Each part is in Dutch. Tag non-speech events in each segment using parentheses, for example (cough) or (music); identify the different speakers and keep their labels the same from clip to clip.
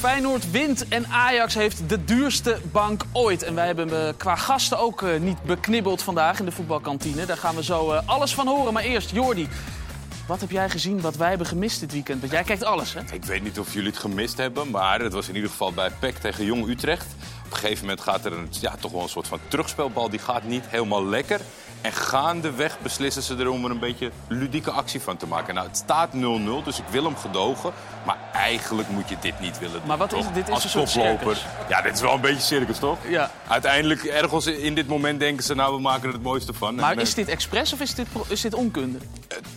Speaker 1: Feyenoord wint en Ajax heeft de duurste bank ooit. En wij hebben eh, qua gasten ook eh, niet beknibbeld vandaag in de voetbalkantine. Daar gaan we zo eh, alles van horen. Maar eerst, Jordi, wat heb jij gezien wat wij hebben gemist dit weekend? Want jij kijkt alles, hè?
Speaker 2: Ik weet niet of jullie het gemist hebben, maar het was in ieder geval bij PEC tegen Jong Utrecht. Op een gegeven moment gaat er een, ja, toch wel een soort van terugspelbal. Die gaat niet helemaal lekker. En gaandeweg beslissen ze erom er een beetje ludieke actie van te maken. Nou, het staat 0-0, dus ik wil hem gedogen. Maar eigenlijk moet je dit niet willen doen.
Speaker 1: Maar wat is-
Speaker 2: toch?
Speaker 1: dit is
Speaker 2: Als
Speaker 1: een soort
Speaker 2: koploper.
Speaker 1: circus.
Speaker 2: Ja, dit is wel een beetje circus, toch?
Speaker 1: Ja.
Speaker 2: Uiteindelijk, ergens in dit moment denken ze... nou, we maken er het mooiste van.
Speaker 1: Maar
Speaker 2: En,
Speaker 1: is
Speaker 2: eh,
Speaker 1: dit expres of is dit, pro- is dit onkunde?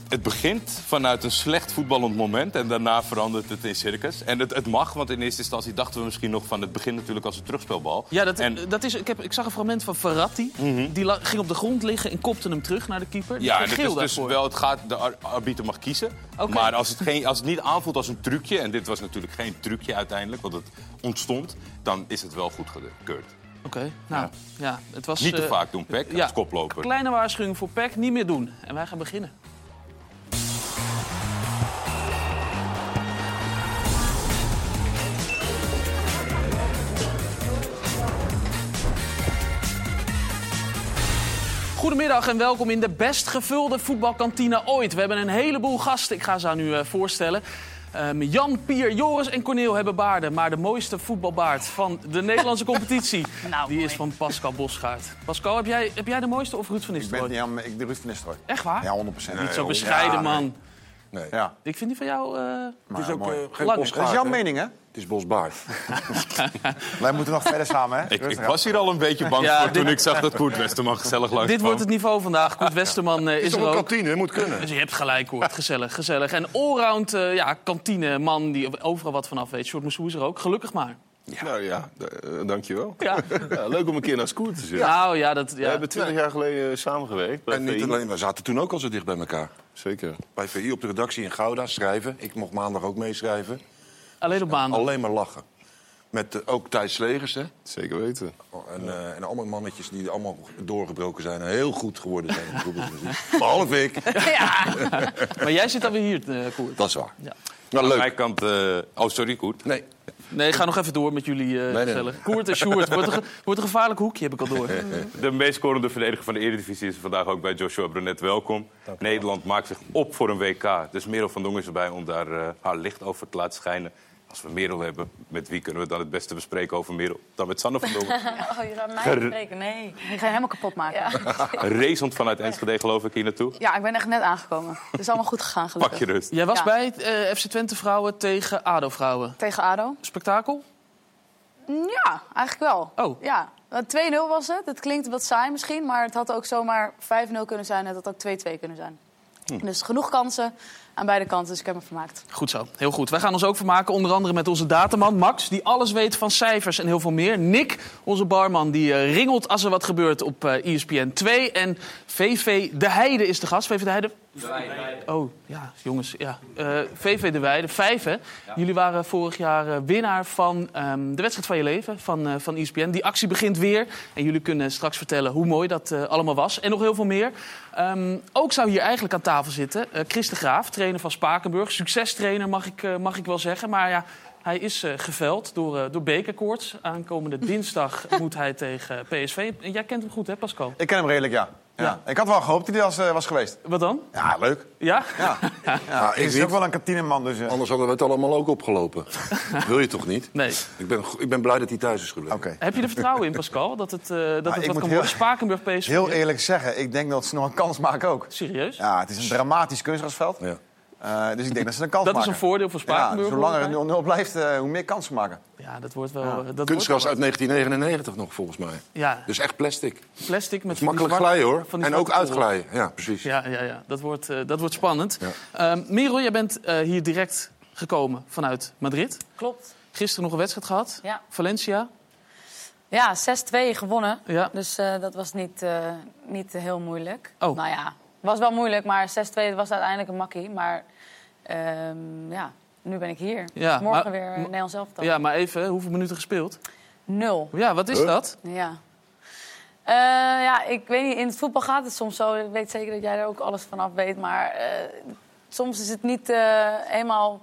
Speaker 2: het begint vanuit een slecht voetballend moment en daarna verandert het in circus. En het, het mag, want in eerste instantie dachten we misschien nog van het begin natuurlijk als een terugspelbal.
Speaker 1: Ja, dat, eh,
Speaker 2: en,
Speaker 1: dat is, ik, heb, ik zag een fragment van Verratti. Die la- ging op de grond liggen en kopte hem terug naar de keeper.
Speaker 2: Mhm. ja,
Speaker 1: Die
Speaker 2: en
Speaker 1: kreeg
Speaker 2: het is
Speaker 1: geel
Speaker 2: dus
Speaker 1: daarvoor.
Speaker 2: wel, het gaat, de ar- arbiter mag kiezen.
Speaker 1: Oké.
Speaker 2: Maar als het, geen, als het niet aanvoelt als een trucje, en dit was natuurlijk geen trucje uiteindelijk, want het ontstond, dan is het wel goed gekeurd.
Speaker 1: Oké, nou, ja. het was...
Speaker 2: Niet te
Speaker 1: eh,
Speaker 2: vaak doen, Peck, als koploper.
Speaker 1: Kleine waarschuwing voor PEC, niet meer doen. En wij gaan beginnen. Goedemiddag en welkom in de best gevulde voetbalkantine ooit. We hebben een heleboel gasten, ik ga ze aan u eh, voorstellen. Ehm, Jan, Pier, Joris en Corneel hebben baarden, maar de mooiste voetbalbaard van de Nederlandse
Speaker 3: (laughs)
Speaker 1: competitie...
Speaker 3: Nou,
Speaker 1: die is
Speaker 3: mooi.
Speaker 1: van Pascal Bosgaard. Pascal, heb jij, heb jij de mooiste of Ruud van
Speaker 4: Ik ben
Speaker 1: Nistelrooy?
Speaker 4: niet aan ik de Ruud van Nistelrooy.
Speaker 1: Echt waar?
Speaker 4: Ja, 100 procent.
Speaker 1: Niet zo bescheiden, man.
Speaker 4: Ja,
Speaker 1: Ik vind die van jou... eh,
Speaker 4: maar
Speaker 5: Het is ook
Speaker 4: mooi.
Speaker 5: eh, geen
Speaker 1: Lang.
Speaker 5: bosgaard,
Speaker 4: dat is jouw
Speaker 5: hè?
Speaker 4: mening, hè?
Speaker 5: Het is bosbaard.
Speaker 1: (laughs)
Speaker 4: Wij moeten nog verder samen, hè?
Speaker 5: (laughs)
Speaker 2: Ik, ik
Speaker 4: Rustig
Speaker 2: was hier al een beetje bang
Speaker 1: Ja,
Speaker 2: voor toen
Speaker 1: dit-
Speaker 2: ik zag dat Koert Westerman gezellig langs
Speaker 1: dit wordt het niveau vandaag.
Speaker 2: (laughs)
Speaker 1: Koet Westerman eh,
Speaker 5: Het
Speaker 1: is
Speaker 5: is
Speaker 1: er
Speaker 5: toch een
Speaker 1: ook.
Speaker 5: kantine, dat moet kunnen.
Speaker 1: Dus je hebt gelijk, hoor. Gezellig, gezellig. En allround eh ja, kantineman die overal wat vanaf weet. Short Moussou is er ook. Gelukkig maar.
Speaker 6: Nou ja, d- eh, dankjewel.
Speaker 1: Ja.
Speaker 6: (laughs) Ja, leuk om een keer naar Scoot te zitten.
Speaker 1: Nou ja, dat...
Speaker 6: We
Speaker 1: Ja.
Speaker 6: hebben twintig jaar geleden eh, samengewerkt. bij
Speaker 5: En niet
Speaker 6: VI.
Speaker 5: alleen, we zaten toen ook al zo dicht bij elkaar.
Speaker 6: Zeker.
Speaker 5: Bij VI op de redactie in Gouda schrijven. Ik mocht maandag ook meeschrijven.
Speaker 1: Alleen op maandag.
Speaker 5: Alleen maar lachen. Met eh, ook Thijs Slegers, hè?
Speaker 6: Zeker weten.
Speaker 5: En, eh, en allemaal mannetjes die allemaal doorgebroken zijn en heel goed geworden zijn. in de voetbalmuziek. (laughs) Behalve ik.
Speaker 1: (laughs) Maar jij zit dan weer hier, eh, Koert.
Speaker 5: Dat is waar.
Speaker 1: Ja.
Speaker 5: Nou,
Speaker 2: Aan
Speaker 5: leuk.
Speaker 2: mijn kant... eh, oh, sorry, Koert.
Speaker 5: Nee,
Speaker 1: Nee, ik ga nog even door met jullie eh
Speaker 5: nee, nee.
Speaker 1: gezellig. Koert en Sjoerd. Wordt een, ge- (laughs) wordt een gevaarlijk hoekje, heb ik al door.
Speaker 2: (laughs) De meest scorende verdediger van de Eredivisie is vandaag ook bij Joshua Brunet. Welkom. Nederland maakt zich op voor een WK. Dus Merel van Dongen is erbij om daar eh, haar licht over te laten schijnen. Als we Merel hebben, met wie kunnen we dan het beste bespreken over Merel? Dan met Sanne van
Speaker 5: (laughs)
Speaker 2: Dongen.
Speaker 7: (laughs) Oh, je gaat mij
Speaker 2: Ger-
Speaker 7: spreken, nee.
Speaker 3: Die ga je helemaal kapot maken. Ja.
Speaker 2: Racend vanuit Enschede, geloof ik, hier naartoe.
Speaker 3: ik ben echt net aangekomen. Het is allemaal goed gegaan,
Speaker 2: Pak
Speaker 3: gelukkig.
Speaker 2: je rust.
Speaker 1: Jij was
Speaker 3: Ja.
Speaker 1: bij eh, FC Twente vrouwen tegen ADO vrouwen.
Speaker 3: Tegen ADO?
Speaker 1: Spektakel?
Speaker 3: Mm, Ja, eigenlijk wel.
Speaker 1: Oh.
Speaker 3: Ja. Eh, 2-0 was het. Het klinkt wat saai misschien, maar het had ook zomaar 5-0 kunnen zijn. Het had ook 2-2 kunnen zijn.
Speaker 2: Hm.
Speaker 3: Dus genoeg kansen aan beide kanten, dus ik heb me vermaakt.
Speaker 1: Goed zo, heel goed. Wij gaan ons ook vermaken, onder andere met onze dataman Max... die alles weet van cijfers en heel veel meer. Nick, onze barman, die eh, ringelt als er wat gebeurt op eh ESPN 2. En VV De Heide is de gast. VV De Heide... Oh, ja, jongens, ja. Eh, VV De Weide, vijf, hè? Jullie waren vorig jaar eh, winnaar van ehm, de wedstrijd van je leven, van, eh van ESPN. Die actie begint weer. En jullie kunnen straks vertellen hoe mooi dat eh, allemaal was. En nog heel veel meer. Ehm, ook zou hier eigenlijk aan tafel zitten eh Chris de Graaf, trainer van Spakenburg. Succestrainer, mag ik, eh, mag ik wel zeggen. Maar ja, hij is eh, geveld door, eh, door bekerkoorts.
Speaker 4: (laughs)
Speaker 1: Aankomende dinsdag moet hij tegen PSV. En jij kent hem goed, hè, Pascal?
Speaker 4: Ik ken hem redelijk, ja. ja.
Speaker 1: Ja.
Speaker 4: Ik had wel gehoopt dat hij was, eh, was geweest.
Speaker 1: Wat dan?
Speaker 4: Ja, leuk.
Speaker 1: (laughs) Ja?
Speaker 4: Ja. Ja,
Speaker 5: Nou,
Speaker 4: hij
Speaker 5: ik
Speaker 4: is
Speaker 5: niet.
Speaker 4: ook wel een kantineman, dus... eh, Oké.
Speaker 5: anders hadden we het allemaal ook
Speaker 1: (laughs)
Speaker 5: opgelopen. Wil je toch niet?
Speaker 1: Nee.
Speaker 5: Ik ben, go- ik ben blij dat hij thuis is gebleven.
Speaker 1: Heb je er vertrouwen in, Pascal, dat het, eh, dat het
Speaker 4: Nou, ik
Speaker 1: wat
Speaker 4: moet
Speaker 1: kan
Speaker 4: heel-
Speaker 1: worden? Spakenburg, PSV?
Speaker 4: Heel eerlijk zeggen, ik denk dat ze nog een kans maken ook.
Speaker 1: Serieus?
Speaker 4: Ja, het is een dramatisch kunstgrasveld.
Speaker 5: Ja.
Speaker 4: Eh, dus ik denk dat ze een kans
Speaker 1: Dat is
Speaker 4: maken.
Speaker 1: een voordeel voor
Speaker 4: Ja,
Speaker 1: Spakenburg.
Speaker 4: hoe langer het 0-0 blijft, eh, hoe meer kansen maken.
Speaker 1: Ja, dat wordt wel... eh, Dat
Speaker 5: Kunstgras
Speaker 1: wordt
Speaker 5: uit 1999 nog, volgens mij.
Speaker 1: wel- Ja,
Speaker 5: Dus echt plastic.
Speaker 1: plastic met...
Speaker 5: Het is makkelijk
Speaker 1: van die
Speaker 5: glijden
Speaker 1: zwarte-
Speaker 5: hoor.
Speaker 1: van die
Speaker 5: En ook
Speaker 1: zwarte korrel.
Speaker 5: uitglijden. Ja, precies.
Speaker 1: Ja, ja, ja. Dat, wordt, eh, dat wordt spannend.
Speaker 5: Ja.
Speaker 1: Ehm, Merel, jij bent eh, hier direct gekomen vanuit Madrid.
Speaker 7: Klopt.
Speaker 1: Gisteren nog een wedstrijd gehad.
Speaker 7: Ja.
Speaker 1: Valencia.
Speaker 7: Ja, 6-2 gewonnen.
Speaker 1: Ja.
Speaker 7: Dus eh, dat was niet, eh, niet heel moeilijk.
Speaker 1: Oh.
Speaker 7: Nou ja, was wel moeilijk, maar 6-2 was uiteindelijk een makkie. Maar ehm, ja, nu ben ik hier.
Speaker 1: Ja,
Speaker 7: Morgen
Speaker 1: maar-
Speaker 7: weer eh,
Speaker 1: m-
Speaker 7: Nederlands elftal.
Speaker 1: Ja, maar even, hoeveel minuten gespeeld?
Speaker 7: Nul.
Speaker 1: Ja, wat is dat?
Speaker 7: Ja. Eh, ja, ik weet niet, in het voetbal gaat het soms zo. Ik weet zeker dat jij er ook alles van af weet. Maar eh, soms is het niet eh, helemaal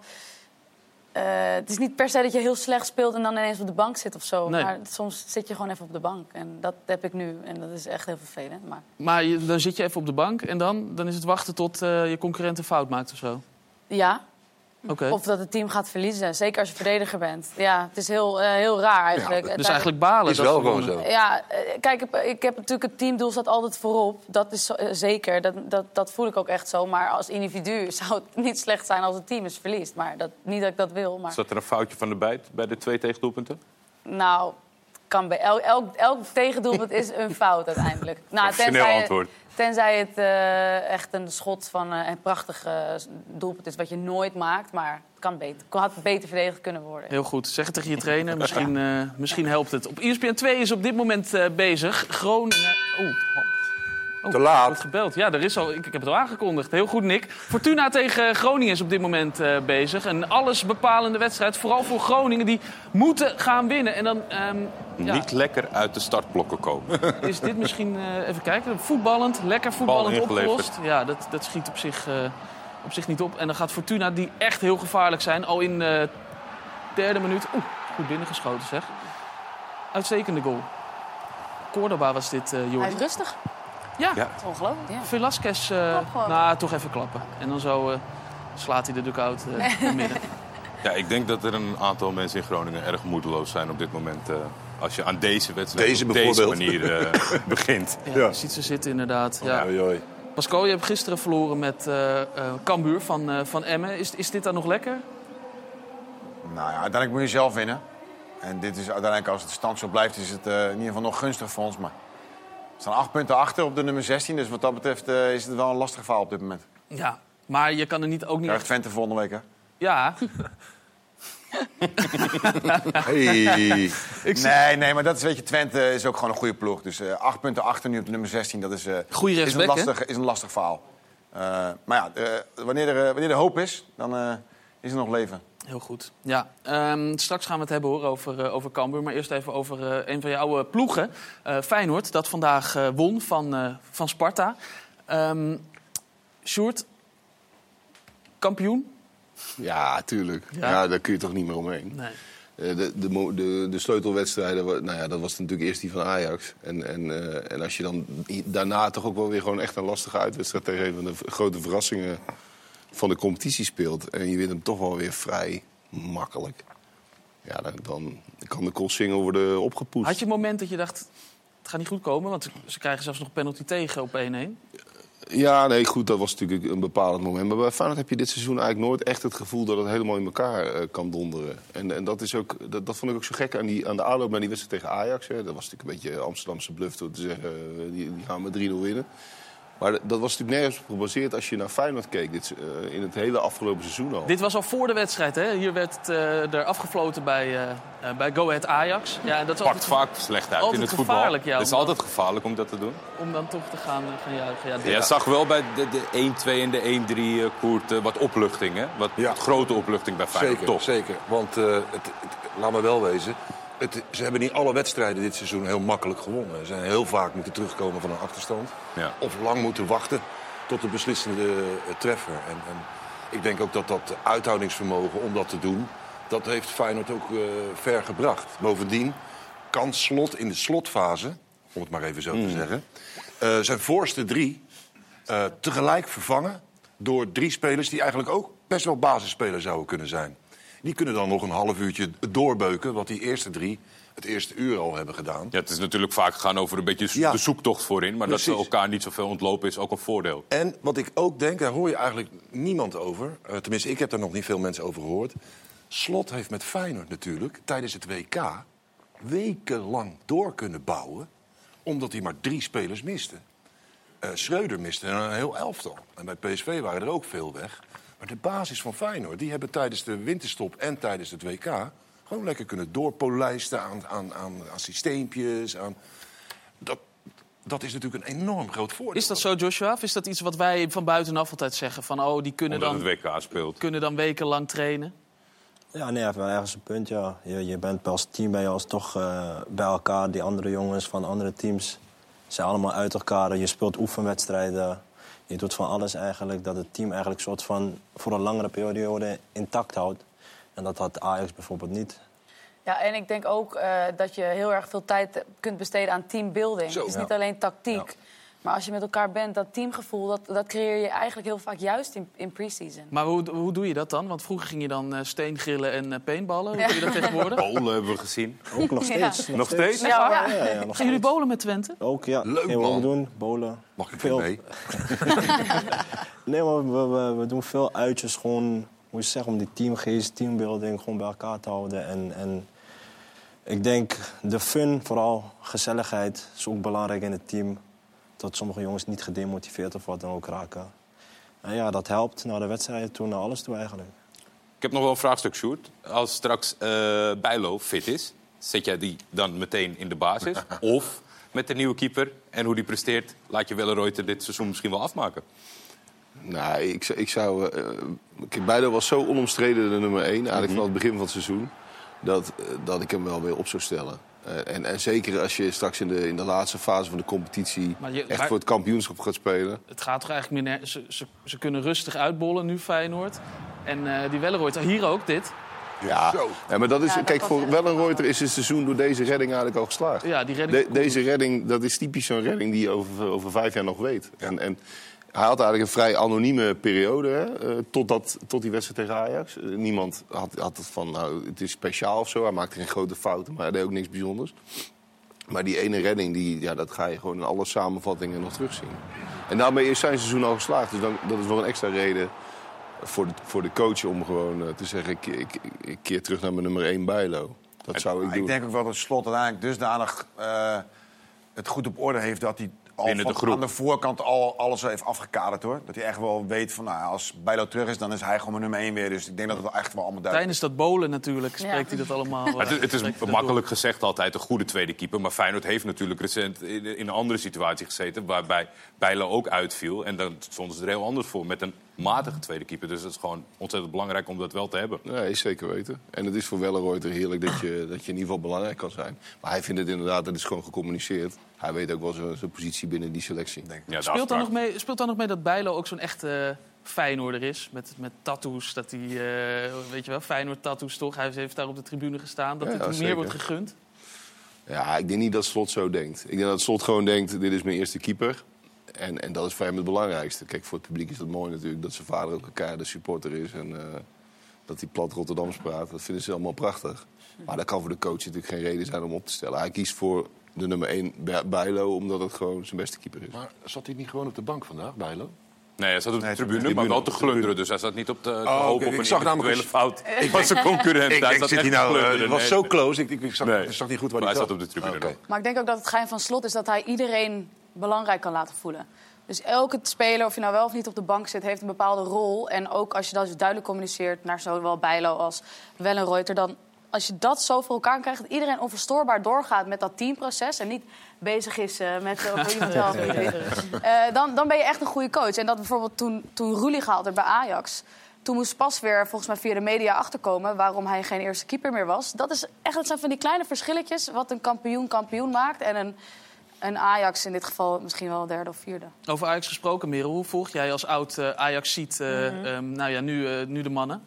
Speaker 7: eh, het is niet per se dat je heel slecht speelt en dan ineens op de bank zit of zo.
Speaker 1: Nee.
Speaker 7: Maar soms zit je gewoon even op de bank. En dat heb ik nu. En dat is echt heel vervelend. Maar
Speaker 1: Maar je- dan zit je even op de bank en dan, dan is het wachten tot eh, je concurrent een fout maakt of zo.
Speaker 7: ja,
Speaker 1: Oké.
Speaker 7: of dat het team gaat verliezen. Zeker als je verdediger bent. Ja, het is heel, eh, heel raar eigenlijk.
Speaker 1: Dus eigenlijk balen.
Speaker 5: Is
Speaker 1: dat
Speaker 5: wel
Speaker 1: ze
Speaker 5: gewoon
Speaker 1: wonnen.
Speaker 5: zo.
Speaker 7: Ja, eh, kijk, ik heb- ik heb natuurlijk het teamdoel staat altijd voorop. Dat is zo- eh, zeker, dat, dat, dat voel ik ook echt zo. Maar als individu (laughs) zou het niet slecht zijn als het team is verliest. Maar dat, niet dat ik dat wil. Maar
Speaker 2: Zat er een foutje van de bijt bij de twee tegendoelpunten?
Speaker 7: nou, kan bij elk, elk, elk tegendoelpunt is een fout uiteindelijk. Nou,
Speaker 2: Professioneel antwoord.
Speaker 7: Tenzij het eh, echt een schot van eh, een prachtig eh, doelpunt is wat je nooit maakt. Maar het kan beter, had beter verdedigd kunnen worden.
Speaker 1: Heel goed. Zeg het tegen je trainer. Misschien, eh, misschien helpt het. Op ESPN 2 is op dit moment eh, bezig. Groningen... Oeh. Oh,
Speaker 5: Te
Speaker 1: er wordt
Speaker 5: laat.
Speaker 1: gebeld. Ja, er is al, ik, ik heb het al aangekondigd. Heel goed, Nick. Fortuna tegen eh, Groningen is op dit moment eh, bezig. Een allesbepalende wedstrijd. Vooral voor Groningen. Die moeten gaan winnen. En dan ehm, ja,
Speaker 2: Niet lekker uit de startblokken komen.
Speaker 1: (laughs) is dit misschien... eh, even kijken. Voetballend. Lekker voetballend
Speaker 2: ingeleverd.
Speaker 1: opgelost. Ja, dat, dat schiet op zich, eh, op zich niet op. En dan gaat Fortuna, die echt heel gevaarlijk zijn... al in de derde minuut... Oeh, goed binnengeschoten zeg. Uitstekende goal. Cordoba was dit, eh
Speaker 3: Hij
Speaker 1: Jordi.
Speaker 3: is rustig.
Speaker 1: Ja.
Speaker 2: Ja.
Speaker 3: Dat is ongelooflijk. Ja.
Speaker 1: Velasquez, eh,
Speaker 3: Klap gewoon.
Speaker 1: nou, toch even klappen. En dan zo eh, slaat hij de dugout
Speaker 3: (laughs)
Speaker 1: eh naar midden.
Speaker 2: Ja, ik denk dat er een aantal mensen in Groningen erg moedeloos zijn op dit moment. eh, als je aan deze wedstrijd
Speaker 5: Deze
Speaker 2: op deze
Speaker 5: bijvoorbeeld.
Speaker 2: manier (laughs)
Speaker 5: (laughs)
Speaker 2: eh, begint.
Speaker 1: Ja,
Speaker 5: Ja.
Speaker 1: Je ziet ze zitten inderdaad. Ja.
Speaker 5: Oei, oei.
Speaker 1: Pascal, je hebt gisteren verloren met eh, eh, Cambuur van, eh, van Emmen. Is, is dit dan nog lekker?
Speaker 4: Nou ja, uiteindelijk moet je zelf winnen. En dit is uiteindelijk, als het stand zo blijft, is het eh, in ieder geval nog gunstig voor ons. Maar we staan acht punten achter op de nummer 16. Dus wat dat betreft eh, is het wel een lastig verhaal op dit moment.
Speaker 1: Ja. Maar je kan er niet, ook niet...
Speaker 4: Krijgt Twente volgende week, hè?
Speaker 1: Ja, (laughs)
Speaker 5: Hey.
Speaker 4: Nee, nee, maar dat is, weet je, Twente is ook gewoon een goede ploeg. Dus eh, acht punten achter nu op de nummer 16, dat is, eh,
Speaker 1: Goeie
Speaker 4: is, een,
Speaker 1: rechtsback, hè?
Speaker 4: lastig, is een lastig verhaal. Eh, maar ja, eh, wanneer, er, eh, wanneer er hoop is, dan eh, is er nog leven.
Speaker 1: heel goed. Ja. Ehm, straks gaan we het hebben hoor, over, eh, over Cambuur. Maar eerst even over eh, een van jouw eh, ploegen. Eh, Feyenoord, dat vandaag eh, won van, eh, van Sparta. Ehm Sjoerd, kampioen?
Speaker 6: Ja, tuurlijk.
Speaker 1: Ja.
Speaker 6: Ja. daar kun je toch niet meer omheen.
Speaker 1: Nee.
Speaker 6: Eh, De, de, mo- de, de sleutelwedstrijden, wa- nou ja, dat was natuurlijk eerst die van Ajax. En, en, eh, en als je dan i- daarna toch ook wel weer gewoon echt een lastige uitwedstrijd tegen een van de v- grote verrassingen van de competitie speelt. En je wint hem toch wel weer vrij makkelijk. Ja, dan, dan kan de koolsingel worden opgepoetst.
Speaker 1: Had je een moment dat je dacht, het gaat niet goed komen? Want ze krijgen zelfs nog penalty tegen op 1-1.
Speaker 6: Ja, nee, goed, dat was natuurlijk een bepalend moment. Maar bij Feyenoord heb je dit seizoen eigenlijk nooit echt het gevoel dat het helemaal in elkaar eh, kan donderen. En, en dat, is ook, dat, dat vond ik ook zo gek aan, die, aan de aanloop naar die wedstrijd tegen Ajax. Hè. Dat was natuurlijk een beetje Amsterdamse bluff door te zeggen, eh, die, die gaan met 3-0 winnen. Maar dat was natuurlijk nergens op gebaseerd als je naar Feyenoord keek dit, se- eh, in het hele afgelopen seizoen al.
Speaker 1: Dit was al voor de wedstrijd, hè? Hier werd het eh, er afgefloten bij, eh, eh, bij Go Ahead Ajax. Ja, en dat is
Speaker 2: Pakt
Speaker 1: altijd
Speaker 2: vaak slecht uit
Speaker 1: altijd
Speaker 2: in het voetbal.
Speaker 1: gevaarlijk, ja,
Speaker 2: het is
Speaker 1: om-
Speaker 2: altijd gevaarlijk om dat te doen.
Speaker 1: om dan toch te gaan, eh, gaan juichen. Ja, dit-
Speaker 2: Ja, je zag wel bij de, de 1-2 en de 1-3 eh, Koert eh, wat opluchting. Hè? Wat,
Speaker 5: Ja.
Speaker 2: wat grote opluchting bij Feyenoord.
Speaker 5: Zeker,
Speaker 2: Toch?
Speaker 5: zeker. Want eh, het, het- laat me wel wezen. Het, ze hebben niet alle wedstrijden dit seizoen heel makkelijk gewonnen. Ze zijn heel vaak moeten terugkomen van een achterstand.
Speaker 2: Ja.
Speaker 5: Of lang moeten wachten tot de beslissende eh, treffer. En, en ik denk ook dat dat uithoudingsvermogen om dat te doen... dat heeft Feyenoord ook eh, ver gebracht. Bovendien kan Slot in de slotfase, om het maar even zo
Speaker 2: Hmm.
Speaker 5: te zeggen... eh, zijn voorste drie eh, tegelijk vervangen door drie spelers die eigenlijk ook best wel basisspeler zouden kunnen zijn. Die kunnen dan nog een half uurtje doorbeuken wat die eerste drie het eerste uur al hebben gedaan.
Speaker 2: Ja, het is natuurlijk vaak gegaan over een beetje zo-
Speaker 5: Ja.
Speaker 2: de zoektocht voorin. Maar dat ze
Speaker 5: Precies.
Speaker 2: elkaar niet zoveel ontlopen is ook een voordeel.
Speaker 5: En wat ik ook denk, daar hoor je eigenlijk niemand over. Eh, tenminste, ik heb daar nog niet veel mensen over gehoord. Slot heeft met Feyenoord natuurlijk tijdens het WK wekenlang door kunnen bouwen. Omdat hij maar drie spelers miste. Eh, Schreuder miste een heel elftal. En bij PSV waren er ook veel weg. Maar de basis van Feyenoord, die hebben tijdens de winterstop en tijdens het WK... gewoon lekker kunnen doorpolijsten aan, aan, aan, aan systeempjes. Aan... Dat, dat is natuurlijk een enorm groot voordeel.
Speaker 1: Is dat zo, Joshua? Of is dat iets wat wij van buitenaf altijd zeggen? Van, oh, die kunnen,
Speaker 2: Omdat het
Speaker 1: dan,
Speaker 2: WK speelt.
Speaker 1: kunnen dan wekenlang trainen.
Speaker 8: Ja, nee, hij heeft wel ergens een punt, ja. Je, je bent als team ben je als toch eh, bij elkaar. Die andere jongens van andere teams zijn allemaal uit elkaar. Je speelt oefenwedstrijden. Je doet van alles eigenlijk. Dat het team eigenlijk soort van voor een langere periode intact houdt. En dat had Ajax bijvoorbeeld niet.
Speaker 7: Ja, en ik denk ook eh, dat je heel erg veel tijd kunt besteden aan teambuilding.
Speaker 5: Zo.
Speaker 7: Het is
Speaker 8: Ja.
Speaker 7: niet alleen tactiek. Maar als je met elkaar bent, dat teamgevoel, dat, dat creëer je eigenlijk heel vaak juist in, in pre-season.
Speaker 1: Maar hoe, hoe doe je dat dan? Want vroeger ging je dan eh, steen grillen en eh, peenballen. Hoe doe
Speaker 8: (laughs)
Speaker 1: je dat tegenwoordig?
Speaker 2: Polen hebben we gezien.
Speaker 8: Ook nog steeds.
Speaker 2: Nog steeds?
Speaker 7: Ja,
Speaker 8: Ja, ja, ja, nog
Speaker 1: Gaan jullie
Speaker 8: steeds.
Speaker 1: bolen met Twente?
Speaker 8: Ook, ja.
Speaker 5: Leuk,
Speaker 8: Gingen we
Speaker 5: man.
Speaker 8: ook doen. Bolen.
Speaker 5: Mag ik weer
Speaker 8: Veel.
Speaker 5: mee?
Speaker 8: (laughs) Nee, maar we, we, we doen veel uitjes. Gewoon, hoe je het zeggen, om die teamgeest, teambuilding gewoon bij elkaar te houden. En, en ik denk de fun, vooral gezelligheid, is ook belangrijk in het team. Dat sommige jongens niet gedemotiveerd of wat dan ook raken. En ja, dat helpt naar de wedstrijden toe, naar alles toe eigenlijk.
Speaker 2: Ik heb nog wel een vraagstuk, Sjoerd. Als straks eh, Bijlo fit is, zet jij die dan meteen in de
Speaker 5: (laughs)
Speaker 2: basis? of met de nieuwe keeper en hoe die presteert, laat je Welleroyter dit seizoen misschien wel afmaken?
Speaker 6: Nou, ik, zou- ik zou... eh, kijk, Bijlo was zo onomstreden de nummer 1, eigenlijk
Speaker 1: Mhm.
Speaker 6: vanaf het begin van het seizoen... dat, eh, dat ik hem wel weer op zou stellen. Eh, en, en zeker als je straks in de, in de laatste fase van de competitie...
Speaker 1: Maar je-
Speaker 6: echt
Speaker 1: maar-
Speaker 6: voor het kampioenschap gaat spelen.
Speaker 1: Het gaat toch eigenlijk meer... ner- Ze, ze, ze kunnen rustig uitbollen nu, Feyenoord. En eh, die Welleroyd, hier ook dit.
Speaker 6: Ja,
Speaker 5: Zo.
Speaker 6: ja maar dat is...
Speaker 7: Ja, dat
Speaker 6: kijk,
Speaker 7: was
Speaker 6: voor
Speaker 7: echt
Speaker 6: Wellenreuter is het seizoen door deze redding eigenlijk al geslaagd.
Speaker 1: Ja, die redding.
Speaker 6: De- deze redding, dat is typisch zo'n redding die je over, over vijf jaar nog weet. En, en hij had eigenlijk een vrij anonieme periode, hè, eh, tot, dat, tot die wedstrijd tegen Ajax. Eh, niemand had, had het van, nou, het is speciaal of zo. Hij maakte geen grote fouten, maar hij deed ook niks bijzonders. Maar die ene redding, die, ja, dat ga je gewoon in alle samenvattingen nog terugzien. En daarmee is zijn seizoen al geslaagd. Dus dan, dat is wel een extra reden voor de, voor de coach om gewoon eh, te zeggen... Ik, ik, ik keer terug naar mijn nummer 1 Bijlo. Dat zou ik
Speaker 4: Maar ik
Speaker 6: doen.
Speaker 4: denk ook wel dat Slot uiteindelijk dusdanig eh, het goed op orde heeft... dat hij al
Speaker 2: Binnen de
Speaker 4: van-
Speaker 2: groep.
Speaker 4: aan de voorkant al alles heeft afgekaderd, hoor. Dat hij echt wel weet van, nou, als Bijlo terug is, dan is hij gewoon mijn nummer één weer. Dus ik denk dat het echt wel allemaal duidelijk
Speaker 1: Tijdens dat bolen natuurlijk spreekt
Speaker 7: Ja.
Speaker 1: hij dat allemaal. eh,
Speaker 2: Maar het, het is
Speaker 1: spreekt hij dat door.
Speaker 2: makkelijk gezegd altijd een goede tweede keeper. Maar Feyenoord heeft natuurlijk recent in, in een andere situatie gezeten... waarbij Bijlo ook uitviel. En dan stonden ze er heel anders voor met een matige tweede keeper. Dus het is gewoon ontzettend belangrijk om dat wel te hebben.
Speaker 6: Nee, zeker weten. En het is voor Welleroyter heerlijk dat je, dat je in ieder geval belangrijk kan zijn. Maar hij vindt het inderdaad, dat is gewoon gecommuniceerd. Hij weet ook wel zijn, zijn positie binnen die selectie.
Speaker 2: Ja, de
Speaker 1: Speelt dan,
Speaker 2: afspraak.
Speaker 1: nog mee, speelt dan nog mee dat Bijlo ook zo'n echte eh, Feyenoorder is? Met, met tattoos, dat hij, eh, weet je wel, Feyenoord-tattoos toch? Hij heeft daar op de tribune gestaan, dat
Speaker 6: Ja,
Speaker 1: dit
Speaker 6: ja,
Speaker 1: meer
Speaker 6: zeker.
Speaker 1: wordt gegund.
Speaker 6: Ja, ik denk niet dat Slot zo denkt. Ik denk dat Slot gewoon denkt, dit is mijn eerste keeper. En, en dat is voor hem het belangrijkste. Kijk, voor het publiek is dat mooi natuurlijk. Dat zijn vader ook een keiharde supporter is. En eh, dat hij plat Rotterdams praat. Dat vinden ze allemaal prachtig. Maar dat kan voor de coach natuurlijk geen reden zijn om op te stellen. Hij kiest voor de nummer 1 Bijlo, omdat het gewoon zijn beste keeper is.
Speaker 5: Maar zat hij niet gewoon op de bank vandaag, Bijlo?
Speaker 2: Nee, hij zat op de
Speaker 4: Nee,
Speaker 2: tribune, maar wel te glunderen. Dus hij zat niet op de, te
Speaker 5: Oh, oké.
Speaker 2: hopen op
Speaker 5: Ik
Speaker 2: een
Speaker 5: zag namelijk
Speaker 2: individuele fout van zijn
Speaker 5: (laughs)
Speaker 2: concurrent.
Speaker 5: Ik
Speaker 2: hij
Speaker 5: denk,
Speaker 2: zat
Speaker 5: zit
Speaker 2: echt
Speaker 5: hij
Speaker 2: te
Speaker 5: nou... eh,
Speaker 2: glunderen.
Speaker 5: Het was
Speaker 2: Nee,
Speaker 5: zo
Speaker 2: nee.
Speaker 5: close, ik, ik, ik zag,
Speaker 2: Nee.
Speaker 5: ik zag niet goed waar
Speaker 2: Maar
Speaker 5: hij
Speaker 2: hij zat op de tribune.
Speaker 5: Oké.
Speaker 2: nog.
Speaker 3: Maar ik denk ook dat het geheim van slot is dat hij iedereen belangrijk kan laten voelen. Dus elke speler, of je nou wel of niet op de bank zit, heeft een bepaalde rol. En ook als je dat dus duidelijk communiceert naar zowel Bijlo als Wellenreuter... dan als je dat zo voor elkaar krijgt dat iedereen onverstoorbaar doorgaat met dat teamproces... en niet bezig is eh, met eh, of iemand wel of niet. Eh, dan, dan ben je echt een goede coach. En dat bijvoorbeeld toen, toen Roelie gehaald werd bij Ajax... Toen moest pas weer volgens mij via de media achterkomen waarom hij geen eerste keeper meer was. Dat, is echt, dat zijn van die kleine verschilletjes wat een kampioen kampioen maakt. En een, een Ajax in dit geval misschien wel derde of vierde.
Speaker 1: Over Ajax gesproken, Merel, hoe volg jij als oud eh ajax ziet,
Speaker 7: Mhm.
Speaker 1: nou ja, nu, eh, nu de mannen?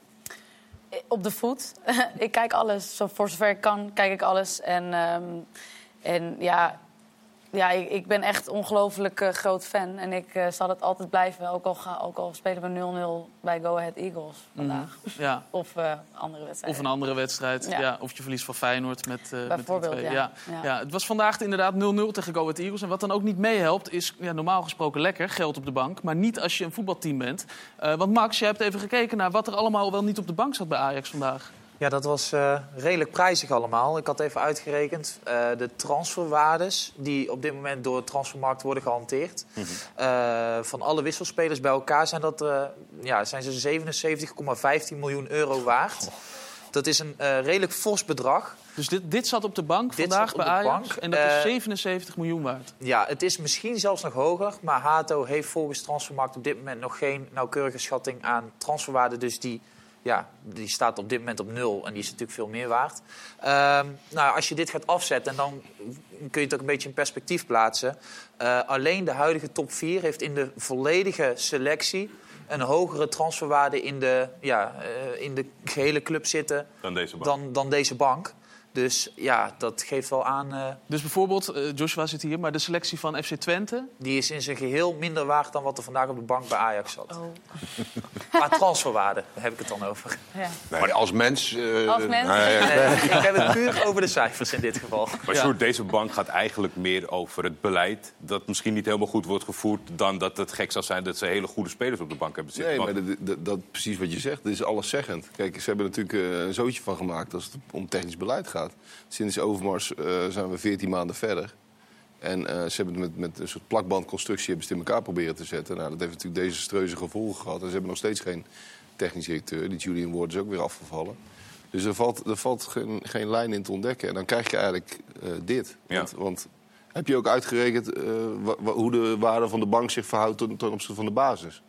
Speaker 7: Op de voet. (laughs) ik kijk alles. Zo, voor zover ik kan, kijk ik alles. En, ehm, en ja, ja ik, ik ben echt ongelooflijk eh, groot fan. En ik eh, zal het altijd blijven. Ook al, ga, ook al spelen we 0-0 bij Go Ahead Eagles vandaag.
Speaker 1: Mm. Ja.
Speaker 7: Of eh, andere wedstrijden.
Speaker 1: Of een andere wedstrijd. Ja.
Speaker 7: Ja.
Speaker 1: of je verliest van Feyenoord met, eh met die
Speaker 7: Bijvoorbeeld,
Speaker 1: twee.
Speaker 7: ja.
Speaker 1: Ja. Ja.
Speaker 7: Ja.
Speaker 1: Het was vandaag inderdaad 0-0 tegen Go Ahead Eagles. En wat dan ook niet meehelpt, is ja, normaal gesproken lekker geld op de bank. Maar niet als je een voetbalteam bent. Eh, want Max, jij hebt even gekeken naar wat er allemaal wel niet op de bank zat bij Ajax vandaag.
Speaker 9: Ja, dat was eh, redelijk prijzig allemaal. Ik had even uitgerekend eh, de transferwaardes die op dit moment door de transfermarkt worden gehanteerd.
Speaker 1: Mhm.
Speaker 9: Eh, van alle wisselspelers bij elkaar zijn, dat, eh, ja, zijn ze 77,15 miljoen euro waard. Dat is een eh, redelijk fors bedrag.
Speaker 1: Dus dit, dit zat op de bank
Speaker 9: Dit
Speaker 1: vandaag
Speaker 9: zat op
Speaker 1: bij
Speaker 9: de
Speaker 1: Ajax.
Speaker 9: bank.
Speaker 1: En dat
Speaker 9: Eh,
Speaker 1: is 77 miljoen waard.
Speaker 9: Ja, het is misschien zelfs nog hoger. Maar Hato heeft volgens Transfermarkt op dit moment nog geen nauwkeurige schatting aan transferwaarde. Dus die, ja, die staat op dit moment op nul. En die is natuurlijk veel meer waard. Ehm, nou, als je dit gaat afzetten, en dan kun je het ook een beetje in perspectief plaatsen. Eh, alleen de huidige top 4 heeft in de volledige selectie een hogere transferwaarde in de, ja, eh, in de gehele club zitten
Speaker 2: Dan deze bank.
Speaker 9: dan, dan deze bank. Dus ja, dat geeft wel aan. eh,
Speaker 1: Dus bijvoorbeeld, eh, Joshua zit hier, maar de selectie van FC Twente.
Speaker 9: die is in zijn geheel minder waard dan wat er vandaag op de bank bij Ajax zat. (laughs) Qua transferwaarde daar heb ik het dan over.
Speaker 5: Nee, als mens... eh,
Speaker 3: Als mens.
Speaker 5: nou ja,
Speaker 9: Nee, ik heb het puur over de cijfers in dit geval.
Speaker 2: Maar Sjoerd, deze bank gaat eigenlijk meer over het beleid... dat misschien niet helemaal goed wordt gevoerd... dan dat het gek zou zijn dat ze hele goede spelers op de bank hebben zitten.
Speaker 6: Nee,
Speaker 2: Want-
Speaker 6: maar dat, dat, dat, precies wat je zegt, dat is alleszeggend. Kijk, ze hebben natuurlijk eh, een zootje van gemaakt als het om technisch beleid gaat. Sinds Overmars eh, zijn we 14 maanden verder. En eh, ze hebben het met, met een soort plakbandconstructie hebben ze het in elkaar proberen te zetten. Nou, dat heeft natuurlijk desastreuze gevolgen gehad. En ze hebben nog steeds geen technisch directeur. Die Julian Ward is ook weer afgevallen. Dus er valt, er valt geen, geen lijn in te ontdekken. En dan krijg je eigenlijk eh, dit.
Speaker 2: Ja.
Speaker 6: Want, want heb je ook uitgerekend eh, wa- wa- hoe de waarde van de bank zich verhoudt ten, ten opzichte van de basis?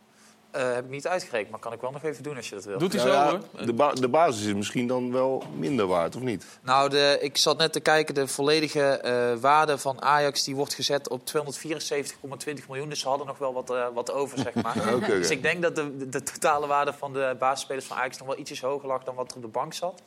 Speaker 9: Eh, heb ik niet uitgerekend, maar kan ik wel nog even doen als je dat wil.
Speaker 1: Doet hij
Speaker 6: Nou
Speaker 1: zo,
Speaker 6: ja,
Speaker 1: hoor.
Speaker 6: de, ba- de basis is misschien dan wel minder waard, of niet?
Speaker 9: Nou, de, ik zat net te kijken, de volledige eh, waarde van Ajax die wordt gezet op 274,20 miljoen. Dus ze hadden nog wel wat, eh, wat over, zeg
Speaker 5: (laughs)
Speaker 9: maar.
Speaker 6: oké.
Speaker 9: Dus ik denk dat de, de totale waarde van de basisspelers van Ajax nog wel ietsjes hoger lag dan wat er op de bank zat.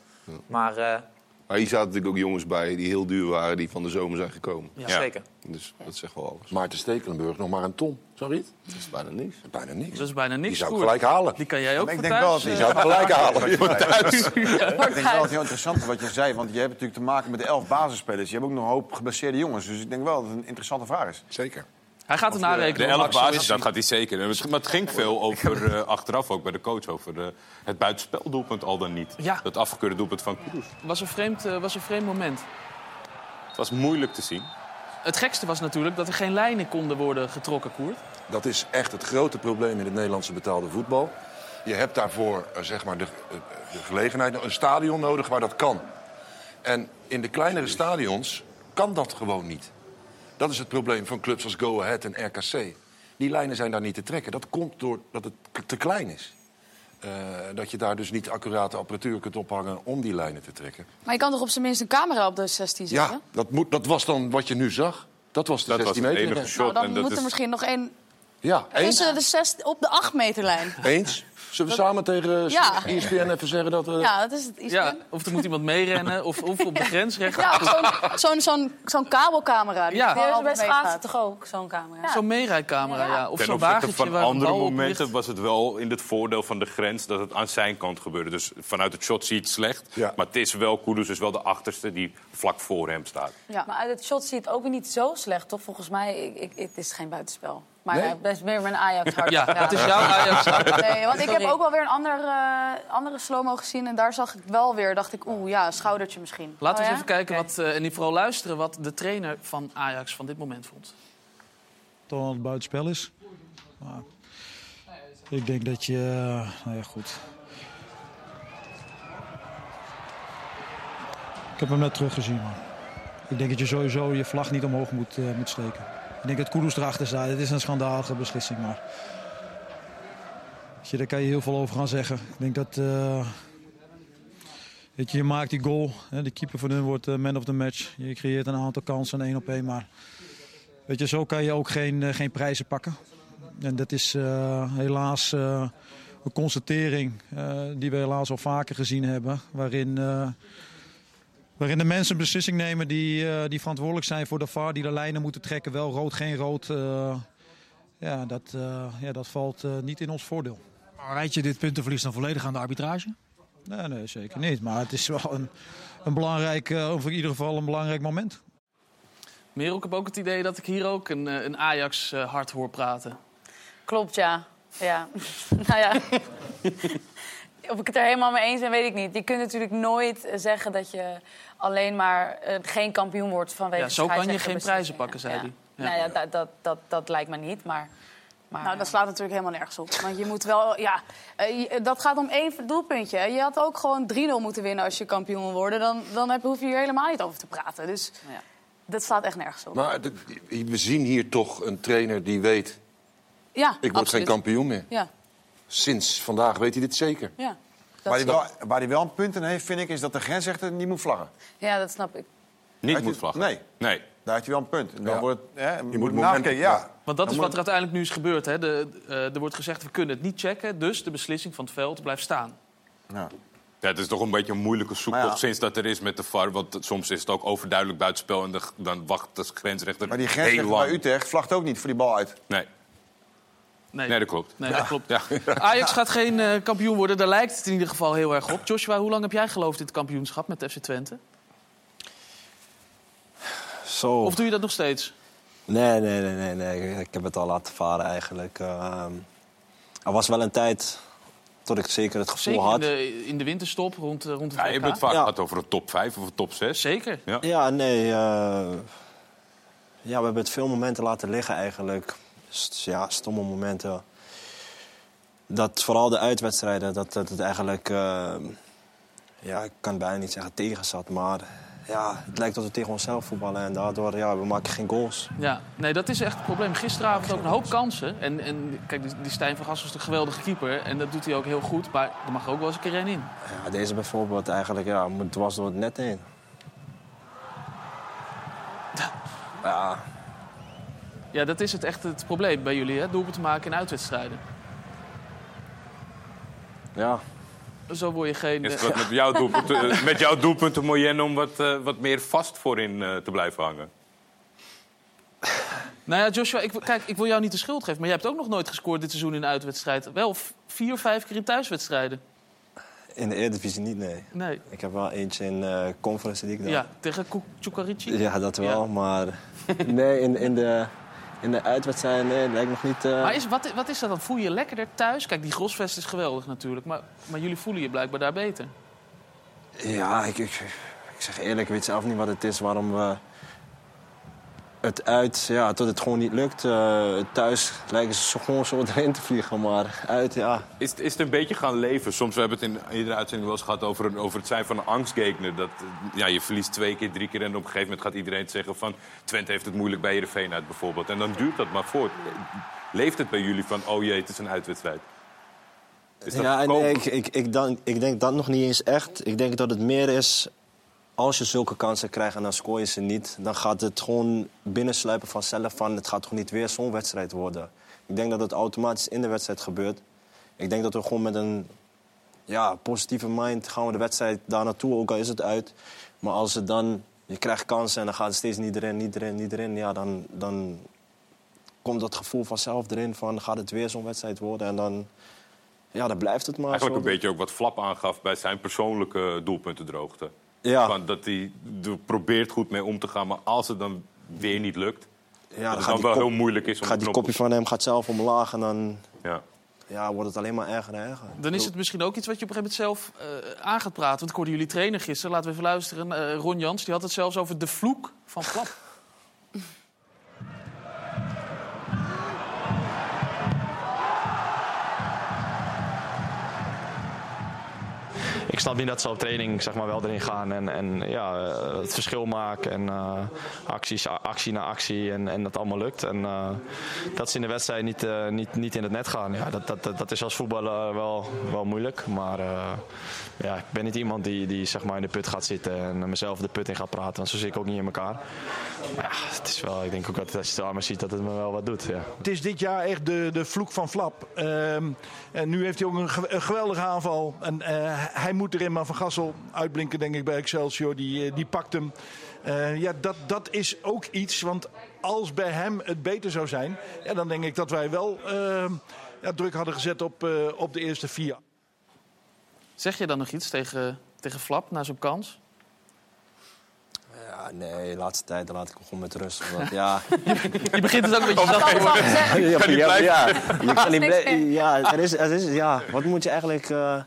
Speaker 9: Maar eh,
Speaker 6: Maar hier zaten natuurlijk ook jongens bij die heel duur waren, die van de zomer zijn gekomen.
Speaker 9: ja,
Speaker 2: Ja.
Speaker 9: zeker.
Speaker 6: Dus dat zegt wel alles.
Speaker 5: Maarten Stekelenburg nog maar een ton. Zag je het?
Speaker 6: Dat is bijna niks.
Speaker 5: Bijna niks.
Speaker 1: Dat is bijna niks.
Speaker 5: Die zou ik
Speaker 1: Koert.
Speaker 5: gelijk halen.
Speaker 1: Die kan jij ook
Speaker 4: Ik
Speaker 1: voor
Speaker 4: denk
Speaker 1: thuis,
Speaker 4: wel dat
Speaker 5: Die
Speaker 4: hij
Speaker 1: eh,
Speaker 5: zou ik gelijk halen. (laughs)
Speaker 4: Ik denk wel dat het heel interessant is wat je zei. Want je hebt natuurlijk te maken met de elf basisspelers. Je hebt ook nog een hoop geblesseerde jongens. Dus ik denk wel dat het een interessante vraag is.
Speaker 5: Zeker.
Speaker 1: Hij gaat het
Speaker 2: De
Speaker 1: narekenen.
Speaker 2: elf
Speaker 1: Max, zo is
Speaker 2: basis,
Speaker 1: hij.
Speaker 2: dat gaat hij zeker. En het- Maar het ging veel over, eh, achteraf ook bij de coach, over eh, het buitenspeldoelpunt al dan niet.
Speaker 1: Ja.
Speaker 2: Dat afgekeurde doelpunt van Kroes.
Speaker 1: was een, vreemd, eh, was een vreemd moment.
Speaker 2: Het was moeilijk te zien.
Speaker 1: Het gekste was natuurlijk dat er geen lijnen konden worden getrokken, Koert.
Speaker 5: Dat is echt het grote probleem in het Nederlandse betaalde voetbal. Je hebt daarvoor eh, zeg maar de, eh, de gelegenheid, een stadion nodig waar dat kan. En in de kleinere stadions kan dat gewoon niet. Dat is het probleem van clubs als Go Ahead en RKC. Die lijnen zijn daar niet te trekken. Dat komt doordat het k- te klein is. Eh, dat je daar dus niet accurate apparatuur kunt ophangen om die lijnen te trekken.
Speaker 3: Maar je kan toch op zijn minst een camera op de 16 zetten?
Speaker 5: Ja, dat, moet, dat was dan wat je nu zag. Dat was de
Speaker 2: Dat was
Speaker 5: 16
Speaker 2: het
Speaker 5: meter.
Speaker 2: enige
Speaker 5: grens.
Speaker 2: shot.
Speaker 3: Nou, dan
Speaker 2: en dat
Speaker 3: moet er
Speaker 2: is-
Speaker 3: misschien nog één
Speaker 5: Ja, eens.
Speaker 3: tussen de 6 op de 8 meterlijn.
Speaker 5: Eens? Zullen we samen tegen
Speaker 3: Ja.
Speaker 5: ISPN ESPN even zeggen dat we...
Speaker 3: Ja, dat is het. iets.
Speaker 1: Ja, of er moet iemand meerennen, of, of op de
Speaker 3: (laughs)
Speaker 1: grens recht.
Speaker 3: Ja, of zo'n zo'n zo'n zo'n kabelcamera. Die
Speaker 1: Ja.
Speaker 3: ja.
Speaker 7: Die hebben
Speaker 3: Al
Speaker 7: ze bij
Speaker 3: bij
Speaker 7: schaatsen
Speaker 3: gaat.
Speaker 7: toch ook, zo'n camera?
Speaker 1: Zo'n meerijcamera, ja. Ah, Of
Speaker 2: Ten
Speaker 1: zo'n
Speaker 2: opzichte
Speaker 1: wagentje
Speaker 2: van
Speaker 1: waar een
Speaker 2: andere
Speaker 1: bal op
Speaker 2: momenten
Speaker 1: ligt.
Speaker 2: was het wel in het voordeel van de grens dat het aan zijn kant gebeurde. Dus vanuit het shot zie je het slecht.
Speaker 5: Ja.
Speaker 2: Maar het is wel, Kudus is wel de achterste die vlak voor hem staat.
Speaker 3: Ja.
Speaker 7: Maar uit het shot ziet het ook weer niet zo slecht, toch? Volgens mij ik, ik, het is geen buitenspel. Maar
Speaker 5: Nee?
Speaker 7: ja, best meer mijn
Speaker 1: (laughs)
Speaker 7: Ajax hart.
Speaker 1: Ja, dat is jouw Ajax.
Speaker 3: (laughs) Nee, want ik heb
Speaker 7: Sorry.
Speaker 3: ook wel weer een ander, eh, andere slow-mo gezien. En daar zag ik wel weer, dacht ik, oeh, ja, schoudertje misschien.
Speaker 1: Laten we
Speaker 7: Oh ja?
Speaker 1: eens even kijken wat, eh, en die vooral luisteren wat de trainer van Ajax van dit moment vond.
Speaker 10: toch wel het buitenspel is. Maar ik denk dat je... eh, Nou ja, goed. Ik heb hem net teruggezien, man. Ik denk dat je sowieso je vlag niet omhoog moet, eh, moet steken. Ik denk dat Kudus erachter staat. Het is een schandalige beslissing, maar... weet je, daar kan je heel veel over gaan zeggen. Ik denk dat... eh, Weet je, je maakt die goal. Hè, de keeper van hun wordt eh, man of the match. Je creëert een aantal kansen, één op één. Maar Weet je, zo kan je ook geen, eh, geen prijzen pakken. En dat is eh, helaas eh, een constatering eh, die we helaas al vaker gezien hebben. Waarin, eh, waarin de mensen een beslissing nemen die, eh, die verantwoordelijk zijn voor de VAR. Die de lijnen moeten trekken, wel rood, geen rood. eh, ja, dat, eh, ja, dat valt eh, niet in ons voordeel. Maar rijd je dit puntenverlies dan volledig aan de arbitrage? Nee, nee zeker niet. Maar het is wel een, een belangrijk, eh, of in ieder geval een belangrijk moment.
Speaker 1: Merel, ik heb ook het idee dat ik hier ook een, eh, een Ajax eh, hard hoor praten.
Speaker 7: Klopt, ja. ja. (laughs) nou ja. Of ik het er helemaal mee eens ben, weet ik niet. Je kunt natuurlijk nooit eh, zeggen dat je alleen maar eh, geen kampioen wordt vanwege
Speaker 1: Ja, zo kan je geen
Speaker 7: scheidsrechterbeslissingen.
Speaker 1: prijzen pakken, zei hij. Ja.
Speaker 7: Nou ja, dat, dat, dat, dat lijkt me niet, maar... maar
Speaker 3: Nou, dat slaat natuurlijk helemaal nergens op. Want je moet wel, ja, eh, je- dat gaat om één doelpuntje. Je had ook gewoon 3-0 moeten winnen als je kampioen wil worden. Dan, dan heb, hoef je hier helemaal niet over te praten. Dus
Speaker 7: Ja.
Speaker 3: dat slaat echt nergens op.
Speaker 5: Maar de- we zien hier toch een trainer die weet... ik
Speaker 3: ja,
Speaker 5: word geen kampioen meer.
Speaker 3: Ja,
Speaker 5: Sinds vandaag weet hij dit zeker.
Speaker 3: ja.
Speaker 4: Waar
Speaker 3: Dat
Speaker 4: hij, wel, waar hij wel een punt in heeft, vind ik, is dat de grensrechter niet moet vlaggen.
Speaker 3: Ja, dat snap ik.
Speaker 2: Niet
Speaker 4: Had je-
Speaker 2: moet vlaggen.
Speaker 4: Nee.
Speaker 2: nee.
Speaker 4: Daar had je wel een punt. En Dan
Speaker 5: Ja.
Speaker 4: wordt het, hè,
Speaker 5: Je moet
Speaker 4: nakijken,
Speaker 5: momenten-
Speaker 4: Nou, ja.
Speaker 5: ja.
Speaker 1: Want dat is
Speaker 4: Dan
Speaker 1: wat
Speaker 4: moet-
Speaker 1: er uiteindelijk nu is gebeurd. Hè? De, eh, er wordt gezegd, we kunnen het niet checken. Dus de beslissing van het veld blijft staan.
Speaker 4: Ja.
Speaker 2: Ja, het is toch een beetje een moeilijke zoektocht
Speaker 4: Maar ja.
Speaker 2: sinds dat er is met de VAR. Want soms is het ook overduidelijk buitenspel en de- dan wacht de grensrechter
Speaker 4: Maar die
Speaker 2: heel
Speaker 4: grensrechter
Speaker 2: lang.
Speaker 4: bij Utrecht vlagt ook niet voor die bal uit.
Speaker 2: Nee. nee, dat klopt.
Speaker 1: Nee, dat klopt.
Speaker 2: Ja.
Speaker 1: Ajax gaat geen eh, kampioen worden. Daar lijkt het in ieder geval heel erg op. Joshua, hoe lang heb jij geloofd in het kampioenschap met FC Twente?
Speaker 8: Zo.
Speaker 1: Of doe je dat nog steeds?
Speaker 8: Nee, nee, nee, nee, nee. Ik heb het al laten varen eigenlijk. Ehm, er was wel een tijd tot ik zeker het gevoel
Speaker 1: Zeker in
Speaker 8: had.
Speaker 1: de, in de winterstop rond, eh, rond het
Speaker 2: Ja, je
Speaker 1: WK?
Speaker 2: hebt het vaak
Speaker 8: Ja.
Speaker 2: gehad over een top 5 of een top 6.
Speaker 1: Zeker.
Speaker 2: Ja.
Speaker 8: Ja, nee. eh, ja, we hebben het veel momenten laten liggen eigenlijk. St- ja, stomme momenten. Dat vooral de uitwedstrijden, dat, dat het eigenlijk... eh, ja, ik kan bijna niet zeggen tegen zat, maar... Ja, het lijkt dat we tegen onszelf voetballen en daardoor, ja, we maken geen goals.
Speaker 1: Ja, nee, dat is echt het probleem. Gisteravond ook een hoop kansen. En, en kijk, die- die Stijn van Gassel is een geweldige keeper. En dat doet hij ook heel goed. Maar er mag ook wel eens een keer één in.
Speaker 8: Ja, deze bijvoorbeeld eigenlijk, ja, moet dwars door het net heen. Ja,
Speaker 1: Ja, dat is het echt het probleem bij jullie, hè? Doelpunt maken in uitwedstrijden.
Speaker 8: ja.
Speaker 1: Zo word je geen...
Speaker 2: Is het
Speaker 1: eh,
Speaker 2: wat met jouw
Speaker 1: (laughs)
Speaker 2: doelpunten, eh, met jouw doelpunten Moyenne om wat, eh, wat meer vast voorin eh, te blijven hangen?
Speaker 1: Nou ja, Joshua, ik, wil- kijk, ik wil jou niet de schuld geven. Maar jij hebt ook nog nooit gescoord dit seizoen in een uitwedstrijd. Wel v- vier, vijf keer in thuiswedstrijden.
Speaker 8: In de Eredivisie niet, nee.
Speaker 1: Nee.
Speaker 8: Ik heb wel eentje in eh conference die ik
Speaker 1: Ja,
Speaker 8: dan...
Speaker 1: tegen Ku- Chukarici.
Speaker 8: Ja, dat wel, maar... Nee, in, in de, in de uitwedstrijd nee, lijkt nog niet... eh,
Speaker 1: Maar is, wat, wat is dat dan? Voel je je lekkerder thuis? Kijk, die grosvest is geweldig natuurlijk. Maar, maar jullie voelen je blijkbaar daar beter.
Speaker 8: Ja, ik, ik, ik zeg eerlijk, ik weet zelf niet wat het is waarom we het uit... Ja, tot het gewoon niet lukt. Eh, thuis lijken ze zo, gewoon zo (laughs) erin te vliegen, maar uit, ja...
Speaker 2: Is, het- is het een beetje gaan leven? Soms we hebben het in iedere uitzending wel eens gehad over, een, over het zijn van een angstgekner. Dat eh, ja, je verliest twee keer, drie keer en op een gegeven moment gaat iedereen zeggen van... Twente heeft het moeilijk bij Heerenveen uit bijvoorbeeld. En dan duurt dat maar voort. Leeft het bij jullie van, oh jee, het is een uitwedstrijd? Is dat
Speaker 8: ja, en
Speaker 2: goedkoop?
Speaker 8: nee, ik, ik, ik, dan, ik denk dat nog niet eens echt. Ik denk dat het meer is. Als je zulke kansen krijgt en dan scoor je ze niet, dan gaat het gewoon binnensluipen vanzelf van het gaat gewoon niet weer zo'n wedstrijd worden. Ik denk dat het automatisch in de wedstrijd gebeurt. Ik denk dat we gewoon met een ja, positieve mind gaan we de wedstrijd daar naartoe, ook al is het uit. Maar als het dan, je krijgt kansen en dan gaat het steeds niet erin, niet erin, niet erin. Ja, dan, dan komt dat gevoel vanzelf erin van gaat het weer zo'n wedstrijd worden en dan, ja, dan blijft het maar
Speaker 2: Eigenlijk
Speaker 8: zo.
Speaker 2: een beetje ook wat Flap aangaf bij zijn persoonlijke doelpuntendroogte.
Speaker 8: Ja.
Speaker 2: Van dat hij er probeert goed mee om te gaan, maar als het dan weer niet lukt...
Speaker 8: Ja,
Speaker 2: dat
Speaker 8: gaat
Speaker 2: het dan
Speaker 8: die
Speaker 2: wel
Speaker 8: kop-
Speaker 2: heel moeilijk is om
Speaker 8: Gaat
Speaker 2: de
Speaker 8: die
Speaker 2: knop
Speaker 8: kopje van hem gaat zelf omlaag en dan
Speaker 2: Ja.
Speaker 8: ja, wordt het alleen maar erger en erger.
Speaker 1: Dan is het misschien ook iets wat je op een gegeven moment zelf eh, aan gaat praten. Want ik hoorde jullie trainer gisteren, laten we even luisteren. Eh, Ron Jans, die had het zelfs over de vloek van (laughs) Flap.
Speaker 11: ik snap niet dat ze op training zeg maar, wel erin gaan en, en ja, eh, het verschil maken. En eh, acties, a- actie na actie en, en dat allemaal lukt. En eh, dat ze in de wedstrijd niet, eh, niet, niet in het net gaan. Ja, dat, dat, dat, dat is als voetballer wel, wel moeilijk. Maar eh, ja, ik ben niet iemand die, die zeg maar, in de put gaat zitten en mezelf de put in gaat praten. Want zo zit ik ook niet in elkaar. Maar ja, het is wel, ik denk ook dat als je het aan me ziet dat het me wel wat doet. Ja.
Speaker 12: Het is dit jaar echt de, de vloek van Flap. Ehm, en nu heeft hij ook een, ge- een geweldige aanval. En eh, hij moet erin, maar Van Gassel uitblinken, denk ik, bij Excelsior. Die, eh, die pakt hem. Eh, ja, dat, dat is ook iets. Want als bij hem het beter zou zijn, ja, dan denk ik dat wij wel ehm, ja, druk hadden gezet op, eh, op de eerste vier.
Speaker 1: Zeg je dan nog iets tegen, tegen Flap na zo'n kans?
Speaker 8: Ja, nee, de laatste tijd laat ik hem gewoon met
Speaker 1: (laughs)
Speaker 8: rust. Omdat, ja,
Speaker 1: Je begint het ook (laughs) met jezelf.
Speaker 3: Dat kan wel zeggen.
Speaker 8: (laughs) ja,
Speaker 2: niet
Speaker 8: ja,
Speaker 2: blijven.
Speaker 8: ja, je kan niet
Speaker 3: Niks
Speaker 8: blij- ja, er is, er is, ja, wat moet je eigenlijk... eh,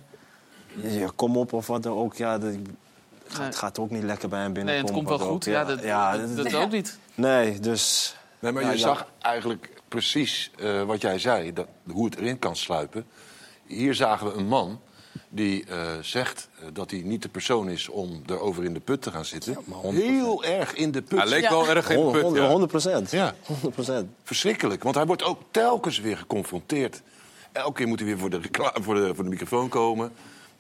Speaker 8: ja, kom op of wat dan ook. Ja, dat,
Speaker 1: Nee.
Speaker 8: het gaat ook niet lekker bij hem
Speaker 1: Nee,
Speaker 8: binnenkomen.
Speaker 1: het komt wel
Speaker 8: wat ook,
Speaker 1: goed. Ja, dat, dat,
Speaker 8: dat-
Speaker 1: dat ook niet.
Speaker 8: Nee, dus...
Speaker 5: Nee, maar
Speaker 8: Ja,
Speaker 5: je
Speaker 8: ja.
Speaker 5: zag eigenlijk precies eh, wat jij zei, dat, hoe het erin kan sluipen. Hier zagen we een man die eh, zegt eh, dat hij niet de persoon is om erover in de put te gaan zitten. Heel erg in de put.
Speaker 2: Hij leek wel erg in de put, ja.
Speaker 8: 100 procent.
Speaker 5: Ja.
Speaker 8: 100 procent.
Speaker 5: Verschrikkelijk, want hij wordt ook telkens weer geconfronteerd. Elke keer moet hij weer voor de, recla- voor de, voor de microfoon komen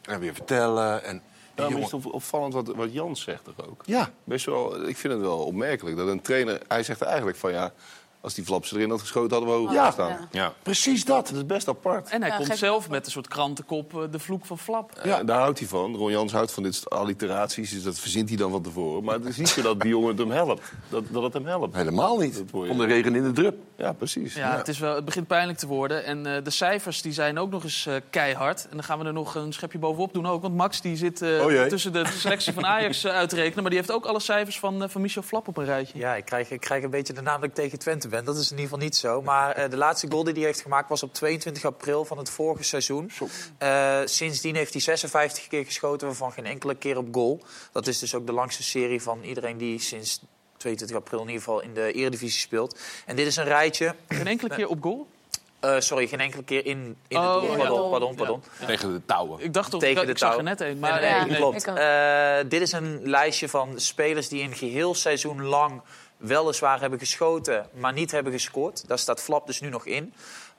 Speaker 5: en weer vertellen. En
Speaker 6: Daarom is
Speaker 5: jongen-
Speaker 6: het op- opvallend wat, wat Jans zegt toch ook.
Speaker 5: Ja,
Speaker 6: Best wel, ik vind het wel opmerkelijk dat een trainer... Hij zegt eigenlijk van ja, als die flaps erin had geschoten hadden we hoger
Speaker 5: Ja.
Speaker 6: gestaan.
Speaker 2: Ja.
Speaker 5: precies dat.
Speaker 6: Dat is best apart.
Speaker 1: En hij
Speaker 3: Ja,
Speaker 1: komt
Speaker 3: geef-
Speaker 1: zelf met een soort krantenkop eh, de vloek van Flap.
Speaker 6: Ja, daar houdt hij van. Ron Jans houdt van dit soort alliteraties, dus dat verzint hij dan van tevoren. Maar het is niet zo dat die jongen het hem helpt. Dat, dat het hem helpt.
Speaker 5: Helemaal niet.
Speaker 6: Dat hoor je.
Speaker 5: Om de regen in de drup.
Speaker 6: Ja, precies.
Speaker 1: Ja, Het, is wel, het begint pijnlijk te worden. En eh, de cijfers die zijn ook nog eens eh, keihard. En dan gaan we er nog een schepje bovenop doen ook. Want Max die zit eh,
Speaker 5: Oh jee.
Speaker 1: tussen de selectie van
Speaker 9: (laughs)
Speaker 1: Ajax eh, uit te rekenen. Maar die heeft ook alle cijfers van, eh, van Michel Flap op een rijtje.
Speaker 9: Ja, ik krijg, ik krijg een beetje de naam dat ik tegen Twente ben. Dat is in ieder geval niet zo. Maar eh, de laatste goal die hij heeft gemaakt was op 22 april van het vorige seizoen. Eh, sindsdien heeft hij 56 keer geschoten, waarvan geen enkele keer op goal. Dat is dus ook de langste serie van iedereen die sinds 22 april in ieder geval in de Eredivisie speelt. En dit is een rijtje...
Speaker 1: Geen enkele keer op goal.
Speaker 9: eh, sorry, geen enkele keer in, in
Speaker 1: Oh,
Speaker 9: het doel.
Speaker 1: ja.
Speaker 9: Pardon, pardon, pardon.
Speaker 2: Tegen de touwen.
Speaker 1: Ik dacht toch,
Speaker 9: Tegen
Speaker 1: ik,
Speaker 9: de
Speaker 1: ik zag
Speaker 9: touw.
Speaker 1: er net een. Maar
Speaker 9: Nee,
Speaker 1: eh,
Speaker 9: nee,
Speaker 1: nee.
Speaker 9: klopt.
Speaker 3: ik ook.
Speaker 9: Eh, dit is een lijstje van spelers die een geheel seizoen lang weliswaar hebben geschoten, maar niet hebben gescoord. Daar staat Flap dus nu nog in.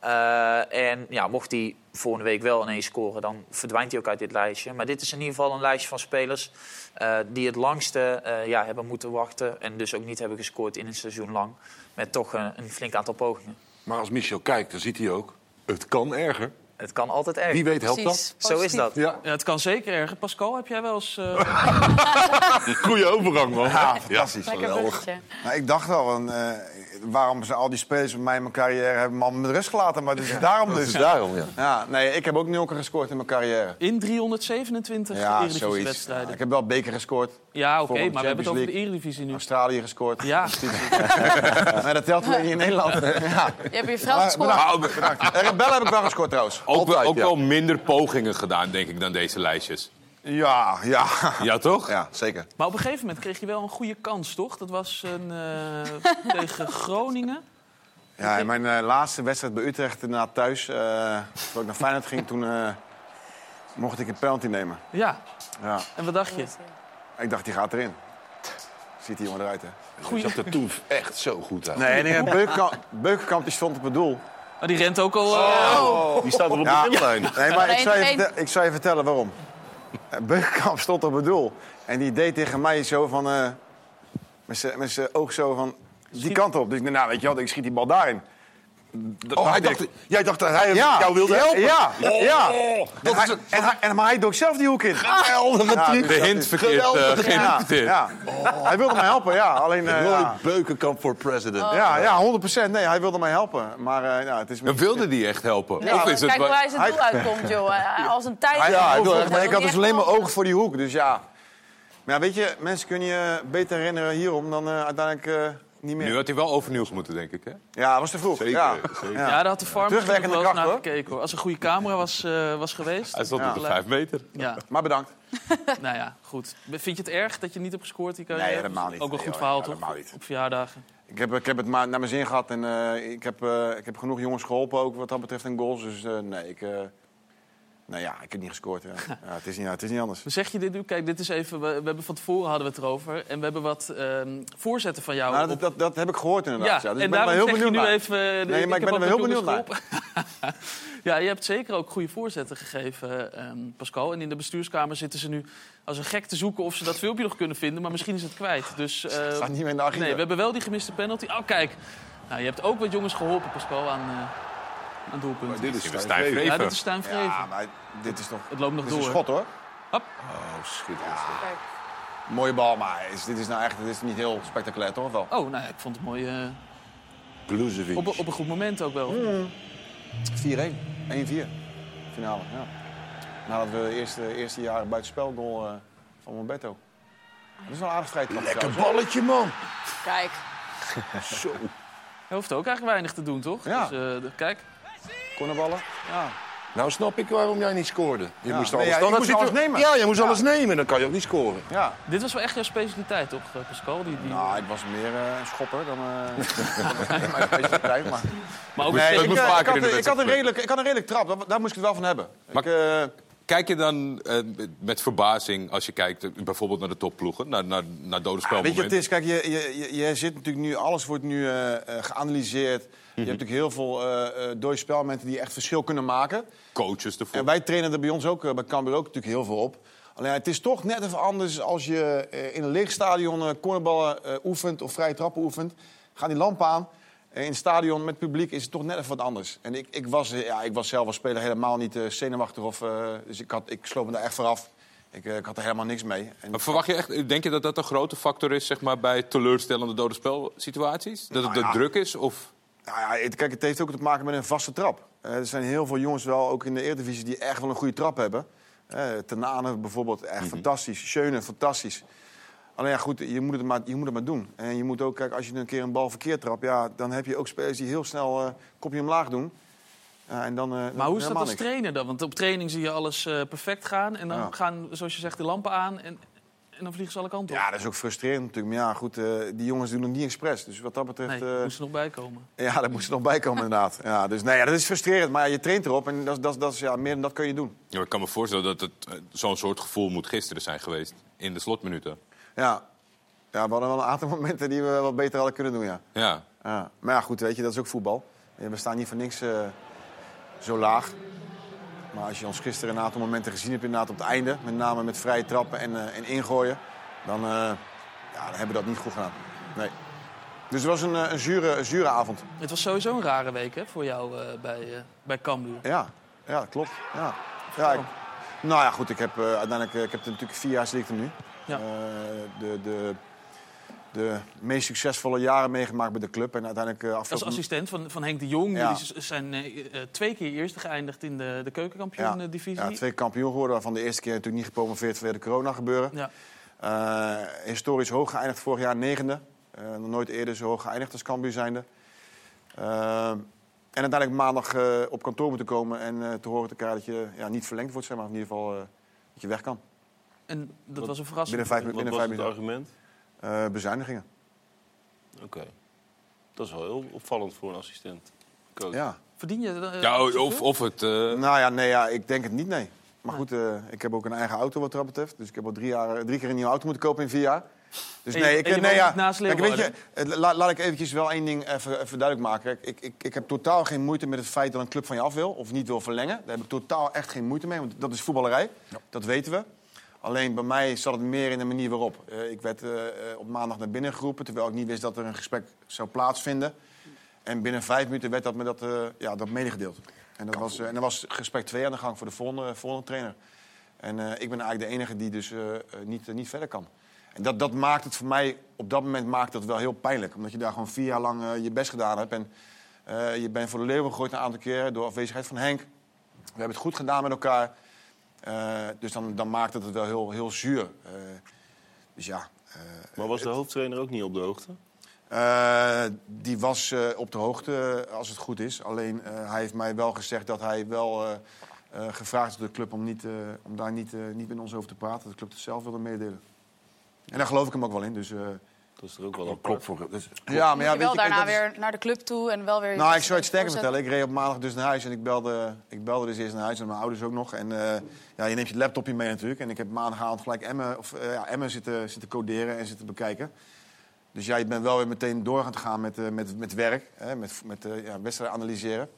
Speaker 9: Eh, en ja, mocht hij volgende week wel ineens scoren, dan verdwijnt hij ook uit dit lijstje. Maar dit is in ieder geval een lijstje van spelers eh, die het langste eh, ja, hebben moeten wachten. En dus ook niet hebben gescoord in een seizoen lang. Met toch een, een flink aantal pogingen.
Speaker 5: Maar als Michel kijkt, dan ziet hij ook... Het kan erger.
Speaker 9: Het kan altijd erg.
Speaker 5: Wie weet helpt dat.
Speaker 3: Precies.
Speaker 9: Zo is
Speaker 3: Positief.
Speaker 9: dat.
Speaker 5: Ja,
Speaker 1: Ja, het kan zeker erger. Pascal, heb jij wel eens... eh,
Speaker 6: (laughs) Goeie overgang, man.
Speaker 4: Ja, fantastisch.
Speaker 7: Lekker bruggetje.
Speaker 4: Nou, ik dacht al, want, eh, waarom ze al die spelers van mij in mijn carrière hebben man met rust gelaten. Maar dat is daarom dus.
Speaker 5: daarom, ja.
Speaker 4: Ja, nee, ik heb ook nul keer gescoord in mijn carrière.
Speaker 1: in 327
Speaker 4: Ja, zoiets.
Speaker 1: Eredivisie-wedstrijden.
Speaker 4: ik heb wel beker gescoord.
Speaker 1: Ja, oké,
Speaker 4: Volgende
Speaker 1: maar we hebben het over de
Speaker 4: Champions
Speaker 1: Eredivisie nu.
Speaker 4: Australië gescoord.
Speaker 1: Ja,
Speaker 4: (laughs) Maar dat telt alleen niet in
Speaker 1: (laughs)
Speaker 4: Nederland. Ja.
Speaker 3: Je hebt je vrouw
Speaker 4: Maar,
Speaker 3: gescoord.
Speaker 4: bedankt, bedankt. Eh, Rebellen heb (laughs) ik wel gescoord trouwens.
Speaker 2: Ook, wel-
Speaker 5: Altijd,
Speaker 2: ook
Speaker 5: ja.
Speaker 2: wel minder pogingen gedaan, denk ik, dan deze lijstjes.
Speaker 4: Ja, ja.
Speaker 2: Ja, toch?
Speaker 4: Ja, zeker.
Speaker 1: maar op een gegeven moment kreeg je wel een goede kans, toch? Dat was een, eh, (laughs) tegen Groningen.
Speaker 4: Ja, in mijn eh, laatste wedstrijd bij Utrecht inderdaad thuis, eh toen ik naar Feyenoord ging, toen eh, mocht ik een penalty nemen.
Speaker 1: Ja,
Speaker 4: Ja.
Speaker 1: en wat dacht je?
Speaker 4: Ik dacht, die gaat erin. Ziet die jongen eruit, hè?
Speaker 5: Je zag er toen echt zo goed uit.
Speaker 4: Nee, nee Beukenkamp, Beukenkamp die stond op het doel.
Speaker 1: Maar die rent ook al... eh,
Speaker 4: Oh.
Speaker 6: Die staat er op
Speaker 4: Ja.
Speaker 6: de middellijn.
Speaker 4: Nee, maar ik zou, je
Speaker 3: Alleen-
Speaker 4: vertel- ik zou je vertellen waarom. Eh, Beukenkamp stond op het doel. En die deed tegen mij zo van... eh, met zijn- met zijn oog zo van... Die kant op. Dus ik dacht, nou, weet je wat, ik schiet die bal daarin.
Speaker 5: Oh, hij dacht, jij dacht dat hij jou wilde
Speaker 4: ja,
Speaker 5: helpen?
Speaker 4: Ja, ja.
Speaker 5: dat
Speaker 4: En
Speaker 5: is
Speaker 4: hij,
Speaker 5: een
Speaker 4: en, hij, en- maar hij dook zelf die hoek in.
Speaker 5: geweldige
Speaker 4: Ja, dus
Speaker 5: truc.
Speaker 2: De hint verkeerd eh,
Speaker 5: Geweldig.
Speaker 4: Ja,
Speaker 2: geïnterpreteerd.
Speaker 4: ja. Hij wilde mij helpen, ja. Alleen, eh,
Speaker 5: Roy
Speaker 4: ja.
Speaker 5: Beukenkamp voor president.
Speaker 4: Ja, ja, 100 Nee, hij wilde mij helpen. Maar eh, ja, het is...
Speaker 2: En wilde die echt helpen?
Speaker 3: Nee,
Speaker 2: of
Speaker 3: maar
Speaker 2: is het
Speaker 3: kijk hoe
Speaker 2: wel-
Speaker 3: hij zijn doel uitkomt, joh. Als een tijd.
Speaker 4: Hij- ja, ik, wil,
Speaker 3: Dat
Speaker 4: echt- maar ik
Speaker 3: hij
Speaker 4: had dus
Speaker 3: echt
Speaker 4: alleen maar
Speaker 3: wel-
Speaker 4: ogen voor die hoek. Dus ja. Maar ja, weet je, mensen kunnen je beter herinneren hierom dan eh, uiteindelijk eh, niet (laughs) meer.
Speaker 2: Nu had hij wel overnieuw moeten, denk ik. Hè?
Speaker 4: Ja, dat was te vroeg.
Speaker 6: Zeker,
Speaker 4: ja.
Speaker 6: zeker.
Speaker 1: Ja, daar had de farm misschien nog
Speaker 4: Terugwerkende
Speaker 1: wel eens
Speaker 4: kracht,
Speaker 1: naar
Speaker 4: hoor.
Speaker 1: gekeken. Hoor. Als er een goede camera was, eh, was geweest.
Speaker 2: Hij stond op de
Speaker 1: Ja.
Speaker 2: vijf meter.
Speaker 1: Ja,
Speaker 4: Maar bedankt.
Speaker 1: (laughs) nou ja, goed. Vind je het erg dat je niet hebt gescoord? Die carrière?
Speaker 4: Nee, helemaal niet.
Speaker 1: Ook wel
Speaker 4: Nee,
Speaker 1: een goed
Speaker 4: hoor,
Speaker 1: verhaal,
Speaker 4: helemaal
Speaker 1: toch?
Speaker 4: niet.
Speaker 1: Op verjaardagen.
Speaker 4: Ik heb, ik heb het maar naar mijn zin gehad en eh, ik, heb, eh, ik heb genoeg jongens geholpen ook wat dat betreft en goals. Dus eh, nee, ik, eh, nou ja, ik heb niet
Speaker 1: (laughs)
Speaker 4: gescoord. Ja. Ja, het, is niet, het is niet anders.
Speaker 1: Zeg je dit nu? Kijk, dit is even... We, we hebben van tevoren hadden we het erover. En we hebben wat ehm, voorzetten van jou
Speaker 4: Nou,
Speaker 1: op
Speaker 4: dat, dat, dat heb ik gehoord inderdaad.
Speaker 1: Ja,
Speaker 4: Ja, Dus
Speaker 1: en
Speaker 4: ik ben er
Speaker 1: daarom
Speaker 4: wel heel
Speaker 1: zeg je
Speaker 4: benieuwd
Speaker 1: nu
Speaker 4: naar.
Speaker 1: even... eh,
Speaker 4: maar ik
Speaker 1: heb
Speaker 4: ben er
Speaker 1: ook
Speaker 4: wel heel
Speaker 1: wat
Speaker 4: benieuwd naar.
Speaker 1: jongens geholpen. (laughs) ja, je hebt zeker ook goede voorzetten gegeven, ehm, Pascal. En in de bestuurskamer zitten ze nu als een gek te zoeken... of ze dat filmpje nog kunnen vinden, maar misschien is het kwijt.
Speaker 4: (laughs)
Speaker 1: Dus eh,
Speaker 4: staat niet meer in de archieven.
Speaker 1: nee, we hebben wel die gemiste penalty. Oh, kijk. Nou, je hebt ook wat jongens geholpen, Pascal, aan, eh, aan doelpunten.
Speaker 6: Dit
Speaker 2: Misschien was
Speaker 6: Stijn
Speaker 2: Stijn
Speaker 6: Vreven.
Speaker 1: Ja,
Speaker 2: Vreven.
Speaker 1: dit is Stijn Vreven.
Speaker 4: Ja, maar dit is toch
Speaker 1: Het loopt nog
Speaker 4: dit is een
Speaker 1: door.
Speaker 4: schot hoor.
Speaker 6: Oh, schitterend.
Speaker 4: Mooie bal, maar is, dit is nou echt dit is niet heel spectaculair toch? Of Wel?
Speaker 1: Oh, nou ja, ik vond het mooi. eh,
Speaker 5: Bluzevic.
Speaker 1: op, op een goed moment ook wel.
Speaker 4: 4-1. 1-4. Mm. Finale, ja. Nadat we de eerste, eerste jaar buitenspelgoal eh van Momberto. Dat is wel een aardig vrij trap
Speaker 5: Lekker
Speaker 4: trouwens,
Speaker 5: balletje, man.
Speaker 3: Kijk,
Speaker 5: Zo.
Speaker 1: Hij hoeft ook eigenlijk weinig te doen, toch?
Speaker 4: Ja.
Speaker 1: Dus, eh, de- kijk.
Speaker 4: hoor. Cornerballen. Ja.
Speaker 5: Nou snap ik waarom jij niet scoorde. Je
Speaker 4: Ja.
Speaker 5: moest
Speaker 4: Nee,
Speaker 5: alles,
Speaker 4: ja, ik
Speaker 5: dan
Speaker 4: moest
Speaker 5: zit er-
Speaker 4: alles nemen.
Speaker 5: Ja, je moest alles nemen. Dan kan je ook niet scoren.
Speaker 4: ja.
Speaker 1: Dit was wel echt jouw specialiteit, toch, eh, Pascal? Die, die...
Speaker 4: Nou, ik was meer eh, een schopper dan... eh dan mijn specialiteit, maar...
Speaker 1: maar ook
Speaker 4: Nee,
Speaker 2: dat
Speaker 4: ik,
Speaker 2: moet
Speaker 4: eh,
Speaker 2: vaker
Speaker 4: ik, had,
Speaker 2: in de
Speaker 4: een- ik, had een
Speaker 2: wedstrijd.
Speaker 4: redelijk, ik had een redelijk trap, daar, daar moest ik het wel van hebben.
Speaker 2: Maar-
Speaker 4: ik, eh,
Speaker 2: Kijk je dan eh, met verbazing als je kijkt eh, bijvoorbeeld naar de topploegen, naar, naar, naar dode
Speaker 4: Weet je,
Speaker 2: spelmomenten?
Speaker 4: wat het is, kijk, je, je, je, je zit natuurlijk nu, alles wordt nu eh, eh, geanalyseerd.
Speaker 2: Mhm.
Speaker 4: Je hebt natuurlijk heel veel eh eh dode spelmomenten die echt verschil kunnen maken.
Speaker 2: Coaches ervoor.
Speaker 4: En wij trainen er bij ons ook, eh, bij Cambuur ook natuurlijk heel veel op. Alleen het is toch net even anders als je eh, in een leeg stadion eh, cornerballen eh, oefent of vrije trappen oefent. Gaan die lampen aan. Eh, in het stadion met publiek is het toch net even wat anders. En ik, ik, was, eh, ja, ik was zelf als speler helemaal niet eh, zenuwachtig. Of, eh, dus ik, had, ik sloop me daar echt vanaf. Ik, eh, ik had er helemaal niks mee. En
Speaker 2: Maar verwacht je echt, denk je dat dat een grote factor is zeg maar, bij teleurstellende dode spelsituaties? Dat het
Speaker 4: Nou ja.
Speaker 2: de druk is? Of...
Speaker 4: Nou ja, het, kijk, het heeft ook te maken met een vaste trap. Eh, er zijn heel veel jongens wel, ook in de Eredivisie, die echt wel een goede trap hebben. Eh Tenane bijvoorbeeld, echt fantastisch. Schöne, fantastisch. Alleen ja, goed, je moet, het maar, je moet het maar doen. En je moet ook, kijk, als je een keer een bal verkeerd trapt... Ja, dan heb je ook spelers die heel snel eh kopje omlaag doen. Ja, en dan, eh, dan
Speaker 1: Maar hoe is dat
Speaker 4: helemaal
Speaker 1: als
Speaker 4: niks.
Speaker 1: trainer dan? Want op training zie je alles eh, perfect gaan. En dan
Speaker 4: Ja.
Speaker 1: gaan, zoals je zegt, de lampen aan. En, en dan vliegen ze alle kanten op.
Speaker 4: Ja, dat is ook frustrerend natuurlijk. Maar ja, goed, eh, die jongens doen het niet expres. Dus wat dat betreft...
Speaker 1: nee,
Speaker 4: eh,
Speaker 1: moest er nog bij komen.
Speaker 4: Ja, daar moest er nog bij komen inderdaad. Ja, dus nee, ja, dat is frustrerend. Maar ja, je traint erop en dat, is- dat, is- dat is, ja, meer dan dat kun je doen.
Speaker 2: Ja, maar ik kan me voorstellen dat het eh, zo'n soort gevoel moet gisteren zijn geweest. In de slotminuten.
Speaker 4: Ja. ja, we hadden wel een aantal (laughs) momenten die we wat beter hadden kunnen doen, ja.
Speaker 2: Ja.
Speaker 4: ja. Maar ja, goed, weet je, dat is ook voetbal. We staan niet voor niks eh, zo laag. Maar als je ons gisteren een aantal momenten gezien hebt, inderdaad op het einde... met name met vrije trappen en, eh, en ingooien... Dan, eh, ja, dan hebben we dat niet goed gedaan. Nee. Dus het was een, eh, een, zure, een zure avond.
Speaker 1: Het was sowieso een rare week hè, voor jou eh, bij, eh, bij Cambuur.
Speaker 4: Ja, ja dat klopt. Ja. Ja, ik- nou ja, goed, ik heb eh, uiteindelijk eh, ik heb het natuurlijk vier jaar zit ik er nu.
Speaker 1: Ja.
Speaker 4: Eh, de, de, de meest succesvolle jaren meegemaakt bij de club. En uiteindelijk eh,
Speaker 1: Als
Speaker 4: afgelopen...
Speaker 1: assistent van, van Henk de Jong.
Speaker 4: Ja.
Speaker 1: Jullie z- zijn eh, eh, twee keer eerste geëindigd in de, de keukenkampioen-divisie.
Speaker 4: ja, twee keer kampioen geworden, waarvan de eerste keer natuurlijk niet gepromoveerd vanwege de corona gebeuren.
Speaker 1: Ja.
Speaker 4: Eh, historisch hoog geëindigd vorig jaar negende. Eh, nog nooit eerder zo hoog geëindigd als Cambuur zijnde. Eh, en uiteindelijk maandag eh, op kantoor moeten komen en eh, te horen te krijgen dat je ja, niet verlengd wordt, zeg maar. Of in ieder geval eh, dat je weg kan.
Speaker 1: En dat was een verrassing.
Speaker 4: Binnen vijf,
Speaker 6: Wat
Speaker 4: binnen
Speaker 6: was
Speaker 4: vijf
Speaker 6: het
Speaker 4: minuten.
Speaker 6: argument?
Speaker 4: Eh, bezuinigingen.
Speaker 6: Oké. Dat is wel heel opvallend voor een assistent. Coach.
Speaker 4: Ja.
Speaker 1: Verdien je eh,
Speaker 2: Ja,
Speaker 1: zoveel?
Speaker 2: of, of het... eh,
Speaker 4: Nou ja, nee, ja, ik denk het niet, nee. Maar goed, eh, ik heb ook een eigen auto wat dat betreft. Dus ik heb al drie, jaar, drie keer een nieuwe auto moeten kopen in vier jaar. Dus
Speaker 1: En je-
Speaker 4: nee, ik,
Speaker 1: en je
Speaker 4: nee,
Speaker 1: woont
Speaker 4: ja.
Speaker 1: niet naast
Speaker 4: Kijk, weet je,
Speaker 1: Leeuwarden?
Speaker 4: eh, la- laat ik eventjes wel één ding even, even duidelijk maken. Kijk, ik, ik, ik heb totaal geen moeite met het feit dat een club van je af wil of niet wil verlengen. Daar heb ik totaal echt geen moeite mee, want dat is voetballerij. Dat weten we. Alleen bij mij zat het meer in de manier waarop. Eh, ik werd eh, eh, op maandag naar binnen geroepen, terwijl ik niet wist dat er een gesprek zou plaatsvinden. En binnen vijf minuten werd dat me dat, eh, ja, dat medegedeeld. En, dat was, eh, en dan was gesprek twee aan de gang voor de volgende, volgende trainer. En eh, ik ben eigenlijk de enige die dus eh, eh, niet, eh, niet verder kan. En dat, dat maakt het voor mij, op dat moment maakt dat wel heel pijnlijk. Omdat je daar gewoon vier jaar lang eh, je best gedaan hebt. En eh, je bent voor de leeuwen gegooid een aantal keer door afwezigheid van Henk. We hebben het goed gedaan met elkaar. Eh, dus dan, dan maakt het het wel heel, heel zuur. Eh, dus ja, eh,
Speaker 6: Maar was de hoofdtrainer ook niet op de hoogte?
Speaker 4: eh, die was eh, op de hoogte, eh, als het goed is. Alleen eh, hij heeft mij wel gezegd dat hij wel eh, eh, gevraagd is door de club om, niet, eh, om daar niet, eh, niet met ons over te praten. Dat de club het zelf wilde meedelen. En daar geloof ik hem ook wel in. Dus, eh,
Speaker 6: Dat is er ook wel een
Speaker 5: Klopt voor. dat is-
Speaker 4: ja,
Speaker 3: Moet je wel
Speaker 4: kijk,
Speaker 3: daarna
Speaker 4: dat is-
Speaker 3: weer naar de club toe en wel weer...
Speaker 4: Nou, ik zou het
Speaker 3: voorzetten.
Speaker 4: sterker vertellen. Ik reed op maandag dus naar huis en ik belde, ik belde dus eerst naar huis en mijn ouders ook nog. En eh, ja, je neemt je laptopje mee natuurlijk. En ik heb maandagavond gelijk Emmen, of, eh, ja, Emmen zitten, zitten coderen en zitten bekijken. Dus ja, je bent wel weer meteen door gaan gaan met, eh, met, met werk, hè, met, met eh, ja, wedstrijden analyseren.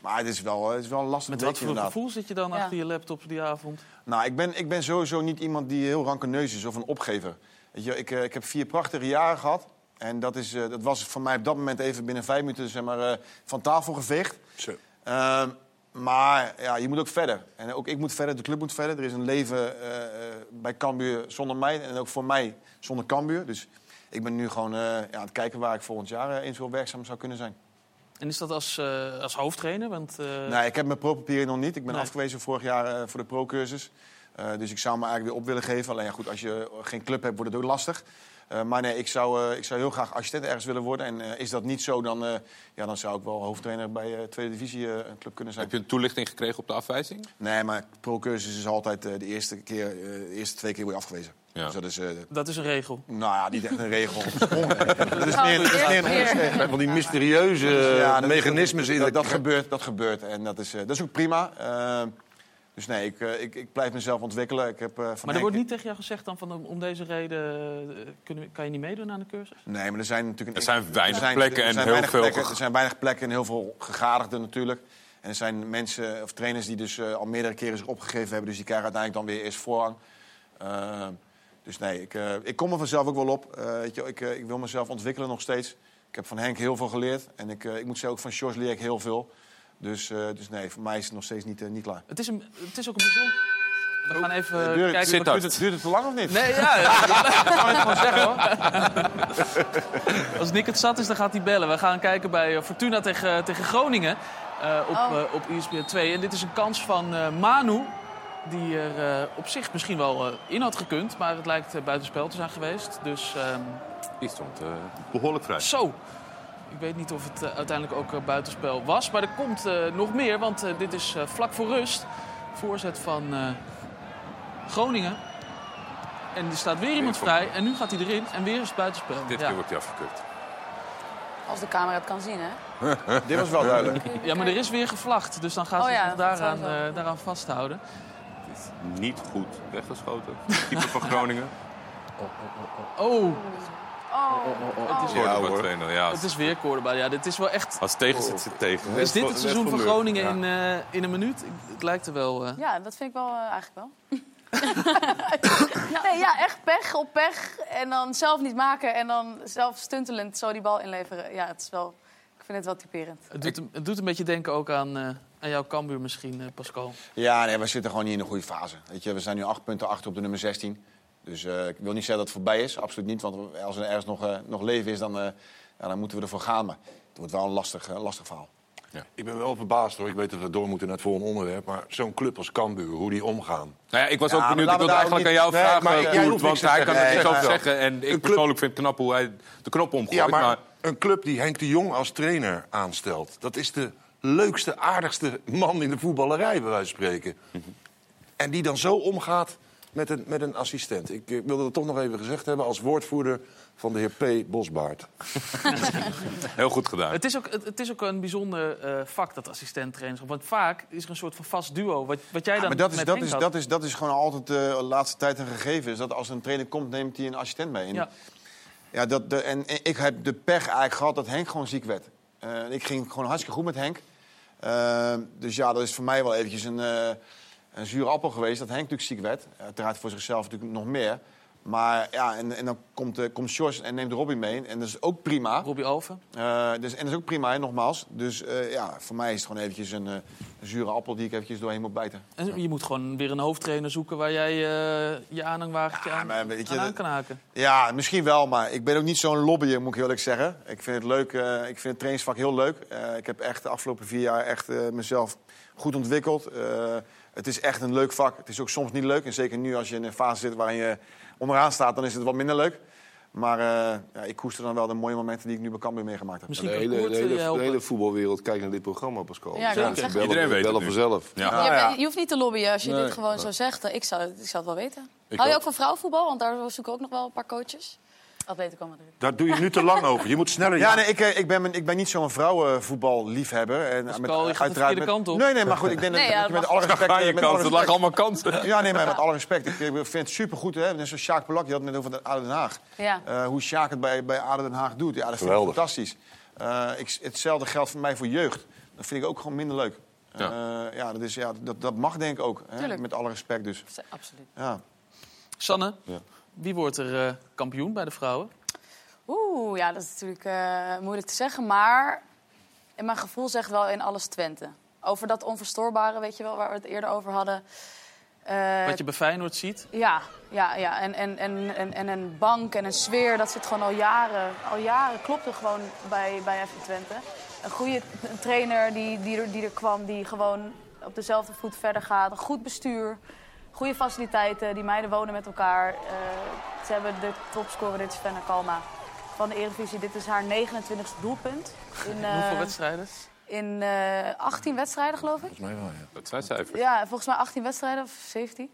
Speaker 4: Maar het is wel, eh, het is wel een lastig
Speaker 1: Met
Speaker 4: week
Speaker 1: wat voor
Speaker 4: inderdaad.
Speaker 1: gevoel zit je dan
Speaker 3: Ja.
Speaker 1: achter je laptop die avond?
Speaker 4: Nou, ik ben, ik ben sowieso niet iemand die heel rankeneus is of een opgever. Weet je, ik, eh, ik heb vier prachtige jaren gehad. En dat, is, eh, dat was voor mij op dat moment even binnen vijf minuten zeg maar, eh, van tafel geveegd.
Speaker 5: Zo.
Speaker 4: Ehm, maar ja, je moet ook verder. En ook ik moet verder, de club moet verder. Er is een leven eh, eh, bij Cambuur zonder mij en ook voor mij zonder Cambuur. Dus ik ben nu gewoon eh, ja, aan het kijken waar ik volgend jaar eh, eens wel werkzaam zou kunnen zijn.
Speaker 1: En is dat als, eh, als hoofdtrainer? Want, eh,
Speaker 4: Nee, ik heb mijn pro-papieren nog niet. Ik ben
Speaker 1: Nee.
Speaker 4: afgewezen vorig jaar eh, voor de pro-cursus. Eh, dus ik zou me eigenlijk weer op willen geven. Alleen ja, goed, als je geen club hebt, wordt het ook lastig. Eh, maar nee, ik zou, eh, ik zou heel graag assistent ergens willen worden. En eh, is dat niet zo, dan, eh, ja, dan zou ik wel hoofdtrainer bij eh, Tweede Divisie eh, een club kunnen zijn.
Speaker 2: Heb je een toelichting gekregen op de afwijzing?
Speaker 4: Nee, maar pro-cursus is altijd eh, de eerste keer, eh, de eerste twee keer word je afgewezen.
Speaker 2: Ja.
Speaker 4: Dus dat is, eh,
Speaker 1: Dat is een regel. (laughs)
Speaker 4: nou ja, niet echt een (laughs) regel. dat is meer,
Speaker 3: Nou,
Speaker 4: dat is meer een
Speaker 3: weer-
Speaker 4: onderscheid.
Speaker 5: Van die mysterieuze eh,
Speaker 4: Ja, dat is-
Speaker 5: mechanismes in
Speaker 4: dat,
Speaker 5: de
Speaker 4: dat gebeurt, dat gebeurt. En dat is, eh, dat is ook prima. Eh, dus nee, ik, eh, ik, ik blijf mezelf ontwikkelen. Ik heb, eh, van
Speaker 1: Maar er
Speaker 4: Henk-
Speaker 1: wordt niet tegen jou gezegd dan van om- om deze reden eh, kunnen, we- kan je niet meedoen aan de cursus?
Speaker 4: Nee, maar er zijn natuurlijk...
Speaker 2: Er zijn weinig
Speaker 4: er zijn-
Speaker 2: plekken
Speaker 4: er
Speaker 2: en
Speaker 4: zijn
Speaker 2: heel
Speaker 4: weinig
Speaker 2: veel
Speaker 4: plekken-
Speaker 2: ge-
Speaker 4: Er zijn weinig plekken en heel veel gegadigden natuurlijk. En er zijn mensen of trainers die dus eh, al meerdere keren zich opgegeven hebben. Dus die krijgen uiteindelijk dan weer eerst voorrang. Eh, dus nee, ik, eh, ik kom er vanzelf ook wel op. Eh, weet je, wel, ik, eh, ik wil mezelf ontwikkelen nog steeds. Ik heb van Henk heel veel geleerd. En ik, eh, ik moet zeggen, ook van George leer ik heel veel. Dus, eh, dus nee, voor mij is het nog steeds niet, eh, niet klaar.
Speaker 1: Het is, een, het is ook een bijzonder... We gaan even eh,
Speaker 4: Duurt,
Speaker 1: kijken...
Speaker 4: duurt,
Speaker 1: wat-
Speaker 4: duurt het, duurt het te lang of niet?
Speaker 1: Nee, ja. Ik kan het gewoon zeggen, hoor. Als Nick het zat is, dan gaat hij bellen. We gaan kijken bij eh, Fortuna tegen, tegen Groningen eh, op,
Speaker 7: Oh.
Speaker 1: eh, op ESPN 2. En dit is een kans van eh, Manu. Die er eh, op zich misschien wel eh, in had gekund. Maar het lijkt eh, buitenspel te zijn geweest. Dus ehm,
Speaker 2: Die stond eh, behoorlijk vrij.
Speaker 1: zo. Ik weet niet of het eh, uiteindelijk ook eh, buitenspel was. Maar er komt eh, nog meer, want eh, dit is eh, vlak voor rust. Voorzet van eh, Groningen. En er staat weer iemand vrij. En nu gaat hij erin. En weer is het buitenspel.
Speaker 2: Dit
Speaker 1: ja.
Speaker 2: keer wordt hij afgekeurd.
Speaker 7: Als de camera het kan zien, hè?
Speaker 4: Dit
Speaker 2: (laughs)
Speaker 4: was wel duidelijk.
Speaker 1: ja, maar er is weer gevlacht. Dus dan gaan ze
Speaker 7: Oh ja,
Speaker 1: zich daaraan,
Speaker 7: dat was
Speaker 1: eh, daaraan vasthouden.
Speaker 2: Niet goed weggeschoten. Keeper van Groningen.
Speaker 1: Oh,
Speaker 7: Oh,
Speaker 2: Het is ja, hoor. 2-0. Ja,
Speaker 1: het is weer Cordoba. Ja, dit is wel echt...
Speaker 2: als het tegen zit, zit het tegen.
Speaker 1: Is dit het seizoen van
Speaker 6: geluk,
Speaker 1: Groningen in, eh, in een minuut? Ik- Het lijkt er wel... eh,
Speaker 7: Ja, dat vind ik wel eh, eigenlijk
Speaker 4: (laughs)
Speaker 7: wel. nee, ja, echt pech op pech. En dan zelf niet maken en dan zelf stuntelend zo die bal inleveren. Ja, het is wel, ik vind het wel typerend.
Speaker 1: het, doet, een- het doet een beetje denken ook aan, eh, aan jouw Cambuur misschien, eh, Pascal.
Speaker 4: Ja, nee, we zitten gewoon niet in een goede fase. Weet je, we zijn nu acht punten achter op de nummer 16. Dus eh, ik wil niet zeggen dat het voorbij is, absoluut niet. Want als er ergens nog, eh, nog leven is, dan, eh, ja, dan moeten we ervoor gaan. Maar het wordt wel een lastig, eh, lastig verhaal.
Speaker 5: Ik ben wel verbaasd hoor. Ik weet dat we door moeten naar het volgende onderwerp. Maar zo'n club als Cambuur, hoe die omgaan.
Speaker 2: Nou ja, ik was ook
Speaker 4: Ja,
Speaker 2: benieuwd. Ik
Speaker 4: maar
Speaker 2: wilde
Speaker 4: laten
Speaker 2: eigenlijk
Speaker 4: we
Speaker 2: aan
Speaker 4: daar
Speaker 2: jou
Speaker 4: ook niet-
Speaker 2: vragen,
Speaker 4: Nee, maar jij
Speaker 2: Koert,
Speaker 4: hoeft
Speaker 2: Want
Speaker 4: niks te
Speaker 2: hij kan er
Speaker 4: zeggen.
Speaker 2: niks
Speaker 4: Nee,
Speaker 2: over
Speaker 4: maar-
Speaker 2: zeggen. En ik
Speaker 5: club-
Speaker 2: persoonlijk vind het knap hoe hij de knop omgooit.
Speaker 5: Ja, maar,
Speaker 2: maar
Speaker 5: een club die Henk de Jong als trainer aanstelt... dat is de leukste, aardigste man in de voetballerij, bij wijze van spreken. En die dan zo omgaat met een, met een assistent. Ik eh, wilde dat toch nog even gezegd hebben als woordvoerder van de heer P. (laughs) Bosbaard.
Speaker 2: heel goed gedaan.
Speaker 1: Het is ook, het, het is ook een bijzonder eh, vak, dat assistent-trainerschap. Want vaak is er een soort van vast duo. Wat, wat jij dan
Speaker 4: maar dat is,
Speaker 1: met
Speaker 4: dat,
Speaker 1: Henk
Speaker 4: is,
Speaker 1: had.
Speaker 4: dat, is, dat is gewoon altijd eh, de laatste tijd een gegeven. Is dat als er een trainer komt, neemt hij een assistent mee. En,
Speaker 1: Ja.
Speaker 4: ja. dat, de, en, en ik heb de pech eigenlijk gehad dat Henk gewoon ziek werd. Eh, ik ging gewoon hartstikke goed met Henk. Eh, dus ja, dat is voor mij wel eventjes een, eh een zure appel geweest. Dat Henk natuurlijk ziek werd. Uiteraard voor zichzelf natuurlijk nog meer. Maar ja, en, en dan komt, eh komt Sjors en neemt Robbie mee. En dat is ook prima.
Speaker 1: Robbie Alven.
Speaker 4: Eh, dus, en dat is ook prima, hè, nogmaals. Dus eh, ja, voor mij is het gewoon eventjes een, eh, een zure appel die ik eventjes doorheen moet bijten.
Speaker 1: En je moet gewoon weer een hoofdtrainer zoeken waar jij eh, je aanhangwagentje
Speaker 4: Ja,
Speaker 1: aan,
Speaker 4: maar weet je,
Speaker 1: aan, aan
Speaker 4: dat-
Speaker 1: kan haken.
Speaker 4: Ja, misschien wel, maar ik ben ook niet zo'n lobbyer, moet ik heel eerlijk zeggen. Ik vind het leuk, eh, ik vind het trainingsvak heel leuk. Eh, ik heb echt de afgelopen vier jaar echt eh, mezelf goed ontwikkeld. Eh, het is echt een leuk vak. Het is ook soms niet leuk. En zeker nu als je in een fase zit waarin je onderaan staat, dan is het wat minder leuk. Maar eh, ja, ik koester dan wel de mooie momenten die ik nu bij Cambuur meegemaakt heb.
Speaker 1: Misschien
Speaker 6: De
Speaker 1: kan
Speaker 6: hele,
Speaker 1: Koert
Speaker 6: de,
Speaker 1: je
Speaker 6: hele, de
Speaker 1: helpen.
Speaker 6: hele voetbalwereld kijkt naar dit programma, Pascal.
Speaker 7: Ja, ik wou het zeggen.
Speaker 6: Bellen-
Speaker 2: Iedereen weet het
Speaker 6: Bellen
Speaker 2: nu.
Speaker 6: vanzelf.
Speaker 2: Ja.
Speaker 4: Nou
Speaker 7: je,
Speaker 4: ja.
Speaker 7: bent- je hoeft niet te lobbyen als je
Speaker 4: Nee.
Speaker 7: dit gewoon zo zegt. Ik zou, ik zou het wel weten.
Speaker 5: Ik
Speaker 7: Hou je
Speaker 5: ook.
Speaker 7: ook van vrouwenvoetbal? Want daar zoeken we ook nog wel een paar coaches. Atletico Madrid.
Speaker 5: Daar doe je nu te lang over. Je moet (laughs) sneller...
Speaker 4: Ja, nee, ik, eh, ik, ben, ik ben niet zo'n vrouwenvoetballiefhebber. En met,
Speaker 1: Pascal, je gaat de verkeerde kant op.
Speaker 4: Nee, nee, maar goed, ik denk dat,
Speaker 7: Nee, ja,
Speaker 4: dat je
Speaker 7: dat mag
Speaker 4: met alle respect...
Speaker 2: Aan je
Speaker 4: met alle
Speaker 2: kant, het
Speaker 4: respect-
Speaker 2: lag allemaal kansen.
Speaker 4: Ja, nee, maar met alle respect. Ik, ik vind het supergoed. hè. Net zoals Sjaak Belak, je had het net over de ADO Den Haag.
Speaker 7: Ja.
Speaker 4: Eh, hoe Sjaak het bij, bij ADO Den Haag doet, ja, dat vind
Speaker 5: Geweldig.
Speaker 4: ik fantastisch. Eh, ik, hetzelfde geldt voor mij voor jeugd. Dat vind ik ook gewoon minder leuk.
Speaker 2: Ja.
Speaker 4: Ja, ja, dat, is, ja dat, dat mag denk ik ook. Hè?
Speaker 7: Tuurlijk.
Speaker 4: Met alle respect dus.
Speaker 7: Absoluut.
Speaker 4: Ja.
Speaker 1: Sanne, wie wordt er eh, kampioen bij de vrouwen?
Speaker 7: Oeh, ja, dat is natuurlijk eh, moeilijk te zeggen. Maar mijn gevoel zegt wel in alles Twente. Over dat onverstoorbare, weet je wel, waar we het eerder over hadden. Eh,
Speaker 1: Wat je bij Feyenoord ziet.
Speaker 7: Ja, ja, ja. En, en, en, en, en een bank en een sfeer, dat zit gewoon al jaren. Al jaren klopt er gewoon bij, bij FC Twente. Een goede t- een trainer die, die, er, die er kwam, die gewoon op dezelfde voet verder gaat. Een goed bestuur, goede faciliteiten, die meiden wonen met elkaar. Eh, ze hebben de topscorer, dit is Fenna Kalma van de Eredivisie. Dit is haar 29e doelpunt in, eh,
Speaker 1: Hoeveel wedstrijden?
Speaker 7: in eh, 18 wedstrijden, geloof ik.
Speaker 2: Dat zijn cijfers.
Speaker 7: Ja, volgens mij 18 wedstrijden of 17.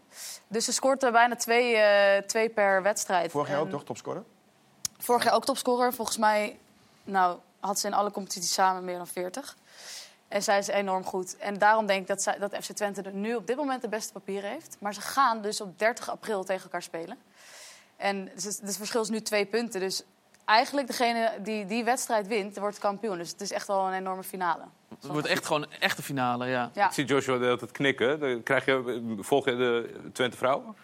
Speaker 7: Dus ze scoort er bijna twee, eh, twee per wedstrijd.
Speaker 4: Vorig jaar
Speaker 7: En
Speaker 4: ook toch, topscorer?
Speaker 7: Vorig jaar ook topscorer. Volgens mij nou, had ze in alle competities samen meer dan 40. En zij is enorm goed. En daarom denk ik dat, zij, dat FC Twente er nu op dit moment de beste papieren heeft. Maar ze gaan dus op 30 april tegen elkaar spelen. En dus het dus het verschil is nu twee punten. Dus eigenlijk degene die die wedstrijd wint, wordt kampioen. Dus het is echt al een enorme finale.
Speaker 1: Het wordt echt gewoon een echte finale, ja.
Speaker 7: Ja.
Speaker 2: Ik zie Joshua de hele tijd knikken. Dan krijg je, volg je de Twente vrouwen?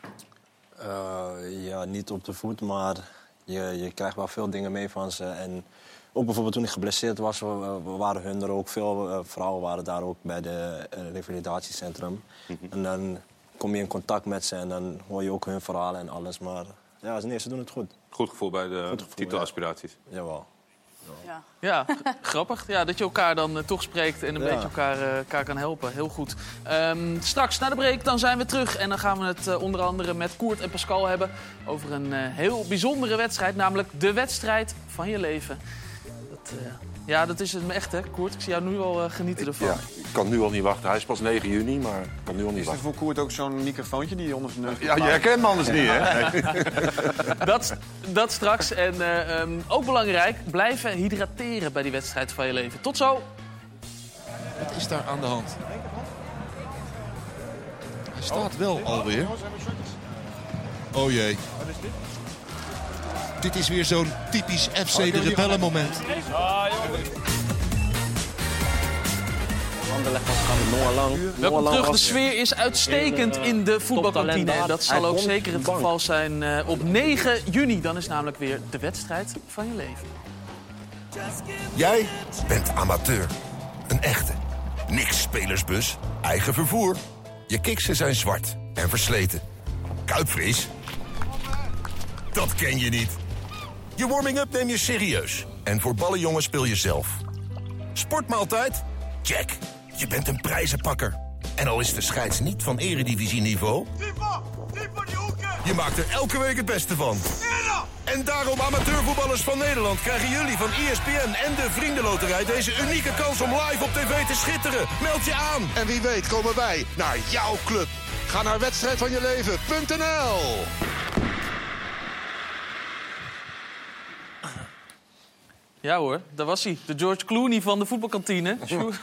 Speaker 8: Eh, ja, niet op de voet, maar je, je krijgt wel veel dingen mee van ze. En ook bijvoorbeeld toen ik geblesseerd was, wa- wa- waren hun er ook. Veel eh, vrouwen waren daar ook bij de eh, revalidatiecentrum.
Speaker 2: Mhm.
Speaker 8: En dan kom je in contact met ze en dan hoor je ook hun verhalen en alles. Maar ja, nee, ze doen het goed.
Speaker 2: Goed gevoel bij de
Speaker 8: Goed gevoel,
Speaker 2: titelaspiraties.
Speaker 8: Jawel.
Speaker 3: Ja.
Speaker 1: Ja, g- (laughs) grappig. Ja, dat je elkaar dan eh, toch spreekt en een
Speaker 8: Ja.
Speaker 1: beetje elkaar, eh, elkaar kan helpen. Heel goed. Ehm, straks na de break dan zijn we terug. En dan gaan we het eh, onder andere met Koert en Pascal hebben... over een eh, heel bijzondere wedstrijd. Namelijk de wedstrijd van je leven. Dat, eh, ja, dat is het echt, hè, Koert? Ik zie jou nu al eh, genieten ervan.
Speaker 5: Ja, ik kan nu al niet wachten. Hij is pas 9 juni, maar ik kan nu al niet
Speaker 4: Is er
Speaker 5: wachten.
Speaker 4: voor Koert ook zo'n microfoontje die je onder zijn neus
Speaker 5: Ja, je herkent hem anders niet, (laughs) hè?
Speaker 1: Dat, dat straks. En eh, ehm, ook belangrijk, blijven hydrateren bij die wedstrijd van je leven. Tot zo!
Speaker 13: Wat is daar aan de hand? Hij staat wel alweer. Oh jee. Dit is weer zo'n typisch FC de Rebellen moment.
Speaker 1: Welkom terug. De sfeer is uitstekend in
Speaker 8: eh,
Speaker 1: de voetbalkantine. En dat zal ook zeker het geval zijn eh, op 9 juni. Dan is namelijk weer de wedstrijd van je leven.
Speaker 14: Jij bent amateur. Een echte. Niks spelersbus, eigen vervoer. Je kiksen zijn zwart en versleten. Kuipvries? Dat ken je niet. Je warming-up neem je serieus. En voor ballenjongen speel je zelf. Sportmaaltijd? Check. Je bent een prijzenpakker. En al is de scheids niet van eredivisieniveau... Je maakt er elke week het beste van. En daarom, amateurvoetballers van Nederland, krijgen jullie van E ESPN en de Vriendenloterij deze unieke kans om live op tv te schitteren. Meld je aan.
Speaker 13: En wie weet komen wij naar jouw club. Ga naar wedstrijdvanjeleven.nl
Speaker 1: Ja hoor, daar was hij. De George Clooney van de voetbalkantine. (laughs) Sjoerd.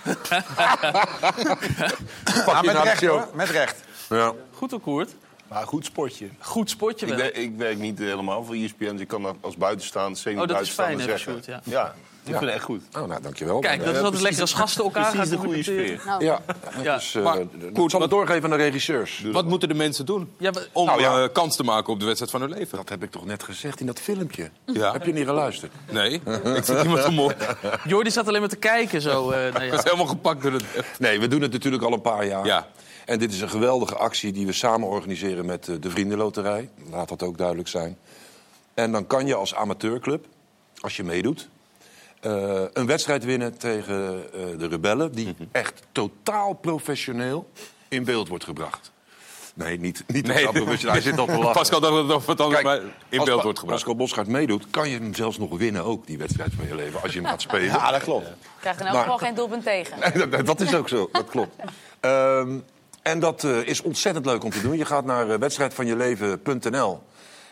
Speaker 4: Ah, met
Speaker 5: nou,
Speaker 4: recht
Speaker 5: dat is
Speaker 4: hoor, met recht.
Speaker 5: Ja.
Speaker 1: Goed ook, Koert.
Speaker 6: Maar goed sportje.
Speaker 1: Goed spotje
Speaker 6: Ik,
Speaker 1: wel.
Speaker 6: werk- ik werk niet helemaal voor ESPN, dus ik kan dat als buitenstaander, senior
Speaker 1: Oh, dat is fijn,
Speaker 6: buitenstaander
Speaker 1: hè,
Speaker 6: zeggen.
Speaker 1: Sjoerd,
Speaker 6: ja. ik vind het echt goed.
Speaker 5: Oh, nou, dankjewel.
Speaker 1: Kijk, dat is altijd lekker als gasten elkaar
Speaker 6: Precies de
Speaker 1: gaan
Speaker 6: goede
Speaker 1: complimenteren.
Speaker 6: sfeer.
Speaker 5: Ja,
Speaker 1: Ja.
Speaker 5: dus, eh,
Speaker 2: Maar,
Speaker 5: ik zal het doorgeven aan de regisseurs.
Speaker 2: Wat moeten de mensen doen
Speaker 1: Ja, maar-
Speaker 2: om
Speaker 5: Nou ja.
Speaker 2: eh, kans te maken op de wedstrijd van hun leven?
Speaker 5: Dat heb ik toch net gezegd in dat filmpje?
Speaker 2: Ja.
Speaker 5: Heb je niet geluisterd?
Speaker 2: Nee, (laughs) ik zit iemand te
Speaker 5: (laughs)
Speaker 2: moppen.
Speaker 1: Jordi zat alleen maar te kijken zo. eh, naar
Speaker 2: Ik
Speaker 1: jou.
Speaker 2: was helemaal gepakt door het...
Speaker 5: Nee, we doen het natuurlijk al een paar jaar.
Speaker 2: Ja.
Speaker 5: En dit is een geweldige actie die we samen organiseren met eh, de Vriendenloterij. Laat dat ook duidelijk zijn. En dan kan je als amateurclub, als je meedoet... eh, een wedstrijd winnen tegen eh, de rebellen... die
Speaker 2: Mhm.
Speaker 5: echt totaal professioneel in beeld wordt gebracht. Nee, niet, niet
Speaker 2: Nee.
Speaker 5: totaal professioneel. Hij zit al
Speaker 2: (laughs)
Speaker 5: te lachen.
Speaker 2: Pascal dacht dat het over het anders
Speaker 5: Kijk,
Speaker 2: maar in
Speaker 5: als
Speaker 2: beeld
Speaker 5: Pa-
Speaker 2: wordt gebracht.
Speaker 5: Pascal Bosgaard meedoet, kan je hem zelfs nog winnen ook, die wedstrijd van je leven. Als je hem gaat spelen.
Speaker 6: Ja, dat klopt.
Speaker 7: krijgt in elk
Speaker 5: Maar-
Speaker 7: geval geen doelpunt tegen.
Speaker 5: Nee, dat, dat is ook zo, dat klopt. Ehm, en dat eh, is ontzettend leuk om te doen. Je gaat naar eh, wedstrijdvanjeleven.nl.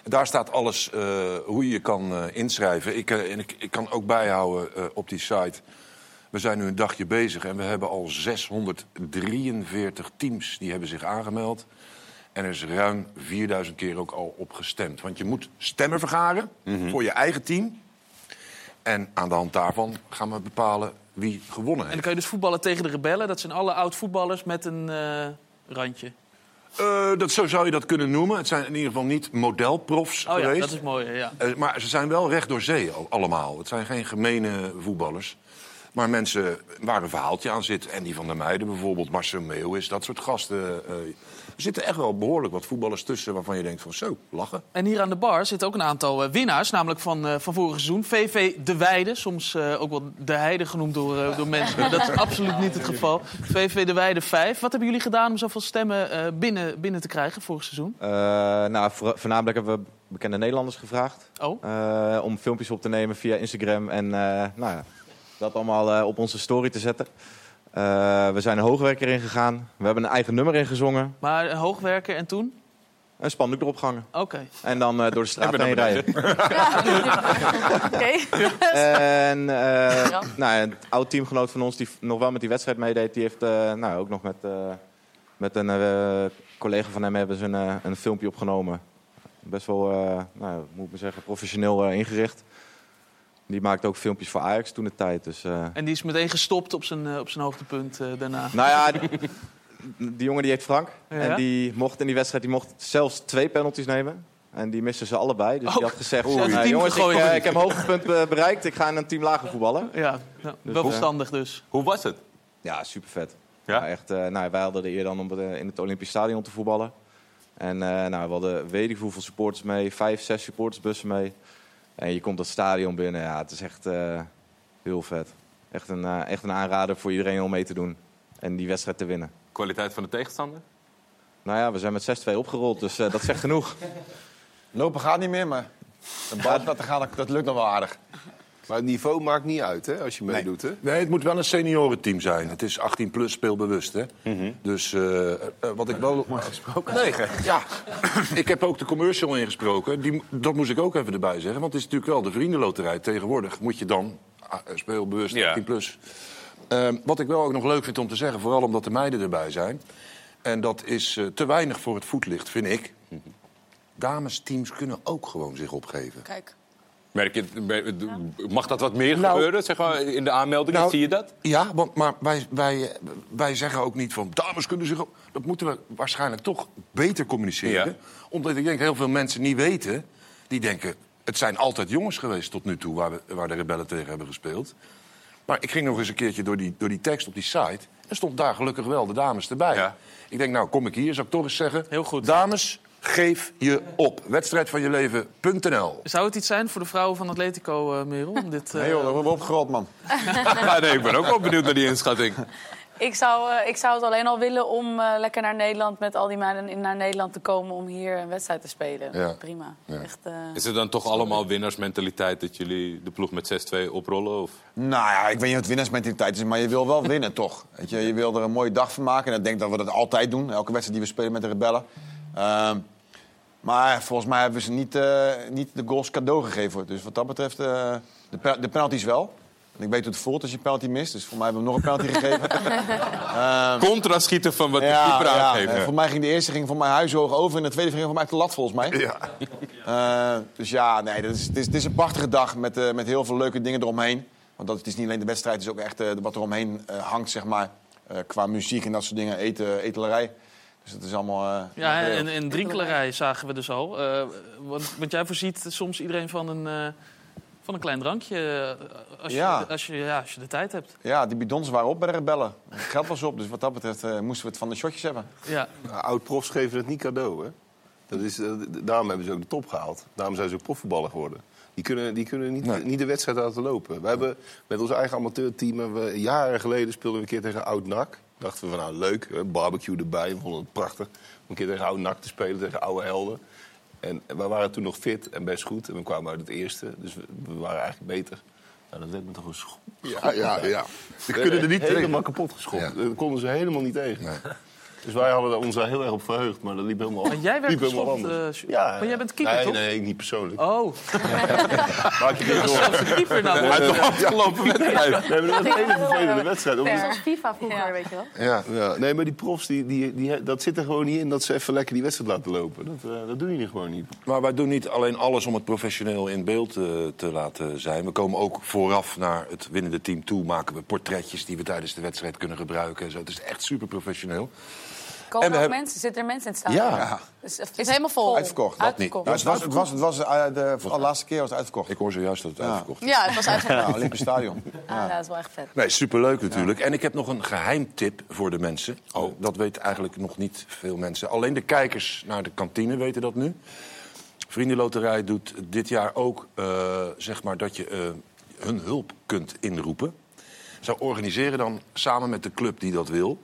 Speaker 5: Daar staat alles eh, hoe je je kan eh, inschrijven. Ik, eh, en ik, ik kan ook bijhouden eh, op die site. We zijn nu een dagje bezig en we hebben al 643 teams die hebben zich aangemeld. En er is ruim 4000 keer ook al op gestemd. Want je moet stemmen vergaren voor je eigen team. En aan de hand daarvan gaan we bepalen wie gewonnen
Speaker 1: En
Speaker 5: heeft.
Speaker 1: dan kan je dus voetballen tegen de rebellen. Dat zijn alle oud-voetballers met een eh, randje.
Speaker 5: Eh, dat, zo zou je dat kunnen noemen. Het zijn in ieder geval niet modelprofs
Speaker 1: Oh ja,
Speaker 5: geweest.
Speaker 1: dat is mooi. hè, Ja.
Speaker 5: Eh, maar ze zijn wel recht door zee al- allemaal. Het zijn geen gemene voetballers. Maar mensen waar een verhaaltje aan zit. En die van de meiden bijvoorbeeld, Marcel Meeuwis, dat soort gasten. eh, er zitten echt wel behoorlijk wat voetballers tussen waarvan je denkt van zo, lachen.
Speaker 1: En hier aan de bar zitten ook een aantal eh, winnaars, namelijk van, eh, van vorig seizoen. VV De Weide, soms eh, ook wel De Heide genoemd door, eh, door mensen, maar dat is absoluut niet het geval. VV De Weide 5. Wat hebben jullie gedaan om zoveel stemmen eh, binnen, binnen te krijgen vorig seizoen?
Speaker 15: Eh, nou, voor- voornamelijk hebben we bekende Nederlanders gevraagd
Speaker 1: Oh,
Speaker 15: eh, om filmpjes op te nemen via Instagram. En eh, nou ja, dat allemaal eh, op onze story te zetten. Eh, we zijn een hoogwerker ingegaan. We hebben een eigen nummer ingezongen.
Speaker 1: maar een hoogwerker en toen?
Speaker 15: Een spandoek erop gehangen.
Speaker 1: Oké.
Speaker 15: En dan eh, door de straat heen rijden.
Speaker 7: Oké. (laughs)
Speaker 15: (laughs) En eh,
Speaker 7: Ja.
Speaker 15: nou, een oud teamgenoot van ons die v- nog wel met die wedstrijd meedeed, die heeft eh, nou, ook nog met, eh, met een eh, collega van hem hebben ze een, eh, een filmpje opgenomen. Best wel, eh, nou, moet ik maar zeggen, professioneel eh, ingericht. Die maakte ook filmpjes voor Ajax toen de tijd. Dus, eh,
Speaker 1: En die is meteen gestopt op zijn, eh, op zijn hoogtepunt eh, daarna.
Speaker 15: nou ja, d- die jongen die heet Frank.
Speaker 1: Ja.
Speaker 15: En die mocht in die wedstrijd die mocht zelfs twee penalties nemen. En die misten ze allebei. Dus die had gezegd,
Speaker 1: Oei.
Speaker 15: nou,
Speaker 1: Team
Speaker 15: jongens, ik,
Speaker 1: gegooid.
Speaker 15: eh, ik heb mijn hoogtepunt eh, bereikt. Ik ga in een team lager voetballen.
Speaker 1: Ja, nou, wel verstandig dus.
Speaker 2: Hoe was het?
Speaker 15: Ja, super vet. Ja? echt, eh, nou, wij hadden de eer dan om eh, in het Olympisch Stadion te voetballen. En eh, nou, we hadden weet ik hoeveel supporters mee, vijf, zes supportersbussen mee. En je komt dat stadion binnen. Ja, het is echt eh, heel vet. Echt een, eh, echt een aanrader voor iedereen om mee te doen. En die wedstrijd te winnen.
Speaker 2: Kwaliteit van de tegenstander?
Speaker 15: Nou ja, we zijn met 6-2 opgerold, dus eh, dat zegt genoeg.
Speaker 4: Lopen gaat niet meer, maar de bal gaat te gaan, dat- dat lukt nog wel aardig.
Speaker 6: Maar het niveau maakt niet uit, hè, als je meedoet, hè?
Speaker 5: Nee, het moet wel een seniorenteam zijn. Het is 18 plus speelbewust, hè? Dus eh, eh, wat ik wel... Maar gesproken. Nee, ja. (clears throat) ik heb ook de commercial ingesproken. Die, dat moest ik ook even erbij zeggen. Want het is natuurlijk wel de vriendenloterij. Tegenwoordig moet je dan ah, eh, speelbewust
Speaker 2: Ja.
Speaker 5: 18 plus. Ehm, wat ik wel ook nog leuk vind om te zeggen, vooral omdat de meiden erbij zijn... en dat is eh, te weinig voor het voetlicht, vind ik... Damesteams kunnen ook gewoon zich opgeven.
Speaker 3: Kijk.
Speaker 2: Merk je, het- mer- d- mag dat wat meer gebeuren? Zeg maar, in de aanmeldingen
Speaker 5: Nou,
Speaker 2: zie je dat?
Speaker 5: Ja, want, maar wij, wij, eh, wij zeggen ook niet van dames kunnen zich. op- Dat moeten we waarschijnlijk toch beter communiceren. Omdat ik denk heel veel mensen niet weten. Die denken, het zijn altijd jongens geweest tot nu toe waar, we, waar de rebellen tegen hebben gespeeld. Maar ik ging nog eens een keertje door die, door die tekst op die site. En stond daar gelukkig wel de dames erbij. Ik denk, nou kom ik hier, zou ik toch eens zeggen. Heel goed. Dames, geef je op. Wedstrijd van je leven.nl.
Speaker 1: Zou het iets zijn voor de vrouwen van Atletico, eh Merel? om dit, eh,
Speaker 4: Nee joh, dat wordt opgerold, man.
Speaker 2: Ja, (laughs) nee, ik ben ook wel benieuwd naar die inschatting.
Speaker 7: Ik zou, eh, ik zou het alleen al willen om eh, lekker naar Nederland met al die meiden in- naar Nederland te komen om hier een wedstrijd te spelen.
Speaker 2: Ja.
Speaker 7: Prima. Echt, eh,
Speaker 2: Is het dan toch allemaal winnaarsmentaliteit dat jullie de ploeg met 6-2 oprollen? Of?
Speaker 4: Nou ja, ik weet niet wat winnaarsmentaliteit is, maar je wil wel winnen, (laughs) toch? Weet je, je wil er een mooie dag van maken. En ik denk dat we dat altijd doen. Elke wedstrijd die we spelen met de rebellen. Ehm, maar volgens mij hebben we ze niet, eh, niet de goals cadeau gegeven. Dus wat dat betreft, eh, de, pe- de penalties wel. En ik weet hoe het voelt als je een penalty mist. Dus voor mij hebben we hem nog een penalty (laughs) gegeven. Ehm,
Speaker 2: Contra schieten van wat de keeper
Speaker 4: eh,
Speaker 2: aangeeft.
Speaker 4: Voor mij ging de eerste ging van mijn huishoog over en de tweede ging van mij de lat volgens mij. Eh, dus ja, nee, dat is, het, is, het is een prachtige dag met, eh, met heel veel leuke dingen eromheen. Want dat, het is niet alleen de wedstrijd, het is ook echt eh, wat er omheen eh, hangt, zeg maar. Eh, qua muziek en dat soort dingen, eten, etelerij. Dus dat is allemaal... eh,
Speaker 1: Ja,
Speaker 4: heel
Speaker 1: en,
Speaker 4: leuk.
Speaker 1: en drinkelerij zagen we dus al. Eh, want, want jij voorziet soms iedereen van een, eh, van een klein drankje. eh, Als je,
Speaker 4: Ja.
Speaker 1: als, je, ja, als je de tijd hebt.
Speaker 4: Ja, die bidons waren op bij de rebellen. Het geld was op, dus wat dat betreft eh, moesten we het van de shotjes hebben.
Speaker 1: Ja.
Speaker 6: Nou, Oud-profs geven het niet cadeau, hè? Dat is, eh, d- daarom hebben ze ook de top gehaald. Daarom zijn ze ook profvoetballer geworden. Die kunnen, die kunnen niet, niet de wedstrijd laten lopen. We hebben met ons eigen amateurteam... hebben we- jaren geleden speelden we een keer tegen Oud-NAC. Dachten we van, nou leuk, hè, barbecue erbij. We vonden het prachtig om een keer tegen Oud-NAC te spelen, tegen oude helden. En we waren toen nog fit en best goed. En we kwamen uit het eerste, dus we, we waren eigenlijk beter. Nou, dat werd me toch een schop.
Speaker 5: Ja,
Speaker 6: (laughs)
Speaker 5: ja, ja.
Speaker 6: Ze kunnen er niet helemaal kapot geschopt. Dat eh, konden ze helemaal niet tegen. Dus wij hadden ons daar heel erg op verheugd, maar dat liep helemaal
Speaker 1: Maar jij werd
Speaker 6: liep helemaal
Speaker 1: geschopt,
Speaker 6: anders.
Speaker 1: eh, Sjoerd. Maar jij bent keeper,
Speaker 6: nee,
Speaker 1: toch?
Speaker 6: Nee, niet persoonlijk.
Speaker 1: Oh,
Speaker 6: Maak je niet door.
Speaker 1: zelfs de keeper nou.
Speaker 6: Uit de
Speaker 2: afgelopen wedstrijd.
Speaker 6: Nee, maar dat was een hele
Speaker 7: eh,
Speaker 6: vervelende wedstrijd.
Speaker 3: Net
Speaker 6: omdat-
Speaker 3: als FIFA vroeger, weet je wel.
Speaker 6: Ja. nee, maar die profs, die, die, die, dat zit er gewoon niet in dat ze even lekker die wedstrijd laten lopen. Dat, eh, dat doe je gewoon niet.
Speaker 5: Maar wij doen niet alleen alles om het professioneel in beeld eh, te laten zijn. We komen ook vooraf naar het winnende team toe. Maken we portretjes die we tijdens de wedstrijd kunnen gebruiken. En zo. Het is echt super professioneel.
Speaker 7: komen
Speaker 5: En we
Speaker 7: ook
Speaker 5: hebben-
Speaker 7: mensen? Zitten er mensen in het stadion?
Speaker 5: Ja.
Speaker 7: Dus het is helemaal vol.
Speaker 4: Uitverkocht.
Speaker 5: Dat niet.
Speaker 4: Ja, Nou, het was, het was, het was, eh, de, de laatste keer was het uitverkocht.
Speaker 5: Ik hoor zojuist dat het uitverkocht is.
Speaker 7: Ja, het
Speaker 4: (laughs)
Speaker 7: was uitverkocht.
Speaker 4: Ja, Olympisch Stadion.
Speaker 7: Ah, ja, dat is wel echt vet.
Speaker 5: Nee, superleuk natuurlijk. En ik heb nog een geheim tip voor de mensen. Oh. Dat weten eigenlijk nog niet veel mensen. Alleen de kijkers naar de kantine weten dat nu. Vriendenloterij doet dit jaar ook, eh, zeg maar, dat je eh, hun hulp kunt inroepen. Zij organiseren dan samen met de club die dat wil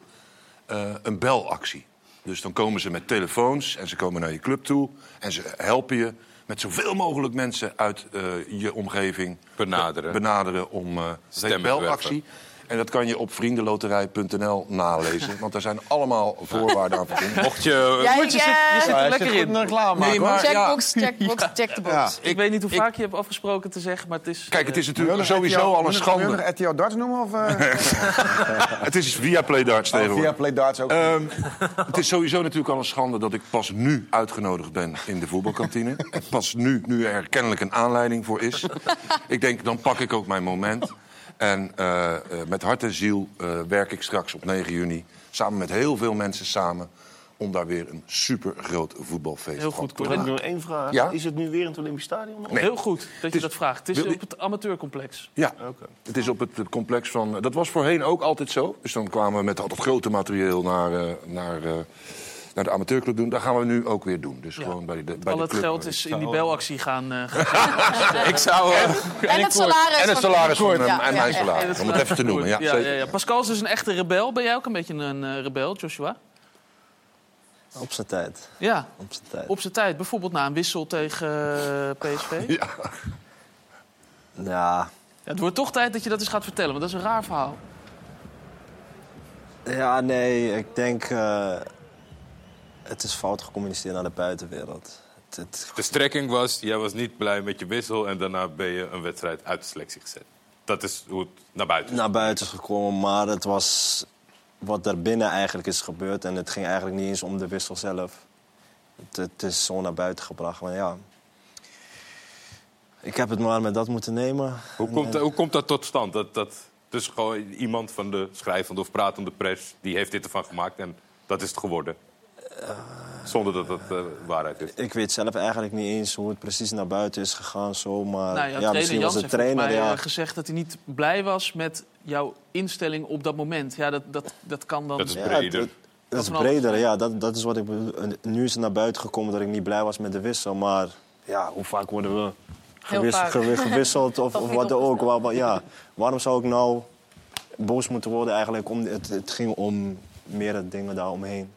Speaker 5: eh, een belactie. Dus dan komen ze met telefoons en ze komen naar je club toe... en ze helpen je met zoveel mogelijk mensen uit eh, je omgeving...
Speaker 2: Benaderen.
Speaker 5: benaderen om eh de
Speaker 2: Stemmen
Speaker 5: belactie. En dat kan je op vriendenloterij.nl nalezen. Want daar zijn allemaal voorwaarden aan verbonden.
Speaker 2: Mocht je...
Speaker 7: Jij,
Speaker 1: Sjoerd, je zit, je zit
Speaker 4: Ja,
Speaker 1: er
Speaker 4: hij
Speaker 1: eh, lekker
Speaker 4: zit goed
Speaker 1: in.
Speaker 4: in de reclame maken,
Speaker 5: Nee,
Speaker 4: hoor.
Speaker 5: maar- ja.
Speaker 7: Checkbox, checkbox, check the box.
Speaker 1: Ik, weet niet hoe vaak je hebt afgesproken te zeggen, maar het is... Eh,
Speaker 5: Kijk, het is
Speaker 4: Wil je
Speaker 5: natuurlijk
Speaker 4: nog
Speaker 5: sowieso
Speaker 4: RTL
Speaker 5: al een
Speaker 4: Wil je nog
Speaker 5: schande.
Speaker 4: RTL Darts noemen? Of, eh?
Speaker 5: Het is via Playdarts
Speaker 4: Oh, via
Speaker 5: tegenwoordig.
Speaker 4: Play Darts ook.
Speaker 5: Ehm, het is sowieso natuurlijk al een schande dat ik pas nu uitgenodigd ben in de voetbalkantine. En pas nu, nu er kennelijk een aanleiding voor is. Ik denk, dan pak ik ook mijn moment. En eh, eh, met hart en ziel eh, werk ik straks op 9 juni samen met heel veel mensen samen... om daar weer een super groot voetbalfeest
Speaker 6: Heel
Speaker 5: van
Speaker 6: goed,
Speaker 5: te
Speaker 6: Cor. Ik heb
Speaker 5: maken.
Speaker 6: nog één vraag.
Speaker 5: Ja?
Speaker 6: Is het nu weer in het Olympisch Stadion?
Speaker 5: Nee.
Speaker 1: Heel goed dat je dat vraagt. Het is
Speaker 5: wil je-
Speaker 1: op het amateurcomplex.
Speaker 5: Ja, het is op het het complex van... Dat was voorheen ook altijd zo. Dus dan kwamen we met al dat grote materieel naar, eh, naar, eh, naar de amateurclub doen. Dat gaan we nu ook weer doen. Dus gewoon bij de, bij de
Speaker 1: Al het
Speaker 5: club.
Speaker 1: geld is in die belactie gaan. eh,
Speaker 5: (laughs) Ik zou... eh,
Speaker 3: En het salaris.
Speaker 5: en
Speaker 3: van-
Speaker 5: het salaris van,
Speaker 3: Ja,
Speaker 5: hem
Speaker 3: ja,
Speaker 5: en
Speaker 3: ja,
Speaker 5: mijn
Speaker 3: ja.
Speaker 5: salaris, om het even
Speaker 1: (laughs)
Speaker 5: te noemen. Ja,
Speaker 1: ja,
Speaker 5: zeker.
Speaker 1: ja, ja. Pascal is dus een echte rebel. Ben jij ook een beetje een eh, rebel, Joshua?
Speaker 8: Op zijn tijd.
Speaker 1: Ja,
Speaker 8: Op zijn tijd.
Speaker 1: op zijn tijd. Bijvoorbeeld na een wissel tegen
Speaker 5: (laughs)
Speaker 1: eh, PSV.
Speaker 8: Ja,
Speaker 1: Ja, het wordt toch tijd dat je dat eens gaat vertellen, want dat is een raar verhaal.
Speaker 8: ja nee, ik denk... eh, het is fout gecommuniceerd naar de buitenwereld. Het, het,
Speaker 2: De strekking was, jij was niet blij met je wissel... en daarna ben je een wedstrijd uit de selectie gezet. Dat is hoe het naar buiten is.
Speaker 8: naar buiten is gekomen, maar het was wat daarbinnen eigenlijk is gebeurd. En het ging eigenlijk niet eens om de wissel zelf. Het, het is zo naar buiten gebracht. Maar ja, ik heb het maar met dat moeten nemen.
Speaker 2: Hoe
Speaker 8: En- eh,
Speaker 2: komt,
Speaker 8: en-
Speaker 2: hoe komt dat tot stand? Dat, dat, dus gewoon iemand van de schrijvende of pratende pers... die heeft dit ervan gemaakt en dat is het geworden. Zonder dat dat eh, waarheid is.
Speaker 8: Ik weet zelf eigenlijk niet eens hoe het precies naar buiten is gegaan. Zo, maar
Speaker 1: nou,
Speaker 8: ja,
Speaker 1: ja, trainer
Speaker 8: misschien
Speaker 1: Jans
Speaker 8: was
Speaker 1: heeft
Speaker 8: het
Speaker 1: volgens
Speaker 8: trainer.
Speaker 1: mij
Speaker 8: ja.
Speaker 1: eh, gezegd dat hij niet blij was met jouw instelling op dat moment. Ja, dat, dat, dat kan dan...
Speaker 2: Dat is
Speaker 8: Ja,
Speaker 2: breder.
Speaker 8: het- Dat is
Speaker 1: van alles.
Speaker 8: breder, ja. Dat, dat is wat ik bedoel. En Nu is het naar buiten gekomen dat ik niet blij was met de wissel. Maar ja, hoe vaak worden we gewis-
Speaker 7: vaak.
Speaker 8: gewi-
Speaker 7: (laughs)
Speaker 8: gewisseld of,
Speaker 7: Of
Speaker 8: of
Speaker 7: niet
Speaker 8: wat dan ook. Waar- waar- ja. Waarom zou ik nou boos moeten worden eigenlijk? Om, het, het ging om meerdere dingen daaromheen.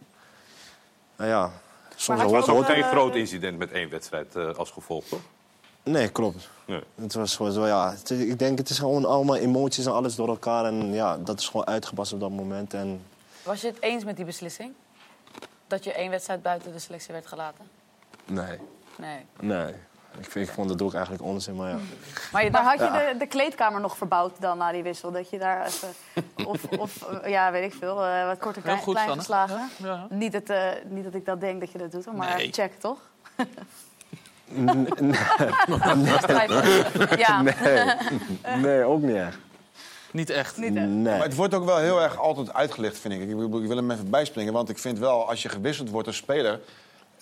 Speaker 8: Nou ja, soms
Speaker 7: had je eh,
Speaker 8: hoort
Speaker 2: Het was ook
Speaker 8: het.
Speaker 2: geen groot incident met één wedstrijd eh, als gevolg, toch?
Speaker 8: Nee, klopt.
Speaker 2: Nee.
Speaker 8: Het was gewoon zo, ja. het is- ik denk, het is gewoon allemaal emoties en alles door elkaar. En ja, dat is gewoon uitgebast op dat moment. En
Speaker 7: Was je het eens met die beslissing? Dat je één wedstrijd buiten de selectie werd gelaten?
Speaker 8: nee,
Speaker 7: Nee.
Speaker 8: nee. Ik, vind- ik vond dat ook eigenlijk onzin, maar ja.
Speaker 7: Maar je
Speaker 3: Maar
Speaker 7: dacht,
Speaker 3: had je de, de kleedkamer nog verbouwd dan na die wissel? Dat je daar even... Of, of eh, ja, weet ik veel, eh, wat kort en
Speaker 1: Heel
Speaker 3: klein,
Speaker 1: goed,
Speaker 3: klein
Speaker 1: Sanne.
Speaker 3: geslagen.
Speaker 1: Ja.
Speaker 3: Niet, dat, eh, niet dat ik dat denk dat je dat doet, hoor, maar
Speaker 1: Nee.
Speaker 3: check, toch?
Speaker 8: N-
Speaker 3: (laughs)
Speaker 8: n-
Speaker 3: Ja,
Speaker 8: nee. nee, ook niet echt.
Speaker 1: Niet echt.
Speaker 3: niet echt.
Speaker 4: Maar
Speaker 8: Nee.
Speaker 4: het wordt ook wel heel erg altijd uitgelicht, vind ik. Ik, bedoel, ik wil hem even bijspringen, want ik vind wel... als je gewisseld wordt als speler...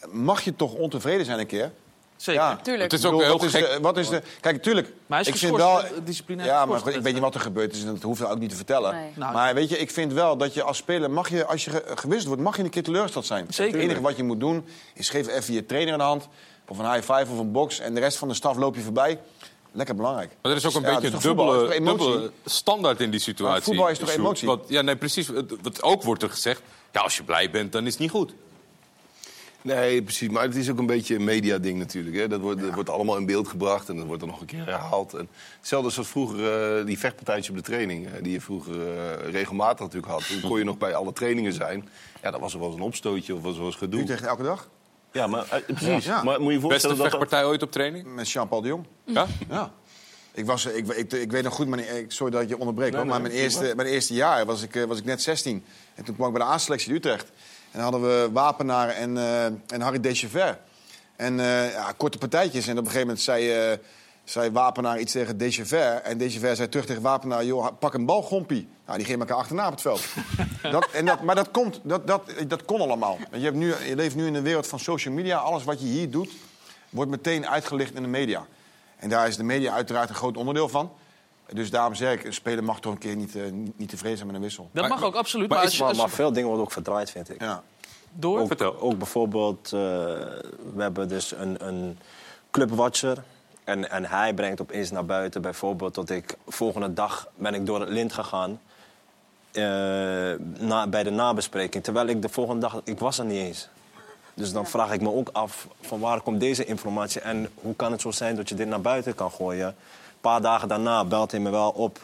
Speaker 4: mag je toch ontevreden zijn een keer?
Speaker 1: Zeker.
Speaker 4: Ja.
Speaker 3: tuurlijk.
Speaker 2: Het is ook
Speaker 4: Ik bedoel,
Speaker 2: heel
Speaker 4: wat
Speaker 2: gek.
Speaker 4: Is de, wat is de, kijk, tuurlijk.
Speaker 1: Maar hij is
Speaker 4: ik vind wel.
Speaker 1: geschorst, hè? Disciplinair
Speaker 4: Ja, maar
Speaker 1: geschorst
Speaker 4: goed, ik
Speaker 1: werd
Speaker 4: weet niet wat er gebeurd is. En dat hoef je ook niet te vertellen.
Speaker 7: Nee.
Speaker 1: Nou,
Speaker 4: maar weet je, ik vind wel dat je als speler. Mag je, als je ge- gewisseld wordt, mag je een keer teleurgesteld zijn.
Speaker 1: Zeker.
Speaker 4: Het enige wat je moet doen. is geef even je trainer een hand. Of een high five of een box. En de rest van de staf loop je voorbij. Lekker belangrijk.
Speaker 2: Maar er is ook een
Speaker 4: Ja,
Speaker 2: beetje
Speaker 4: het
Speaker 2: een
Speaker 4: is toch voetbal,
Speaker 2: dubbele,
Speaker 4: het is toch emotie?
Speaker 2: dubbele standaard in die situatie.
Speaker 4: Maar voetbal is toch
Speaker 2: Sjoerd?
Speaker 4: emotie?
Speaker 2: Want, ja, nee, precies. Het- Wat ook wordt er gezegd, ja, als je blij bent, dan is het niet goed.
Speaker 6: Nee, precies. Maar het is ook een beetje een mediading natuurlijk. Hè. Dat, wordt, dat wordt allemaal in beeld gebracht en dat wordt dan nog een keer herhaald. En hetzelfde zoals vroeger eh, die vechtpartijtjes op de training... eh, die je vroeger eh, regelmatig natuurlijk had. Toen kon je nog bij alle trainingen zijn. Ja, dan was er wel eens een opstootje of was er wel eens gedoe.
Speaker 4: Utrecht elke dag?
Speaker 6: Ja, maar eh, precies.
Speaker 4: Ja.
Speaker 6: Maar moet je je
Speaker 2: Beste
Speaker 6: voorstellen dat dat...
Speaker 2: vechtpartij ooit op training?
Speaker 4: Met Jean-Paul de Jong.
Speaker 2: Ja?
Speaker 4: Ja. Ik, was, ik, ik, ik weet nog goed, mijn, ik- sorry dat ik je onderbreek, hoor, maar mijn eerste, mijn eerste jaar was ik, eh, was ik net 16. En toen kwam ik bij de A-selectie in Utrecht. En dan hadden we Wapenaar en, eh, en Harry Dechever. En eh, ja, korte partijtjes. En op een gegeven moment zei, eh, zei Wapenaar iets tegen Dechever. En Dechever zei terug tegen Wapenaar... joh, ha- pak een bal, gompie. Nou, die gingen elkaar achterna op het veld. dat, en dat, maar dat, komt, dat, dat, dat kon allemaal. Want Je, hebt nu, je leeft nu in een wereld van social media. Alles wat je hier doet, wordt meteen uitgelicht in de media. En daar is de media uiteraard een groot onderdeel van. Dus daarom zeg ik, een speler mag toch een keer niet, eh, niet- niet tevreden zijn met een wissel.
Speaker 1: Dat
Speaker 2: Maar-
Speaker 1: mag ook, absoluut. Maar,
Speaker 2: maar
Speaker 1: als
Speaker 2: is-
Speaker 1: je,
Speaker 8: Maar,
Speaker 1: als je-
Speaker 8: maar veel dingen worden ook verdraaid, vind ik.
Speaker 4: Ja.
Speaker 1: door...
Speaker 2: Vertel.
Speaker 8: Ook bijvoorbeeld, eh, we hebben dus een, een clubwatcher. En, en hij brengt opeens naar buiten bijvoorbeeld dat ik volgende dag ben ik door het lint gegaan. eh, na, bij de nabespreking. Terwijl ik de volgende dag, ik was er niet eens. Dus dan vraag ik me ook af van waar komt deze informatie en hoe kan het zo zijn dat je dit naar buiten kan gooien. Een paar dagen daarna belt hij me wel op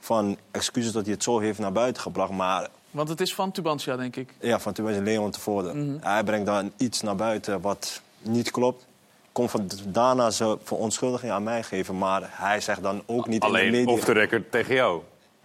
Speaker 8: van excuses dat hij het zo heeft naar buiten gebracht, maar
Speaker 1: Want het is van Tubantia, denk ik.
Speaker 8: ja, van Tubantia Leon tevoren.
Speaker 5: Mhm.
Speaker 8: Hij brengt dan iets naar buiten wat niet klopt. Komt van, daarna ze verontschuldiging aan mij geven, maar hij zegt dan ook niet in de
Speaker 2: Alleen
Speaker 8: media.
Speaker 2: off the record tegen jou.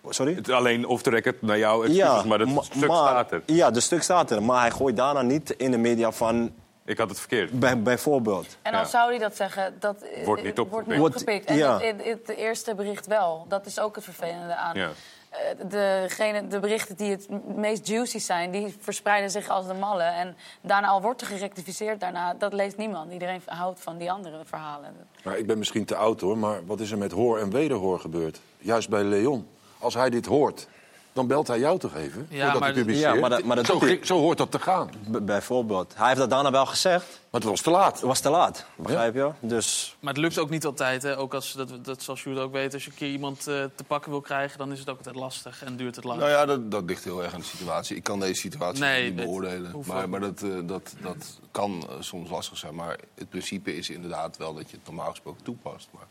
Speaker 8: Sorry?
Speaker 2: Het- Alleen off the record naar jou, excuses, maar dat
Speaker 8: ma-
Speaker 2: stuk
Speaker 8: maar-
Speaker 2: staat er.
Speaker 8: Ja, de stuk staat er. Maar hij gooit daarna niet in de media van
Speaker 2: Ik had het verkeerd.
Speaker 8: bij, bijvoorbeeld.
Speaker 7: En als
Speaker 2: Ja.
Speaker 7: zou hij dat zeggen, dat eh,
Speaker 2: Wordt niet opgepikt.
Speaker 7: wordt niet opgepikt. En
Speaker 8: Wordt-
Speaker 7: het,
Speaker 8: ja.
Speaker 7: het- het eerste bericht wel. Dat is ook het vervelende aan.
Speaker 2: Ja.
Speaker 7: eh, degene, de berichten die het m- meest juicy zijn, die verspreiden zich als de malle. En daarna al wordt er gerectificeerd, daarna, dat leest niemand. Iedereen houdt van die andere verhalen.
Speaker 5: Maar ik ben misschien te oud hoor, maar wat is er met hoor en wederhoor gebeurd? Juist bij Leon. Als hij dit hoort, dan belt hij jou toch even?
Speaker 8: Ja,
Speaker 5: voordat
Speaker 8: maar
Speaker 5: hij
Speaker 8: dat-
Speaker 5: publiceert.
Speaker 8: ja, maar dat- maar dat
Speaker 5: zo,
Speaker 8: doet hij-
Speaker 5: gek- zo hoort dat te gaan.
Speaker 8: B- bijvoorbeeld. Hij heeft dat daarna wel gezegd.
Speaker 5: Maar het was te laat. Het
Speaker 8: was te laat, begrijp je? Dus
Speaker 1: Maar het lukt ook niet altijd. Hè? Ook als, dat, dat zal Sjoerd ook weten. Als je een keer iemand eh, te pakken wil krijgen, dan is het ook altijd lastig en duurt het lang.
Speaker 6: Nou ja, dat, dat ligt heel erg aan de situatie. Ik kan deze situatie
Speaker 1: Nee,
Speaker 6: niet
Speaker 1: dit
Speaker 6: beoordelen.
Speaker 1: hoeft
Speaker 6: Maar,
Speaker 1: ook
Speaker 6: maar dat, eh, dat, dat kan eh, soms lastig zijn. Maar het principe is inderdaad wel dat je het normaal gesproken toepast. Maar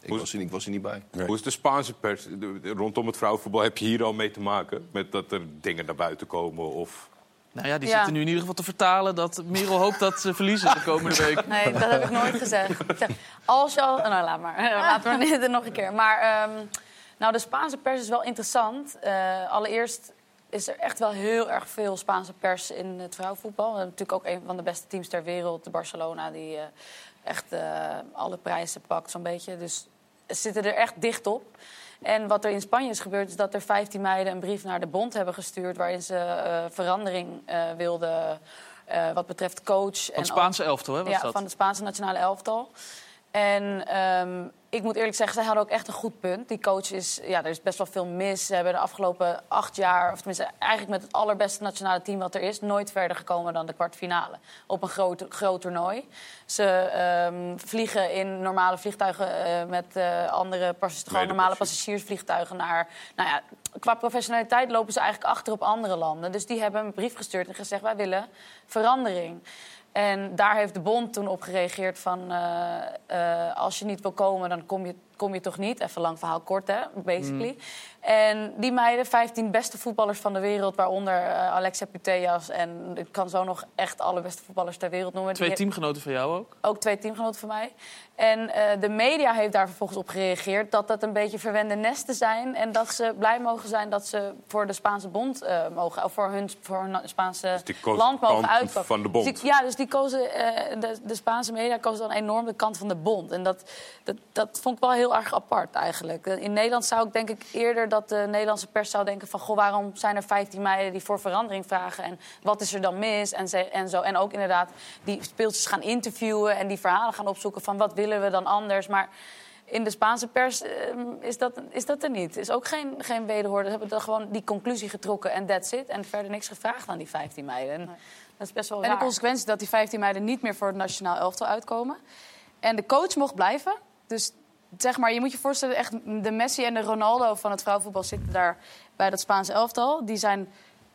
Speaker 6: ik, was er, niet- ik was er niet bij.
Speaker 2: Hoe is de Spaanse pers? De- de- Rondom het vrouwenvoetbal heb je hier al mee te maken? Met dat er dingen naar buiten komen of...
Speaker 1: Nou ja, die
Speaker 7: Ja.
Speaker 1: zitten nu in ieder geval te vertalen dat Merel hoopt dat ze verliezen de komende
Speaker 4: (laughs)
Speaker 1: week.
Speaker 7: Nee, dat heb ik
Speaker 1: (laughs)
Speaker 7: nooit gezegd. Ik zeg, als je al... Nou, laat maar. (laughs) Laten we het nog een keer. Maar ehm, nou, de Spaanse pers is wel interessant. Eh, allereerst is er echt wel heel erg veel Spaanse pers in het vrouwenvoetbal. We hebben natuurlijk ook een van de beste teams ter wereld, de Barcelona... die eh, echt eh, alle prijzen pakt, zo'n beetje. Dus ze zitten er echt dicht op. En wat er in Spanje is gebeurd, is dat er 15 meiden een brief naar de bond hebben gestuurd... waarin ze eh, verandering eh, wilden eh, wat betreft coach.
Speaker 1: Van het Spaanse elftal, hè, was
Speaker 7: ja,
Speaker 1: dat?
Speaker 7: van het Spaanse nationale elftal. En ehm, ik moet eerlijk zeggen, zij hadden ook echt een goed punt. Die coach is, ja, er is best wel veel mis. Ze hebben de afgelopen acht jaar, of tenminste eigenlijk met het allerbeste nationale team wat er is, nooit verder gekomen dan de kwartfinale op een groot, groot toernooi. Ze ehm, vliegen in normale vliegtuigen eh, met eh, andere pas- gewoon normale passagiersvliegtuigen naar. Nou ja, qua professionaliteit lopen ze eigenlijk achter op andere landen. Dus die hebben een brief gestuurd en gezegd: wij willen verandering. En daar heeft de bond toen op gereageerd van... eh, eh, als je niet wil komen, dan kom je, kom je toch niet. Even lang verhaal kort, hè, basically.
Speaker 2: Mm.
Speaker 7: En die meiden, 15 beste voetballers van de wereld... waaronder eh, Alexia Putellas en ik kan zo nog echt alle beste voetballers ter wereld noemen.
Speaker 1: Twee
Speaker 7: Die-
Speaker 1: teamgenoten van jou ook.
Speaker 7: ook twee teamgenoten van mij. En eh, de media heeft daar vervolgens op gereageerd dat dat een beetje verwende nesten zijn. En dat ze blij mogen zijn dat ze voor de Spaanse bond eh, mogen, of voor hun, voor hun Spaanse
Speaker 2: Dus die koos
Speaker 7: land mogen
Speaker 2: kant
Speaker 7: uitpakken.
Speaker 2: van de bond.
Speaker 7: Dus die- ja, dus die kozen, eh, de, de Spaanse media kozen dan enorm de kant van de bond. En dat, dat, dat vond ik wel heel erg apart eigenlijk. Eh, In Nederland zou ik denk ik eerder dat de Nederlandse pers zou denken van... goh, waarom zijn er 15 meiden die voor verandering vragen? En wat is er dan mis? En, ze, en zo. En ook inderdaad die speeltjes gaan interviewen en die verhalen gaan opzoeken... van wat willen we dan anders? Maar in de Spaanse pers eh, is, dat, is dat er niet. Is ook geen, geen wederhoor. Ze hebben dan gewoon die conclusie getrokken en that's it. En verder niks gevraagd aan die 15 meiden. En dat is best wel
Speaker 3: En de
Speaker 7: raar.
Speaker 3: consequentie is dat die 15 meiden niet meer voor het nationaal elftal uitkomen. En de coach mocht blijven. Dus zeg maar, je moet je voorstellen, echt de Messi en de Ronaldo van het vrouwenvoetbal zitten daar bij dat Spaanse elftal. Die zijn,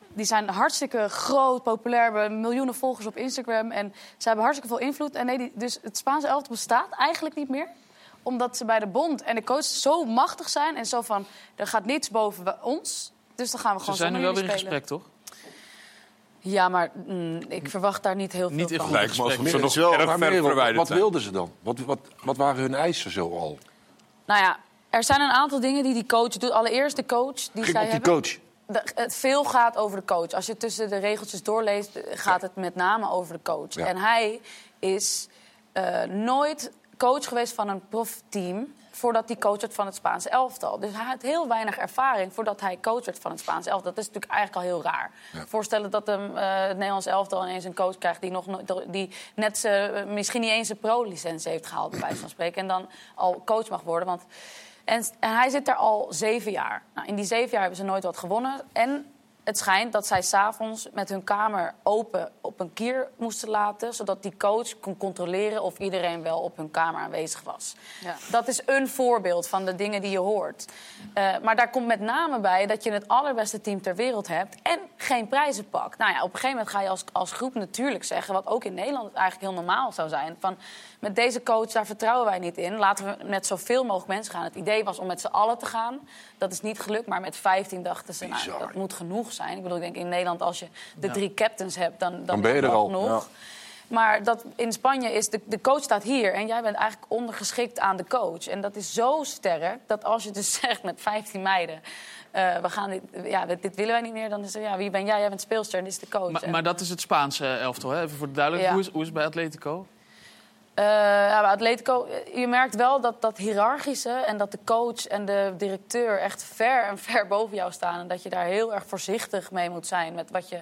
Speaker 3: die zijn hartstikke groot, populair, hebben miljoenen volgers op Instagram. En ze hebben hartstikke veel invloed. En nee, die, dus het Spaanse elftal bestaat eigenlijk niet meer omdat ze bij de bond en de coach zo machtig zijn en zo van... er gaat niets boven we- ons, dus dan gaan we
Speaker 1: Ze
Speaker 3: gewoon
Speaker 1: zijn nu
Speaker 3: zonder
Speaker 1: wel weer
Speaker 3: jullie
Speaker 1: in
Speaker 3: spelen.
Speaker 1: gesprek, toch?
Speaker 7: Ja, maar mm, ik verwacht daar niet heel veel van.
Speaker 2: Lijkt me alsof ze nog
Speaker 5: wel-
Speaker 2: erg
Speaker 5: maar
Speaker 2: ver
Speaker 5: Merel,
Speaker 2: verwijderd
Speaker 5: Wat
Speaker 2: zijn.
Speaker 5: wilden ze dan? Wat, wat, wat waren hun eisen zo al?
Speaker 7: Nou ja, er zijn een aantal dingen die die coach doet. Allereerst de coach die
Speaker 5: Ging
Speaker 7: zij
Speaker 5: op die
Speaker 7: hebben.
Speaker 5: coach.
Speaker 7: De- het veel gaat over de coach. Als je tussen de regeltjes doorleest, eh, gaat het met name over de coach.
Speaker 5: Ja.
Speaker 7: En hij is eh, nooit coach geweest van een profteam voordat hij coach werd van het Spaanse elftal. Dus hij had heel weinig ervaring voordat hij coach werd van het Spaanse elftal. Dat is natuurlijk eigenlijk al heel raar. Voorstellen dat hem, eh, het Nederlands elftal ineens een coach krijgt... die, nog, nooit- die net zijn- misschien niet eens een pro-licentie heeft gehaald, bij wijze van spreken... en dan al coach mag worden, want... En, en hij zit daar al zeven jaar. Nou, in die zeven jaar hebben ze nooit wat gewonnen. En het schijnt dat zij s'avonds met hun kamer open op een kier moesten laten... zodat die coach kon controleren of iedereen wel op hun kamer aanwezig was.
Speaker 3: Ja.
Speaker 7: Dat is een voorbeeld van de dingen die je hoort. Eh, maar daar komt met name bij dat je het allerbeste team ter wereld hebt... en geen prijzen pakt. Nou ja, op een gegeven moment ga je als, als groep natuurlijk zeggen... wat ook in Nederland eigenlijk heel normaal zou zijn... van met deze coach, daar vertrouwen wij niet in. Laten we met zoveel mogelijk mensen gaan. Het idee was om met z'n allen te gaan. Dat is niet gelukt, maar met 15 dachten ze... Nou, dat moet genoeg zijn. Ik bedoel, ik denk in Nederland als je de
Speaker 5: Ja.
Speaker 7: drie captains hebt... dan, dan,
Speaker 5: Dan ben
Speaker 7: is
Speaker 5: je
Speaker 7: het
Speaker 5: er al.
Speaker 7: genoeg.
Speaker 5: Ja.
Speaker 7: Maar dat in Spanje is de, de coach staat hier en jij bent eigenlijk ondergeschikt aan de coach. En dat is zo sterk dat als je dus (laughs) zegt met 15 meiden: eh, we gaan dit, ja, dit, dit willen wij niet meer, dan is er ja, wie ben jij? Jij bent speelster en dit is de coach.
Speaker 1: Maar,
Speaker 7: En-
Speaker 1: maar dat is het Spaanse elftal, hè? even voor de duidelijkheid.
Speaker 7: Ja.
Speaker 1: Hoe, is, hoe is het bij Atletico?
Speaker 7: Eh, ja, bij Atletico, eh, je merkt wel dat dat hiërarchische en dat de coach en de directeur echt ver en ver (laughs) boven jou staan. En dat je daar heel erg voorzichtig mee moet zijn met wat je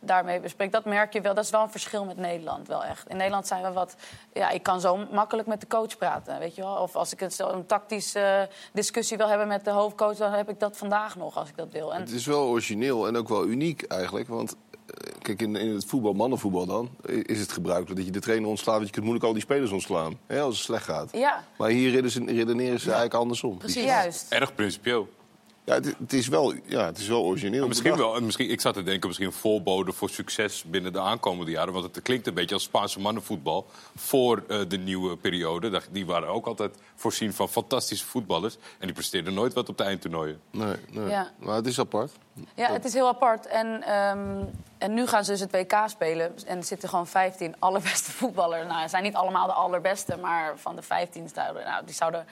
Speaker 7: daarmee bespreekt. Dat merk je wel. Dat is wel een verschil met Nederland, wel echt. In Nederland zijn we wat... Ja, ik kan zo makkelijk met de coach praten, weet je wel. Of als ik een, een tactische discussie wil hebben met de hoofdcoach... dan heb ik dat vandaag nog, als ik dat wil. En
Speaker 6: Het is wel origineel en ook wel uniek eigenlijk. Want eh, kijk, in, in het voetbal, mannenvoetbal dan, i- is het gebruikelijk dat je de trainer ontslaat. Want je kunt moeilijk al die spelers ontslaan. Hè, als het slecht gaat.
Speaker 7: ja,
Speaker 6: Maar hier redeneren ze, redeneren ze eigenlijk andersom.
Speaker 7: precies. Juist.
Speaker 2: Erg principieel.
Speaker 6: Ja, het, het is wel, ja, het is wel origineel.
Speaker 2: Maar misschien wel, misschien, ik zat te denken, misschien een voorbode voor succes binnen de aankomende jaren. Want het klinkt een beetje als Spaanse mannenvoetbal voor eh, de nieuwe periode. Dat- Die waren ook altijd voorzien van fantastische voetballers. En die presteerden nooit wat op de eindtoernooien.
Speaker 6: Nee, nee.
Speaker 7: Ja.
Speaker 6: Maar het is apart.
Speaker 7: Ja, het is heel apart. En, ehm, en nu gaan ze dus het WK spelen. En er zitten gewoon 15 allerbeste (laughs) voetballers. Nou, ze zijn niet allemaal de allerbeste, maar van de 15 zouden... Nou, die zouden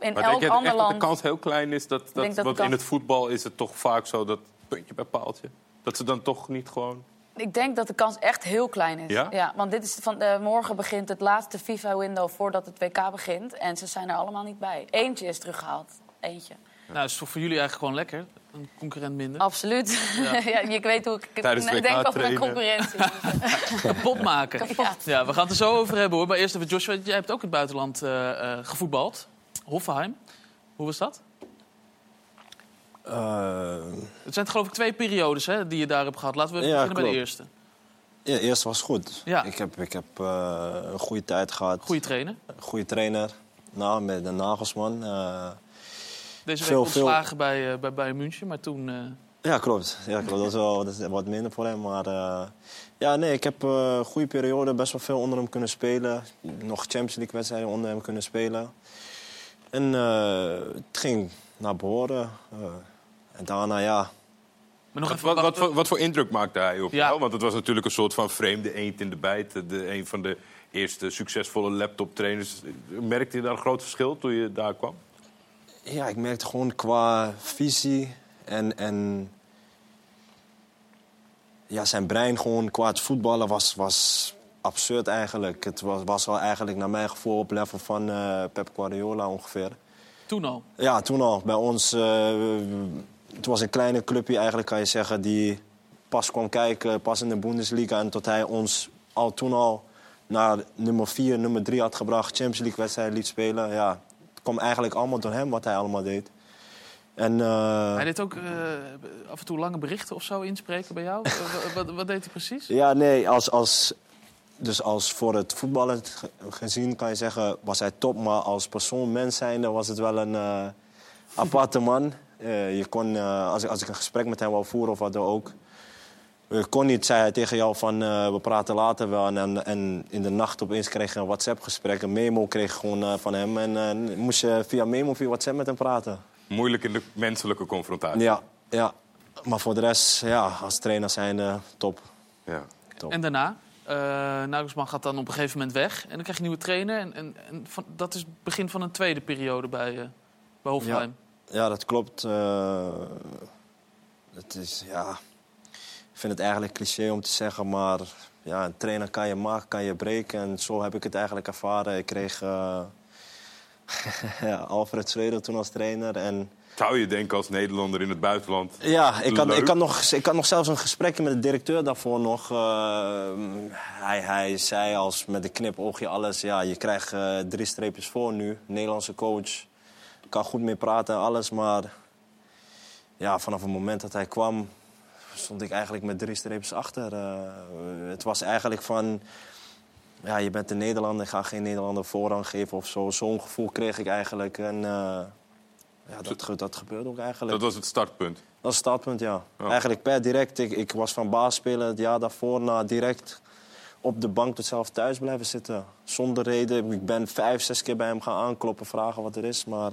Speaker 7: in
Speaker 2: Maar denk
Speaker 7: elk
Speaker 2: je echt
Speaker 7: ander
Speaker 2: dat de
Speaker 7: land...
Speaker 2: kans heel klein is? Dat,
Speaker 7: denk
Speaker 2: dat,
Speaker 7: dat de
Speaker 2: want in
Speaker 7: kans-
Speaker 2: het voetbal is het toch vaak zo dat puntje bij paaltje. Dat ze dan toch niet gewoon...
Speaker 7: Ik denk dat de kans echt heel klein is.
Speaker 2: Ja?
Speaker 7: want dit is van, eh, morgen begint het laatste FIFA-window voordat het WK begint. En ze zijn er allemaal niet bij. Eentje is teruggehaald. Eentje.
Speaker 1: Nou, is toch voor jullie eigenlijk gewoon lekker? Een concurrent minder.
Speaker 7: Absoluut.
Speaker 1: Ja.
Speaker 7: (laughs) Ja. ik weet hoe
Speaker 2: (laughs)
Speaker 7: ik (laughs)
Speaker 1: Tijdens het
Speaker 7: denk
Speaker 1: WK
Speaker 7: over mijn
Speaker 1: trainen.
Speaker 7: concurrentie.
Speaker 1: Kapot maken.
Speaker 7: Kapot.
Speaker 1: Ja, we gaan het er zo over hebben hoor. Maar eerst even Joshua, jij hebt ook in het buitenland eh, eh, gevoetbald. Hoffenheim. Hoe was dat? Het zijn geloof ik twee periodes hè, die je daar hebt gehad. Laten we
Speaker 8: Eh. Ja,
Speaker 1: beginnen bij de
Speaker 8: klopt.
Speaker 1: eerste.
Speaker 8: Ja, eerst was het goed.
Speaker 1: Ja.
Speaker 8: Ik heb, ik heb eh, een goede tijd gehad.
Speaker 1: Goede trainer.
Speaker 8: Goede trainer. Nou, met de Nagelsman. eh,
Speaker 1: Deze week
Speaker 8: Veel, veel-
Speaker 1: ontslagen bij, eh bij Bayern München, maar toen... eh,
Speaker 8: ja, klopt. Ja, klopt. Dat, is wel, dat is wat minder voor hem. Maar eh, ja, nee, ik heb eh, een goede periode. Best wel veel onder hem kunnen spelen. Nog Champions League wedstrijden onder hem kunnen spelen. En eh, het ging naar behoren. eh. en daarna, ja,
Speaker 2: Wat, wat, wat, voor- wat voor indruk maakte hij op jou? Want het was natuurlijk een soort van vreemde eend in de bijt. De, een van de eerste succesvolle laptoptrainers. Merkte je daar een groot verschil toen je daar kwam?
Speaker 8: Ja, ik merkte gewoon qua visie en, en ja, zijn brein gewoon qua het voetballen was, was absurd eigenlijk. Het was, was wel eigenlijk naar mijn gevoel op level van eh, Pep Guardiola ongeveer.
Speaker 1: toen al.
Speaker 8: Ja, toen al. Bij ons, eh, het was een kleine clubje eigenlijk kan je zeggen... die pas kwam kijken, pas in de Bundesliga... en tot hij ons al toen al naar nummer 4, nummer 3 had gebracht... Champions League wedstrijden liet spelen. Ja, het kwam eigenlijk allemaal door hem wat hij allemaal deed. En, eh,
Speaker 1: Hij deed ook eh, af en toe lange berichten of zo inspreken bij
Speaker 8: (laughs)
Speaker 1: jou. Eh, wat, wat deed hij precies?
Speaker 8: Ja, nee, als, als, dus als voor het voetballen ge- gezien kan je zeggen, was hij top. Maar als persoon, mens zijnde, was het wel een eh, aparte man. Eh, je kon, eh, als, ik- als ik een gesprek met hem wou voeren of wat dan ook... eh, kon niet, zei hij tegen jou van, eh, we praten later wel. En, en, en in de nacht opeens kreeg je een WhatsApp-gesprek. Een memo kreeg je gewoon eh, van hem. En eh, moest je via memo, via WhatsApp met hem praten.
Speaker 2: Moeilijk in de menselijke confrontatie.
Speaker 8: Ja, ja. Maar voor de rest, ja, als trainer zijnde, top.
Speaker 2: Ja.
Speaker 8: Top.
Speaker 1: En daarna? eh Nagelsman gaat dan op een gegeven moment weg. En dan krijg je nieuwe trainer. En, en, en van, dat is het begin van een tweede periode bij, eh, bij Hoffenheim.
Speaker 8: Ja, dat klopt. Eh, het is, ja... Ik vind het eigenlijk cliché om te zeggen, maar... Ja, een trainer kan je maken, kan je breken. En zo heb ik het eigenlijk ervaren. Ik kreeg eh, (laughs) ja, Alfred Schreuder toen als trainer. En
Speaker 2: Zou je denken als Nederlander in het buitenland?
Speaker 8: ja, ik had,
Speaker 2: Leuk.
Speaker 8: ik, had nog, ik had nog zelfs een gesprekje met de directeur daarvoor nog. Eh, hij, hij zei als met een knipoogje alles. Ja, je krijgt eh, drie streepjes voor nu. Nederlandse coach. Kan goed mee praten en alles. Maar ja, vanaf het moment dat hij kwam, stond ik eigenlijk met drie streepjes achter. Eh, het was eigenlijk van... Ja, je bent een Nederlander, ik ga geen Nederlander voorrang geven of zo. Zo'n gevoel kreeg ik eigenlijk. En eh, ja, dat, ge- dat gebeurde ook eigenlijk.
Speaker 2: Dat was het startpunt.
Speaker 8: Dat is het startpunt, ja. Eigenlijk per direct. Ik, ik was van baasspeler het jaar daarvoor naar direct op de bank tot zelf thuis blijven zitten. Zonder reden. Ik ben vijf, zes keer bij hem gaan aankloppen, vragen wat er is, maar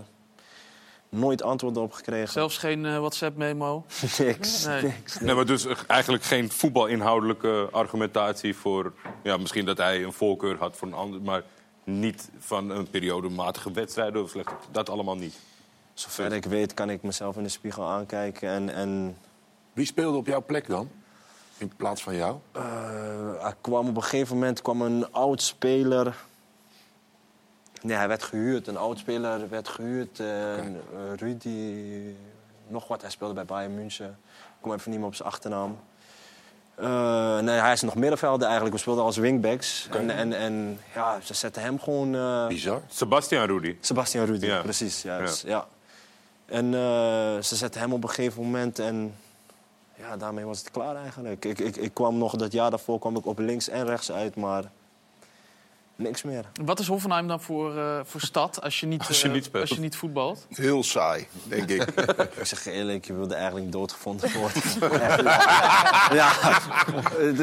Speaker 8: nooit antwoord op gekregen.
Speaker 1: Zelfs geen eh, WhatsApp-memo.
Speaker 8: (laughs) Niks.
Speaker 1: Nee.
Speaker 2: Nee, maar dus eigenlijk geen voetbalinhoudelijke argumentatie voor... Ja, misschien dat hij een voorkeur had voor een ander... maar niet van een periode matige wedstrijden of slecht. Dat allemaal niet.
Speaker 8: Zover ik weet kan ik mezelf in de spiegel aankijken en... en...
Speaker 5: Wie speelde op jouw plek dan? In plaats van jou?
Speaker 8: Eh, er kwam op een gegeven moment kwam een oud speler Nee, hij werd gehuurd. Een oud-speler werd gehuurd. Eh eh, Rudy, nog wat. Hij speelde bij Bayern München. Ik kom even niet meer op zijn achternaam. Eh, nee, hij is nog middenvelder eigenlijk. We speelden als wingbacks. En, en, en ja, ze zetten hem gewoon... eh,
Speaker 16: Bizar.
Speaker 2: Sebastian Rudy.
Speaker 8: Sebastian Rudy, precies. Ja, dus, ja. En eh, ze zetten hem op een gegeven moment en ja, daarmee was het klaar eigenlijk. Ik, ik, ik kwam nog dat jaar daarvoor kwam ik op links en rechts uit, maar niks meer.
Speaker 1: Wat is Hoffenheim dan voor, eh, voor stad als je niet,
Speaker 8: Als je
Speaker 1: eh,
Speaker 8: niet speelt.
Speaker 1: als je niet voetbalt?
Speaker 8: Heel saai, denk ik. (laughs) ik zeg je eerlijk, je wilde eigenlijk doodgevonden (laughs) worden. ja,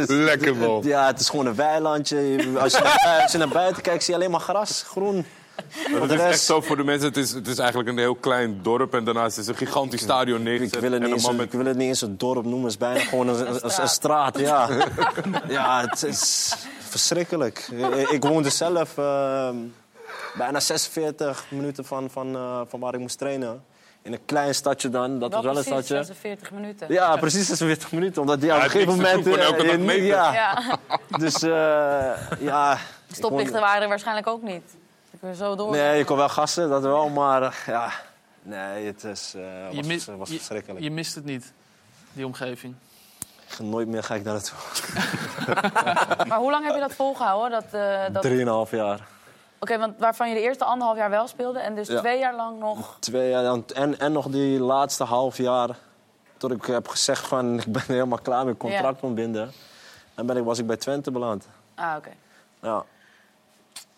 Speaker 8: Lekker man. Ja, het is gewoon een weilandje. Als je naar, als je naar buiten kijkt, zie je alleen maar gras, groen.
Speaker 2: Het is echt zo voor de mensen. Het is, het is eigenlijk een heel klein dorp en daarnaast is een gigantisch stadion neergezet.
Speaker 8: Ik wil, het
Speaker 2: en
Speaker 8: niet
Speaker 2: een
Speaker 8: eens,
Speaker 2: man met
Speaker 8: ik wil het niet eens een dorp noemen, het is bijna gewoon (laughs) een, een, een- een straat. (laughs) Ja, ja het is verschrikkelijk. Ik, ik woonde zelf ehm, bijna 46 minuten van, van, eh, van waar ik moest trainen. In een klein stadje dan, dat was wel een
Speaker 7: precies
Speaker 8: stadje.
Speaker 7: 46 minuten.
Speaker 8: Ja, precies 46 minuten, omdat die op
Speaker 7: Ja,
Speaker 8: een
Speaker 7: het
Speaker 8: gegeven
Speaker 7: niks te
Speaker 8: moment...
Speaker 7: doen, gewoon
Speaker 8: eh,
Speaker 7: elke dag
Speaker 8: je-
Speaker 7: meten.
Speaker 8: ja. (laughs)
Speaker 7: Ja.
Speaker 8: Dus eh (laughs) ja... ik
Speaker 7: Stoplichten
Speaker 8: woonde-
Speaker 7: waren er waarschijnlijk ook niet. Ik ben zo door.
Speaker 8: Nee, je kon wel gassen, dat wel, maar eh, ja... Nee, het is, eh, was,
Speaker 1: mis-
Speaker 8: was
Speaker 1: je-
Speaker 8: verschrikkelijk.
Speaker 1: Je mist het niet, die omgeving.
Speaker 8: Nooit meer ga ik daar naartoe.
Speaker 7: Maar hoe lang heb je dat volgehouden? Dat, eh, dat... Oké,
Speaker 8: Drieënhalf jaar.
Speaker 7: want waarvan je de eerste anderhalf jaar wel speelde en dus
Speaker 8: Ja.
Speaker 7: twee jaar lang nog.
Speaker 8: Twee jaar dan- en, en nog die laatste half jaar. Tot ik heb gezegd van (laughs) ik ben er helemaal klaar met contract ontbinden. En ben ik, was ik bij Twente beland.
Speaker 7: Ah, oké.
Speaker 8: Ja.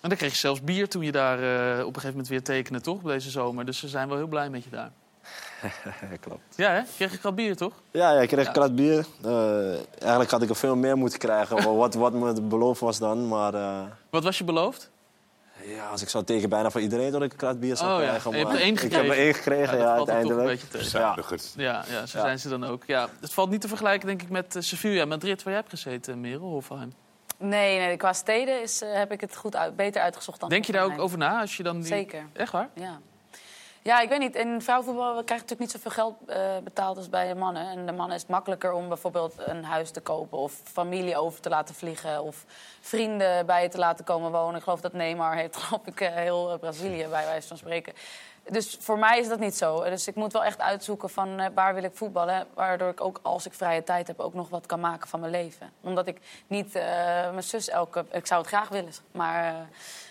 Speaker 1: En dan kreeg je zelfs bier toen je daar eh, op een gegeven moment weer tekende, toch? Deze zomer. Dus ze zijn wel heel blij met je daar.
Speaker 8: Klopt.
Speaker 1: Ja, hè? Kreeg je al bier, toch?
Speaker 8: Ja, ja, ik kreeg
Speaker 1: Ja.
Speaker 8: een krat bier. Eh, eigenlijk had ik er veel meer moeten krijgen, wat, wat me beloofd was dan. Maar eh,
Speaker 1: Wat was je beloofd?
Speaker 8: ja, als ik zou tegen bijna van iedereen dat ik een krat bier zou
Speaker 1: Oh, ja.
Speaker 8: krijgen.
Speaker 1: En je hebt
Speaker 8: maar
Speaker 1: er één
Speaker 8: ik heb er
Speaker 1: gekregen.
Speaker 8: één gekregen,
Speaker 1: Ja,
Speaker 8: ja,
Speaker 1: dat valt dan toch een
Speaker 8: uiteindelijk.
Speaker 1: beetje tegen.
Speaker 8: Ja.
Speaker 1: Ja, ja zo
Speaker 8: Ja.
Speaker 1: zijn ze dan ook. Ja, het valt niet te vergelijken, denk ik, met eh, Sevilla, Madrid, waar jij hebt gezeten, Merel Hoffenheim.
Speaker 7: Nee, nee, qua steden is, eh, heb ik het goed uit, beter uitgezocht dan.
Speaker 1: Denk je daar ook
Speaker 7: Hoffenheim.
Speaker 1: over na als je dan die...
Speaker 7: Zeker.
Speaker 1: Echt waar?
Speaker 7: Ja. Ja, ik weet niet. In vrouwenvoetbal krijg je natuurlijk niet zoveel geld eh, betaald als bij de mannen. En de mannen is het makkelijker om bijvoorbeeld een huis te kopen... of familie over te laten vliegen of vrienden bij je te laten komen wonen. Ik geloof dat Neymar (laughs) heeft, geloof ik, eh, heel eh, Brazilië bij wijze van spreken. Dus voor mij is dat niet zo. Dus ik moet wel echt uitzoeken van eh, waar wil ik voetballen. Waardoor ik ook, als ik vrije tijd heb, ook nog wat kan maken van mijn leven. Omdat ik niet eh, mijn zus elke... Ik zou het graag willen, maar... eh,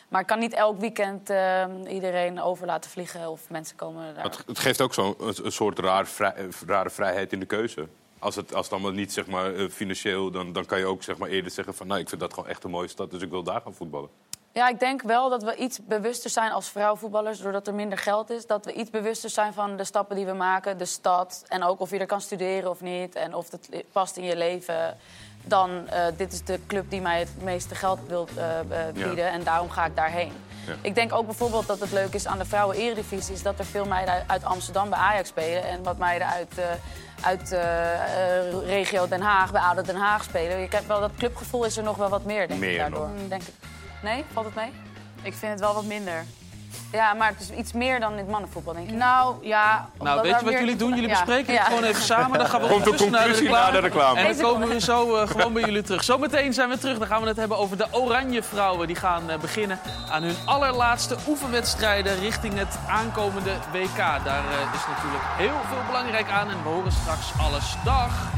Speaker 7: maar ik kan niet elk weekend eh, iedereen over laten vliegen of mensen komen daar.
Speaker 2: Het, het geeft ook zo'n een, een soort raar vrij- eh, rare vrijheid in de keuze. Als het, als het allemaal niet zeg maar, eh, financieel, dan, dan kan je ook zeg maar, eerder zeggen van... nou, ik vind dat gewoon echt een mooie stad, dus ik wil daar gaan voetballen.
Speaker 7: Ja, ik denk wel dat we iets bewuster zijn als vrouwvoetballers, doordat er minder geld is. Dat we iets bewuster zijn van de stappen die we maken, de stad. En ook of je er kan studeren of niet. En of dat li- past in je leven. Dan, eh, dit is de club die mij het meeste geld wil eh, eh, bieden.
Speaker 17: Ja.
Speaker 7: En daarom ga ik daarheen.
Speaker 17: Ja.
Speaker 7: Ik denk ook bijvoorbeeld dat het leuk is aan de vrouwen-eredivisie... is dat er veel meiden uit- uit Amsterdam bij Ajax spelen... en wat meiden uit, eh, uit eh, eh, regio Den Haag bij ADO Den Haag spelen. Ik heb wel, dat clubgevoel is er nog wel wat meer, denk
Speaker 18: Meer
Speaker 7: ik, daardoor.
Speaker 18: nog.
Speaker 7: Denk ik. Nee? Valt het mee?
Speaker 18: Ik vind het wel wat minder.
Speaker 7: Ja, maar het is iets meer dan in het mannenvoetbal, denk ik.
Speaker 18: Nou, ja...
Speaker 1: Nou, weet je wat jullie doen? Jullie bespreken het gewoon even
Speaker 18: (laughs)
Speaker 1: samen. Dan gaan we
Speaker 2: Komt de
Speaker 1: ondertussen
Speaker 2: conclusie na de reclame.
Speaker 1: En
Speaker 2: Deze
Speaker 1: dan komen we zo eh, gewoon bij jullie terug. Zometeen zijn we terug. Dan gaan we het hebben over de Oranje Vrouwen. Die gaan eh, beginnen aan hun allerlaatste oefenwedstrijden richting het aankomende WK. Daar eh, is natuurlijk heel veel belangrijk aan. En we horen straks alles. Dag!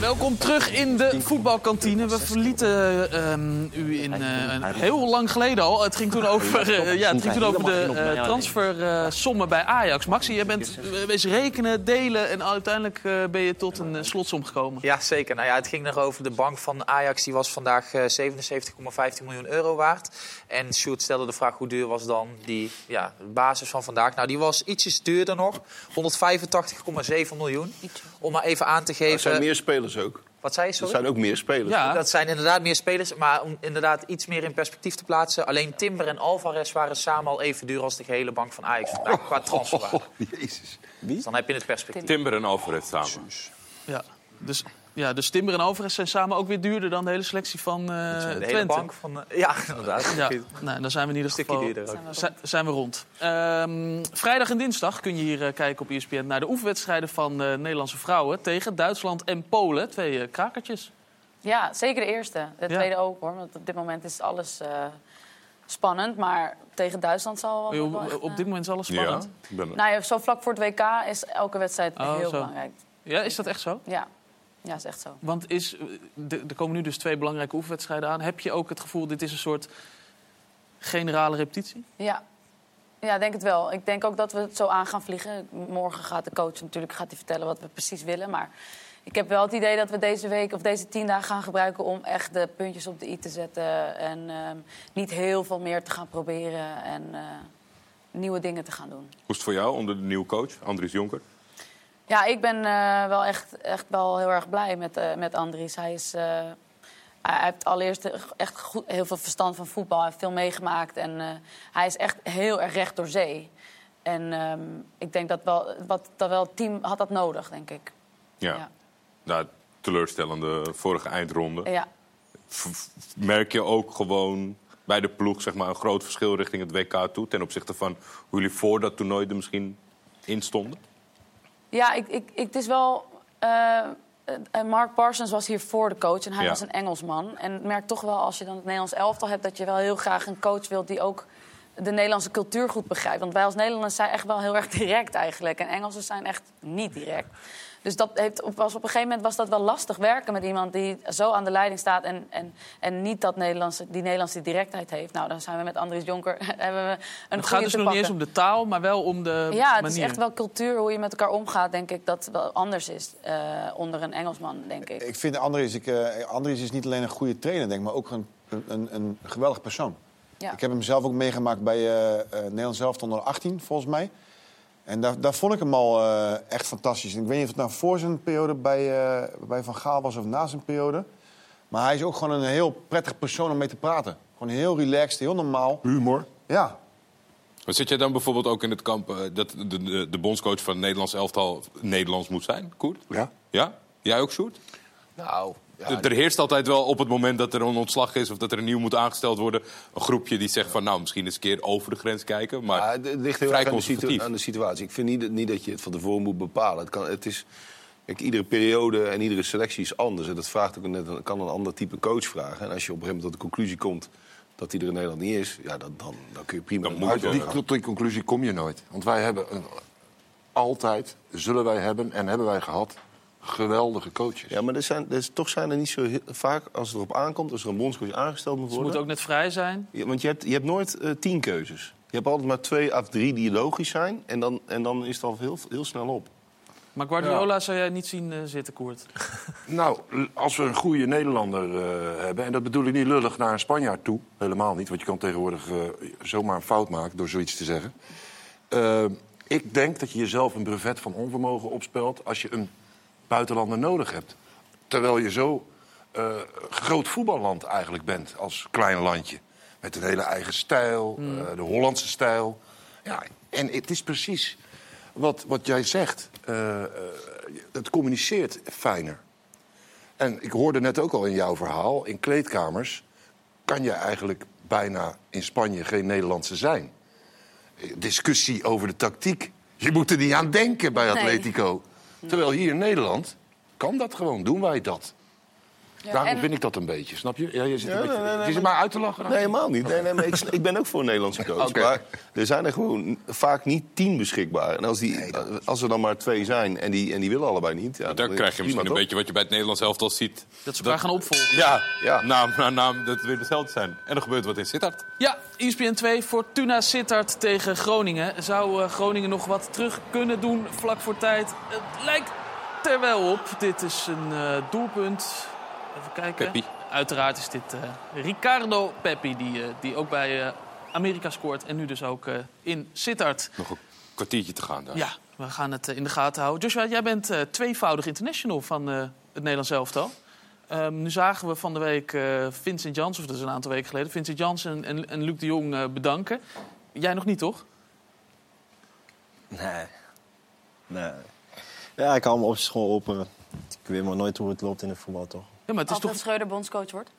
Speaker 1: Welkom terug in de voetbalkantine. We verlieten ehm, u in, eh, een heel lang geleden al. Het ging toen over, eh, ja, het ging toen over de eh, transfersommen bij Ajax. Maxi, jij bent eh, wees rekenen, delen en uiteindelijk eh, ben je tot een eh, slotsom gekomen.
Speaker 9: Ja, zeker. Nou ja, het ging nog over de bank van Ajax. Die was vandaag eh, 77,15 miljoen euro waard. En Sjoerd stelde de vraag hoe duur was dan die ja, basis van vandaag. Nou, die was ietsjes duurder nog. 185,7 miljoen. Om maar even aan te geven...
Speaker 6: Er zijn meer spelers ook.
Speaker 9: Wat zei je, sorry?
Speaker 6: Er zijn ook meer spelers.
Speaker 9: Dat zijn inderdaad meer spelers, maar om inderdaad iets meer in perspectief te plaatsen. Alleen Timber en Alvarez waren samen al even duur als de gehele bank van Ajax
Speaker 6: Oh.
Speaker 9: vandaag, qua
Speaker 8: Oh,
Speaker 9: transferwaarde.
Speaker 6: Jezus.
Speaker 9: Dus dan heb je het perspectief.
Speaker 8: Oh,
Speaker 2: Timber en Alfred samen.
Speaker 1: Ja, dus Ja, dus Timber en Alvarez zijn samen ook weer duurder dan de hele selectie van eh
Speaker 9: de hele
Speaker 1: Twente.
Speaker 9: bank van, eh, ja, inderdaad.
Speaker 1: Ja, nou, dan zijn we in ieder
Speaker 9: Stukje
Speaker 1: geval
Speaker 9: duurder ook.
Speaker 1: zi- zijn we rond. Ehm, vrijdag en dinsdag kun je hier eh, kijken op ESPN naar de oefenwedstrijden van eh, Nederlandse vrouwen tegen Duitsland en Polen. Twee eh, krakertjes.
Speaker 7: Ja, zeker de eerste. De
Speaker 1: Ja.
Speaker 7: tweede ook hoor, want op dit moment is alles eh, spannend. Maar tegen Duitsland zal wel...
Speaker 1: Op,
Speaker 7: wel echt,
Speaker 1: op
Speaker 7: eh,
Speaker 1: dit moment is alles spannend.
Speaker 7: Nou ja, zo vlak voor het WK is elke wedstrijd
Speaker 1: Oh,
Speaker 7: heel
Speaker 1: zo.
Speaker 7: belangrijk.
Speaker 1: Ja, is dat echt zo?
Speaker 7: Ja. ja, is echt zo.
Speaker 1: Want is, eh, de- er komen nu dus twee belangrijke oefenwedstrijden aan. Heb je ook het gevoel, dit is een soort generale repetitie?
Speaker 7: Ja. ja, ik denk het wel. Ik denk ook dat we het zo aan gaan vliegen. Morgen gaat de coach natuurlijk gaat hij vertellen wat we precies willen. Maar ik heb wel het idee dat we deze week of deze tien dagen gaan gebruiken... om echt de puntjes op de i te zetten. En ehm, niet heel veel meer te gaan proberen. En eh, nieuwe dingen te gaan doen.
Speaker 2: Hoe is het voor jou onder de nieuwe coach, Andries Jonker?
Speaker 7: Ja, ik ben eh, wel echt, echt wel heel erg blij met, eh, met Andries. Hij, is, eh, hij, hij heeft allereerst echt goed, heel veel verstand van voetbal. Hij heeft veel meegemaakt. En eh, hij is echt heel erg recht door zee. En ehm, ik denk dat wel, wat, dat wel het team had dat nodig, denk ik.
Speaker 2: Ja.
Speaker 7: Ja.
Speaker 2: Nou, teleurstellende vorige eindronde.
Speaker 7: Ja,
Speaker 2: V- v- Merk je ook gewoon bij de ploeg zeg maar, een groot verschil richting het WK toe... ten opzichte van hoe jullie voor dat toernooi er misschien in stonden?
Speaker 7: ja ik, ik, ik, het is wel... eh, eh, Mark Parsons was hier voor de coach en hij
Speaker 2: Ja.
Speaker 7: was een Engelsman. En ik merk toch wel, als je dan het Nederlands elftal hebt... dat je wel heel graag een coach wilt die ook de Nederlandse cultuur goed begrijpt. Want wij als Nederlanders zijn echt wel heel erg (laughs) direct eigenlijk. En Engelsen zijn echt niet direct. Dus dat heeft, op- was op een gegeven moment was dat wel lastig werken met iemand die zo aan de leiding staat en, en, en niet dat Nederlandse, die Nederlandse directheid heeft. Nou, dan zijn we met Andries Jonker (laughs) hebben we een
Speaker 1: het gaat
Speaker 7: goeie
Speaker 1: dus
Speaker 7: te
Speaker 1: nog niet eens
Speaker 7: pakken.
Speaker 1: om de taal, maar wel om de
Speaker 7: Ja,
Speaker 1: eh, manier.
Speaker 7: het is echt wel cultuur, hoe je met elkaar omgaat, denk ik, dat wel anders is eh, onder een Engelsman, denk ik.
Speaker 4: Ik vind Andries, ik, eh, Andries is niet alleen een goede trainer, denk ik, maar ook een, een, een geweldig persoon.
Speaker 7: Ja.
Speaker 4: Ik heb hem zelf ook meegemaakt bij eh eh Nederland zelf onder 18, volgens mij. En daar, daar vond ik hem al eh, echt fantastisch. En ik weet niet of het nou voor zijn periode bij, eh, bij Van Gaal was of na zijn periode. Maar hij is ook gewoon een heel prettig persoon om mee te praten. Gewoon heel relaxed, heel normaal.
Speaker 5: Humor.
Speaker 4: Ja.
Speaker 2: Maar zit jij dan bijvoorbeeld ook in het kamp eh, dat de, de, de bondscoach van het Nederlands elftal Nederlands moet zijn, Koert?
Speaker 5: Ja.
Speaker 2: Ja? Jij ook, Sjoerd?
Speaker 5: Nou,
Speaker 2: er er heerst altijd wel op het moment dat er een ontslag is... of dat er een nieuw moet aangesteld worden... een groepje die zegt van nou, misschien eens een keer over de grens kijken. Maar
Speaker 6: Ja, het het ligt heel
Speaker 2: vrij
Speaker 6: erg aan de, situ-
Speaker 2: conservatief.
Speaker 6: aan de situatie. Ik vind niet, dat- niet dat je het van tevoren moet bepalen. Het, kan, het is, kijk, iedere periode en iedere selectie is anders. En dat vraagt ook net, een- kan een ander type coach vragen. En als je op een gegeven moment tot de conclusie komt dat hij er in Nederland niet is... Ja, dan, dan, dan kun je prima naar
Speaker 5: Maar
Speaker 2: eh.
Speaker 6: buiten
Speaker 5: die,
Speaker 6: gaan.
Speaker 5: tot die conclusie kom je nooit. Want wij hebben een- altijd, zullen wij hebben en hebben wij gehad, geweldige coaches.
Speaker 6: Ja, maar er zijn, er, is- toch zijn er niet zo heel- vaak, als het erop aankomt... als er een bondscoach aangesteld moet
Speaker 1: Ze
Speaker 6: worden...
Speaker 1: moeten ook net vrij zijn.
Speaker 6: Ja, want je hebt, je hebt nooit eh, tien keuzes. Je hebt altijd maar twee of drie die logisch zijn. En dan, en dan is het al heel, heel snel op.
Speaker 1: Maar Guardiola zou jij niet zien eh, zitten, Koert.
Speaker 5: Nou, l- als we een goede Nederlander eh, hebben... en dat bedoel ik niet lullig naar een Spanjaard toe, helemaal niet... want je kan tegenwoordig eh, zomaar een fout maken door zoiets te zeggen. Eh, ik denk dat je jezelf een brevet van onvermogen opspelt... als je een buitenlander nodig hebt. Terwijl je zo eh, groot voetballand eigenlijk bent als klein landje. Met een hele eigen stijl, eh, de Hollandse stijl. Ja, en het is precies wat, wat jij zegt. Eh, eh, het communiceert fijner. En ik hoorde net ook al in jouw verhaal, in kleedkamers kan je eigenlijk bijna in Spanje geen Nederlandse zijn. Eh, Discussie over de tactiek. Je moet er niet aan denken bij
Speaker 7: Nee.
Speaker 5: Atletico. Terwijl hier in Nederland kan dat gewoon, doen wij dat. Daarom
Speaker 7: en-
Speaker 5: vind ik dat een beetje, snap je? Ja, je zit een
Speaker 6: Ja,
Speaker 5: beetje,
Speaker 6: nee, nee, nee,
Speaker 5: het is er
Speaker 6: maar-
Speaker 5: maar uit te lachen.
Speaker 6: Nee, helemaal niet. Nee, nee, maar ik, ik ben ook voor een Nederlandse
Speaker 5: (laughs)
Speaker 6: coach.
Speaker 5: Oké.
Speaker 6: Maar er zijn er gewoon vaak niet tien beschikbaar. En als, die, eh, als er dan maar twee zijn en die, en die willen allebei niet... Ja,
Speaker 2: Dan krijg je misschien een beetje wat je bij het Nederlands elftal ziet.
Speaker 1: Dat ze elkaar gaan opvolgen.
Speaker 2: Ja, ja. naam na naam, dat het weer dezelfde zijn. En er gebeurt wat in Sittard.
Speaker 1: Ja, E ESPN 2, Fortuna Sittard tegen Groningen. Zou eh, Groningen nog wat terug kunnen doen vlak voor tijd? Het lijkt er wel op. Dit is een eh, doelpunt. Even kijken.
Speaker 2: Peppi.
Speaker 1: Uiteraard is dit eh, Ricardo Peppi, die, eh, die ook bij eh, Amerika scoort. En nu dus ook eh, in Sittard.
Speaker 2: Nog een kwartiertje te gaan daar.
Speaker 1: Ja, we gaan het eh, in de gaten houden. Joshua, jij bent eh, tweevoudig international van eh, het Nederlands elftal. Ehm, nu zagen we van de week eh, Vincent Jans, of dat is een aantal weken geleden... Vincent Jans en, en, en Luc de Jong eh, bedanken. Jij nog niet, toch?
Speaker 19: Nee. Nee.
Speaker 8: Ja, ik hou mijn opties gewoon open. Ik weet maar nooit hoe het loopt in het voetbal, toch?
Speaker 1: Ja, maar het
Speaker 7: is toch... Schreuder bondscoach wordt.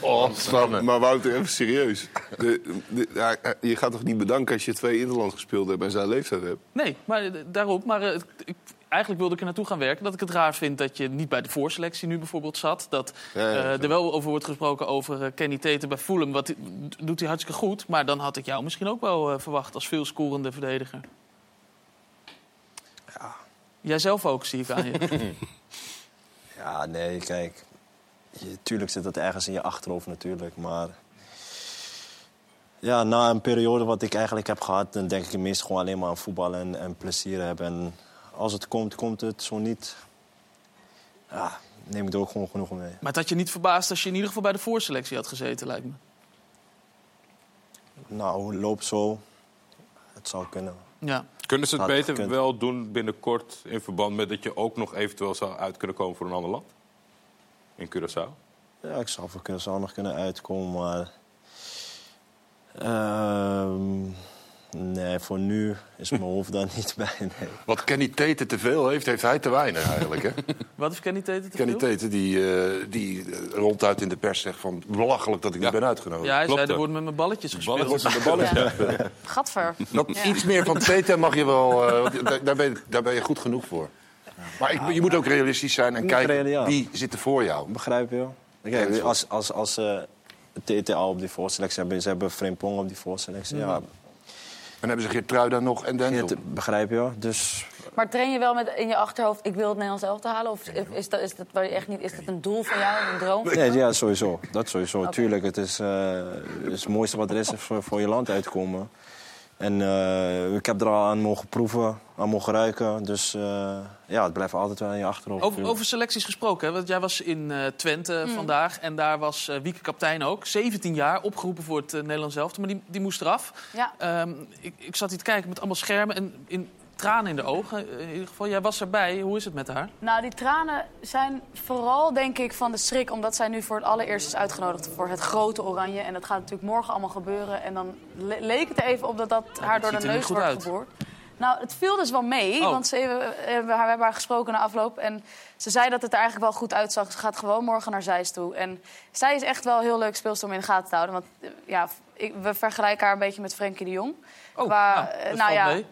Speaker 6: Oh, maar, maar Wouter, even serieus. De- de- ja, eh, je gaat toch niet bedanken als je twee Interland gespeeld hebt en zijn leeftijd hebt?
Speaker 1: Nee, maar eh, daarop. Maar eh, ik, eigenlijk wilde ik er naartoe gaan werken. Dat ik het raar vind dat je niet bij de voorselectie nu bijvoorbeeld zat. Dat
Speaker 6: ja,
Speaker 1: eh,
Speaker 6: zo.
Speaker 1: er wel over wordt gesproken over eh, Kenny Teten bij Fulham. Wat die- doet hij hartstikke goed. Maar dan had ik jou misschien ook wel eh, verwacht als veelscorende verdediger. Jijzelf ook, zie ik aan
Speaker 5: (laughs)
Speaker 1: je.
Speaker 8: (laughs) Ja, nee, kijk. Je, tuurlijk zit dat ergens in je achterhoofd natuurlijk, maar... Ja, na een periode wat ik eigenlijk heb gehad... dan denk ik meestal gewoon alleen maar aan voetbal en, en plezier hebben. En als het komt, komt het. Zo niet... Ja, neem ik er ook gewoon genoegen mee.
Speaker 1: maar het had je niet verbaasd als je in ieder geval bij de voorselectie had gezeten, lijkt me.
Speaker 8: Nou, loop zo. Het zou kunnen.
Speaker 1: Ja.
Speaker 2: Kunnen ze het
Speaker 8: Had
Speaker 2: beter
Speaker 8: gekund.
Speaker 2: wel doen binnenkort in verband met dat je ook nog eventueel zou uit kunnen komen voor een ander land? In Curaçao?
Speaker 8: Ja, ik zou voor zou nog kunnen uitkomen, maar... ehm, nee, voor nu is mijn hoofd daar (laughs) niet bij, nee.
Speaker 5: Wat Kenny Teten te veel heeft, heeft hij te weinig eigenlijk. Hè?
Speaker 7: (laughs)
Speaker 1: Wat heeft Kenny Teten te
Speaker 5: Kenny
Speaker 1: veel?
Speaker 5: Teten die, eh, die eh, ronduit in de pers zegt van belachelijk dat ik niet ben uitgenodigd.
Speaker 1: Ja, hij zei, er
Speaker 5: dat.
Speaker 1: worden met mijn balletjes gespeeld.
Speaker 5: Balletjes met Oh, de balletjes. (laughs)
Speaker 7: Gadver.
Speaker 5: Dat,
Speaker 7: Ja.
Speaker 5: Iets meer van Teten mag je wel, eh, want daar, daar ben je, daar ben je goed genoeg voor. Maar ik, je moet ook realistisch zijn en
Speaker 8: Moet
Speaker 5: kijken
Speaker 8: reële- ja.
Speaker 5: wie zit er voor jou. dus-
Speaker 8: Begrijp je? Kijk, als, als, als eh, ze TTA op die voorselectie hebben, ze hebben Frimpong op die voorselectie, ja.
Speaker 5: Ja. En hebben ze Geertruida nog en Denzel.
Speaker 8: begrijp je? Dus
Speaker 20: Maar train je wel met in je achterhoofd, ik wil het Nederlands elftal halen? Of is- is dat, is dat, waar je echt niet, is dat een doel van jou, een droom? van
Speaker 8: Nee,
Speaker 20: jou?
Speaker 8: ja, sowieso. Dat sowieso. Tuurlijk, het is, eh, het is het mooiste wat er is voor, voor je land uitkomen. En eh, ik heb er al aan mogen proeven, aan mogen ruiken. Dus eh, ja, het blijft altijd wel in je achterhoofd.
Speaker 1: Over,
Speaker 8: tuurlijk.
Speaker 1: over selecties gesproken, hè? want jij was in eh, Twente
Speaker 7: Mm.
Speaker 1: vandaag en daar was eh, Wieke kaptein ook, 17 jaar, opgeroepen voor het eh, Nederlands elftal, maar die, die moest eraf.
Speaker 7: Ja.
Speaker 1: Ehm, ik, ik zat hier te kijken met allemaal schermen en in, tranen in de ogen. Eh, In ieder geval, jij was erbij. Hoe is het met haar?
Speaker 7: Nou, die tranen zijn vooral, denk ik, van de schrik. Omdat zij nu voor het allereerst is uitgenodigd voor het grote oranje. En dat gaat natuurlijk morgen allemaal gebeuren. En dan le- leek het er even op dat dat haar door
Speaker 1: ziet
Speaker 7: de
Speaker 1: er niet
Speaker 7: neus
Speaker 1: goed
Speaker 7: wordt
Speaker 1: uit.
Speaker 7: geboord. Nou, het viel dus wel mee.
Speaker 1: Oh.
Speaker 7: Want ze hebben, hebben haar- we hebben haar gesproken na afloop. En ze zei dat het er eigenlijk wel goed uitzag. Ze gaat gewoon morgen naar Zeist toe. En zij is echt wel een heel leuk speelster om in de gaten te houden. Want eh, ja, ik- we vergelijken haar een beetje met Frenkie de Jong.
Speaker 1: Oh,
Speaker 7: Qua,
Speaker 1: nou,
Speaker 7: eh,
Speaker 1: dat valt mee.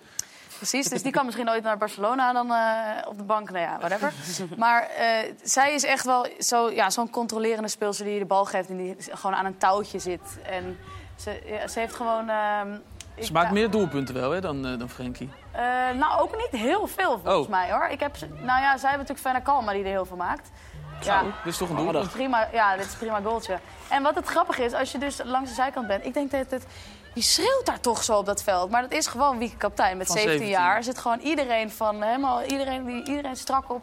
Speaker 7: Precies, dus die kan misschien ooit naar Barcelona dan eh, op de bank. Nou ja, whatever. Maar eh, zij is echt wel zo, ja, zo'n controlerende speelster die je de bal geeft... en die gewoon aan een touwtje zit. En ze, ja, ze heeft gewoon... ehm, ik-
Speaker 1: Ze maakt
Speaker 7: ja,
Speaker 1: meer doelpunten wel hè, dan, eh, dan Frenkie.
Speaker 7: eh, nou, ook niet heel veel volgens
Speaker 1: Oh.
Speaker 7: mij, hoor. Ik heb, ze- nou ja, zij hebben natuurlijk Fenna Kalma die er heel veel maakt. Ja,
Speaker 1: Dit is toch een
Speaker 7: dit is
Speaker 1: doelpunt?
Speaker 7: prima, ja, dit is een prima goaltje. En wat het grappige is, als je dus langs de zijkant bent... ik denk dat het... Wie schreeuwt daar toch zo op dat veld? Maar dat is gewoon Wieke Kaptein met
Speaker 1: Van
Speaker 7: 17,
Speaker 1: 17.
Speaker 7: jaar. Er zit gewoon iedereen van, eh, helemaal iedereen, die- iedereen strak op.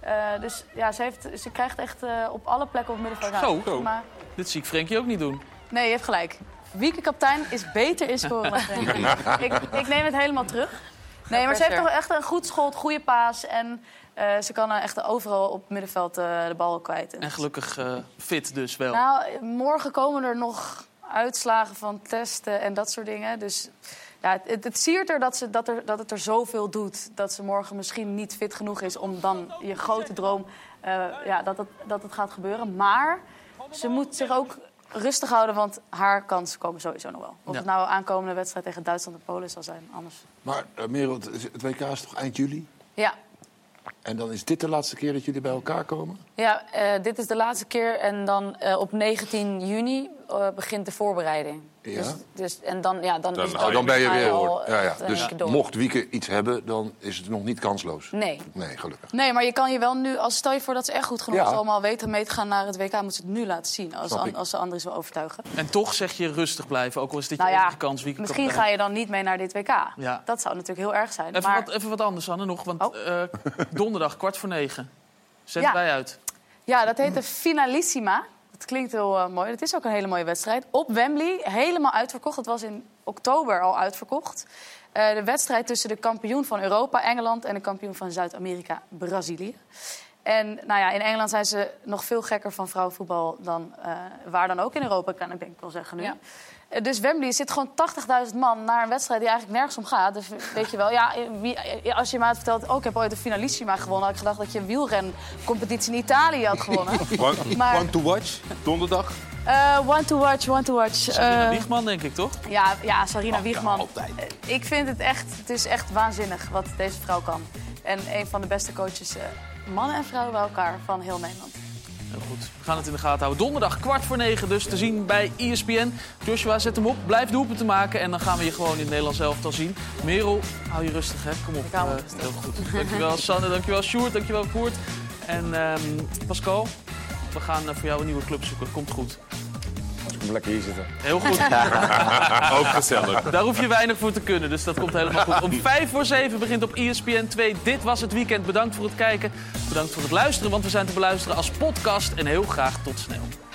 Speaker 7: Eh, dus ja, ze, heeft, ze krijgt echt eh, op alle plekken op het middenveld.
Speaker 1: Zo, zo.
Speaker 7: Maar,
Speaker 1: Dit zie ik Frenkie ook niet doen.
Speaker 7: nee, je hebt gelijk. Wieke Kaptein is beter in scoren dan Frenkie. ik, ik neem het helemaal terug. Nee, maar ze heeft toch echt een goed schot, goede paas. En eh, ze kan eh, echt overal op het middenveld eh, de bal kwijt.
Speaker 1: En gelukkig eh, fit dus wel.
Speaker 7: Nou, morgen komen er nog uitslagen van testen en dat soort dingen. Dus ja, het, het siert er dat, ze, dat er dat het er zoveel doet... dat ze morgen misschien niet fit genoeg is om dan je grote droom... eh, ja, dat, het, dat het gaat gebeuren. Maar ze moet zich ook rustig houden, want haar kansen komen sowieso nog wel. Of
Speaker 5: Ja.
Speaker 7: het nou aankomende wedstrijd tegen Duitsland en Polen zal zijn, anders.
Speaker 5: Maar eh, Merel, het is- het WK is toch eind juli?
Speaker 7: Ja,
Speaker 5: En dan is dit de laatste keer dat jullie bij elkaar komen?
Speaker 20: Ja, eh, dit is de laatste keer en dan eh, op 19 juni eh, begint de voorbereiding.
Speaker 5: Ja.
Speaker 20: Dus, dus, en dan, ja, dan,
Speaker 5: Dan,
Speaker 20: is dat
Speaker 5: oh, dan ben je
Speaker 20: volgens
Speaker 5: weer
Speaker 20: mij
Speaker 5: hoor.
Speaker 20: al,
Speaker 7: eh,
Speaker 5: Ja, ja.
Speaker 20: echt in
Speaker 5: Dus
Speaker 20: één keer door.
Speaker 5: mocht Wieke iets hebben, dan is het nog niet kansloos.
Speaker 7: nee.
Speaker 5: Nee, gelukkig.
Speaker 7: Nee, maar je kan je wel nu, als stel je voor dat ze echt goed genoeg
Speaker 5: Ja.
Speaker 7: is allemaal weten mee te gaan naar het WK, moet ze het nu laten zien. Als,
Speaker 1: Snap
Speaker 7: an-
Speaker 1: ik.
Speaker 7: als ze Andries wil overtuigen.
Speaker 1: En toch zeg je rustig blijven, ook al is dit
Speaker 7: Nou
Speaker 1: je
Speaker 7: ja,
Speaker 1: enige kans. Wieke
Speaker 7: Misschien
Speaker 1: Kaptein.
Speaker 7: ga je dan niet mee naar dit WK.
Speaker 1: Ja.
Speaker 7: Dat zou natuurlijk heel erg zijn.
Speaker 1: Even,
Speaker 7: maar Oh.
Speaker 1: wat, even wat anders, Anne, nog. Want eh, donderdag, kwart voor negen, zend
Speaker 7: Ja.
Speaker 1: wij uit.
Speaker 7: ja, dat heet de Finalissima. Dat klinkt heel eh, mooi. Dat is ook een hele mooie wedstrijd. Op Wembley, helemaal uitverkocht. Dat was in oktober al uitverkocht. Eh, de wedstrijd tussen de kampioen van Europa, Engeland... en de kampioen van Zuid-Amerika, Brazilië. En nou ja, in Engeland zijn ze nog veel gekker van vrouwenvoetbal dan eh, waar dan ook in Europa, kan ik denk ik wel zeggen nu. Eh, Dus Wembley zit gewoon 80.000 man naar een wedstrijd die eigenlijk nergens om gaat. Dus weet je wel, ja, eh, wie- eh, als je me had verteld, oh, ik heb ooit een finalissima gewonnen... had ik gedacht dat je een wielrencompetitie in Italië had gewonnen.
Speaker 10: (laughs)
Speaker 7: (laughs)
Speaker 10: One,
Speaker 7: Maar-
Speaker 10: one to watch, donderdag.
Speaker 7: Eh, one to watch, one to watch.
Speaker 1: Sarina
Speaker 7: Eh,
Speaker 1: Wiegman, denk ik, toch?
Speaker 7: Ja, ja
Speaker 10: Oh,
Speaker 7: Sarina Wiegman. Eh, Ik vind het echt, het is echt waanzinnig wat deze vrouw kan. En een van de beste coaches, eh, mannen en vrouwen bij elkaar, van heel Nederland.
Speaker 1: Heel Nou, goed. We gaan het in de gaten houden. Donderdag kwart voor negen dus te zien bij ESPN. Joshua, zet hem op. Blijf de hoepen te maken. En dan gaan we je gewoon in het Nederlands elftal zien. Merel, hou je rustig, hè. Kom op.
Speaker 7: hou me
Speaker 1: Eh, heel goed. Dankjewel, Sanne. Dankjewel, Sjoerd. Dankjewel, Koert. En ehm, Pascal, we gaan eh, voor jou een nieuwe club zoeken. Komt goed.
Speaker 21: Kom lekker hier zitten.
Speaker 1: Heel goed.
Speaker 10: Ook gezellig.
Speaker 1: Daar hoef je weinig voor te kunnen, dus dat komt helemaal goed. Om 5 voor 7 begint op E ESPN 2. Dit was het weekend. Bedankt voor het kijken. Bedankt voor het luisteren, want we zijn te beluisteren als podcast. En heel graag tot snel.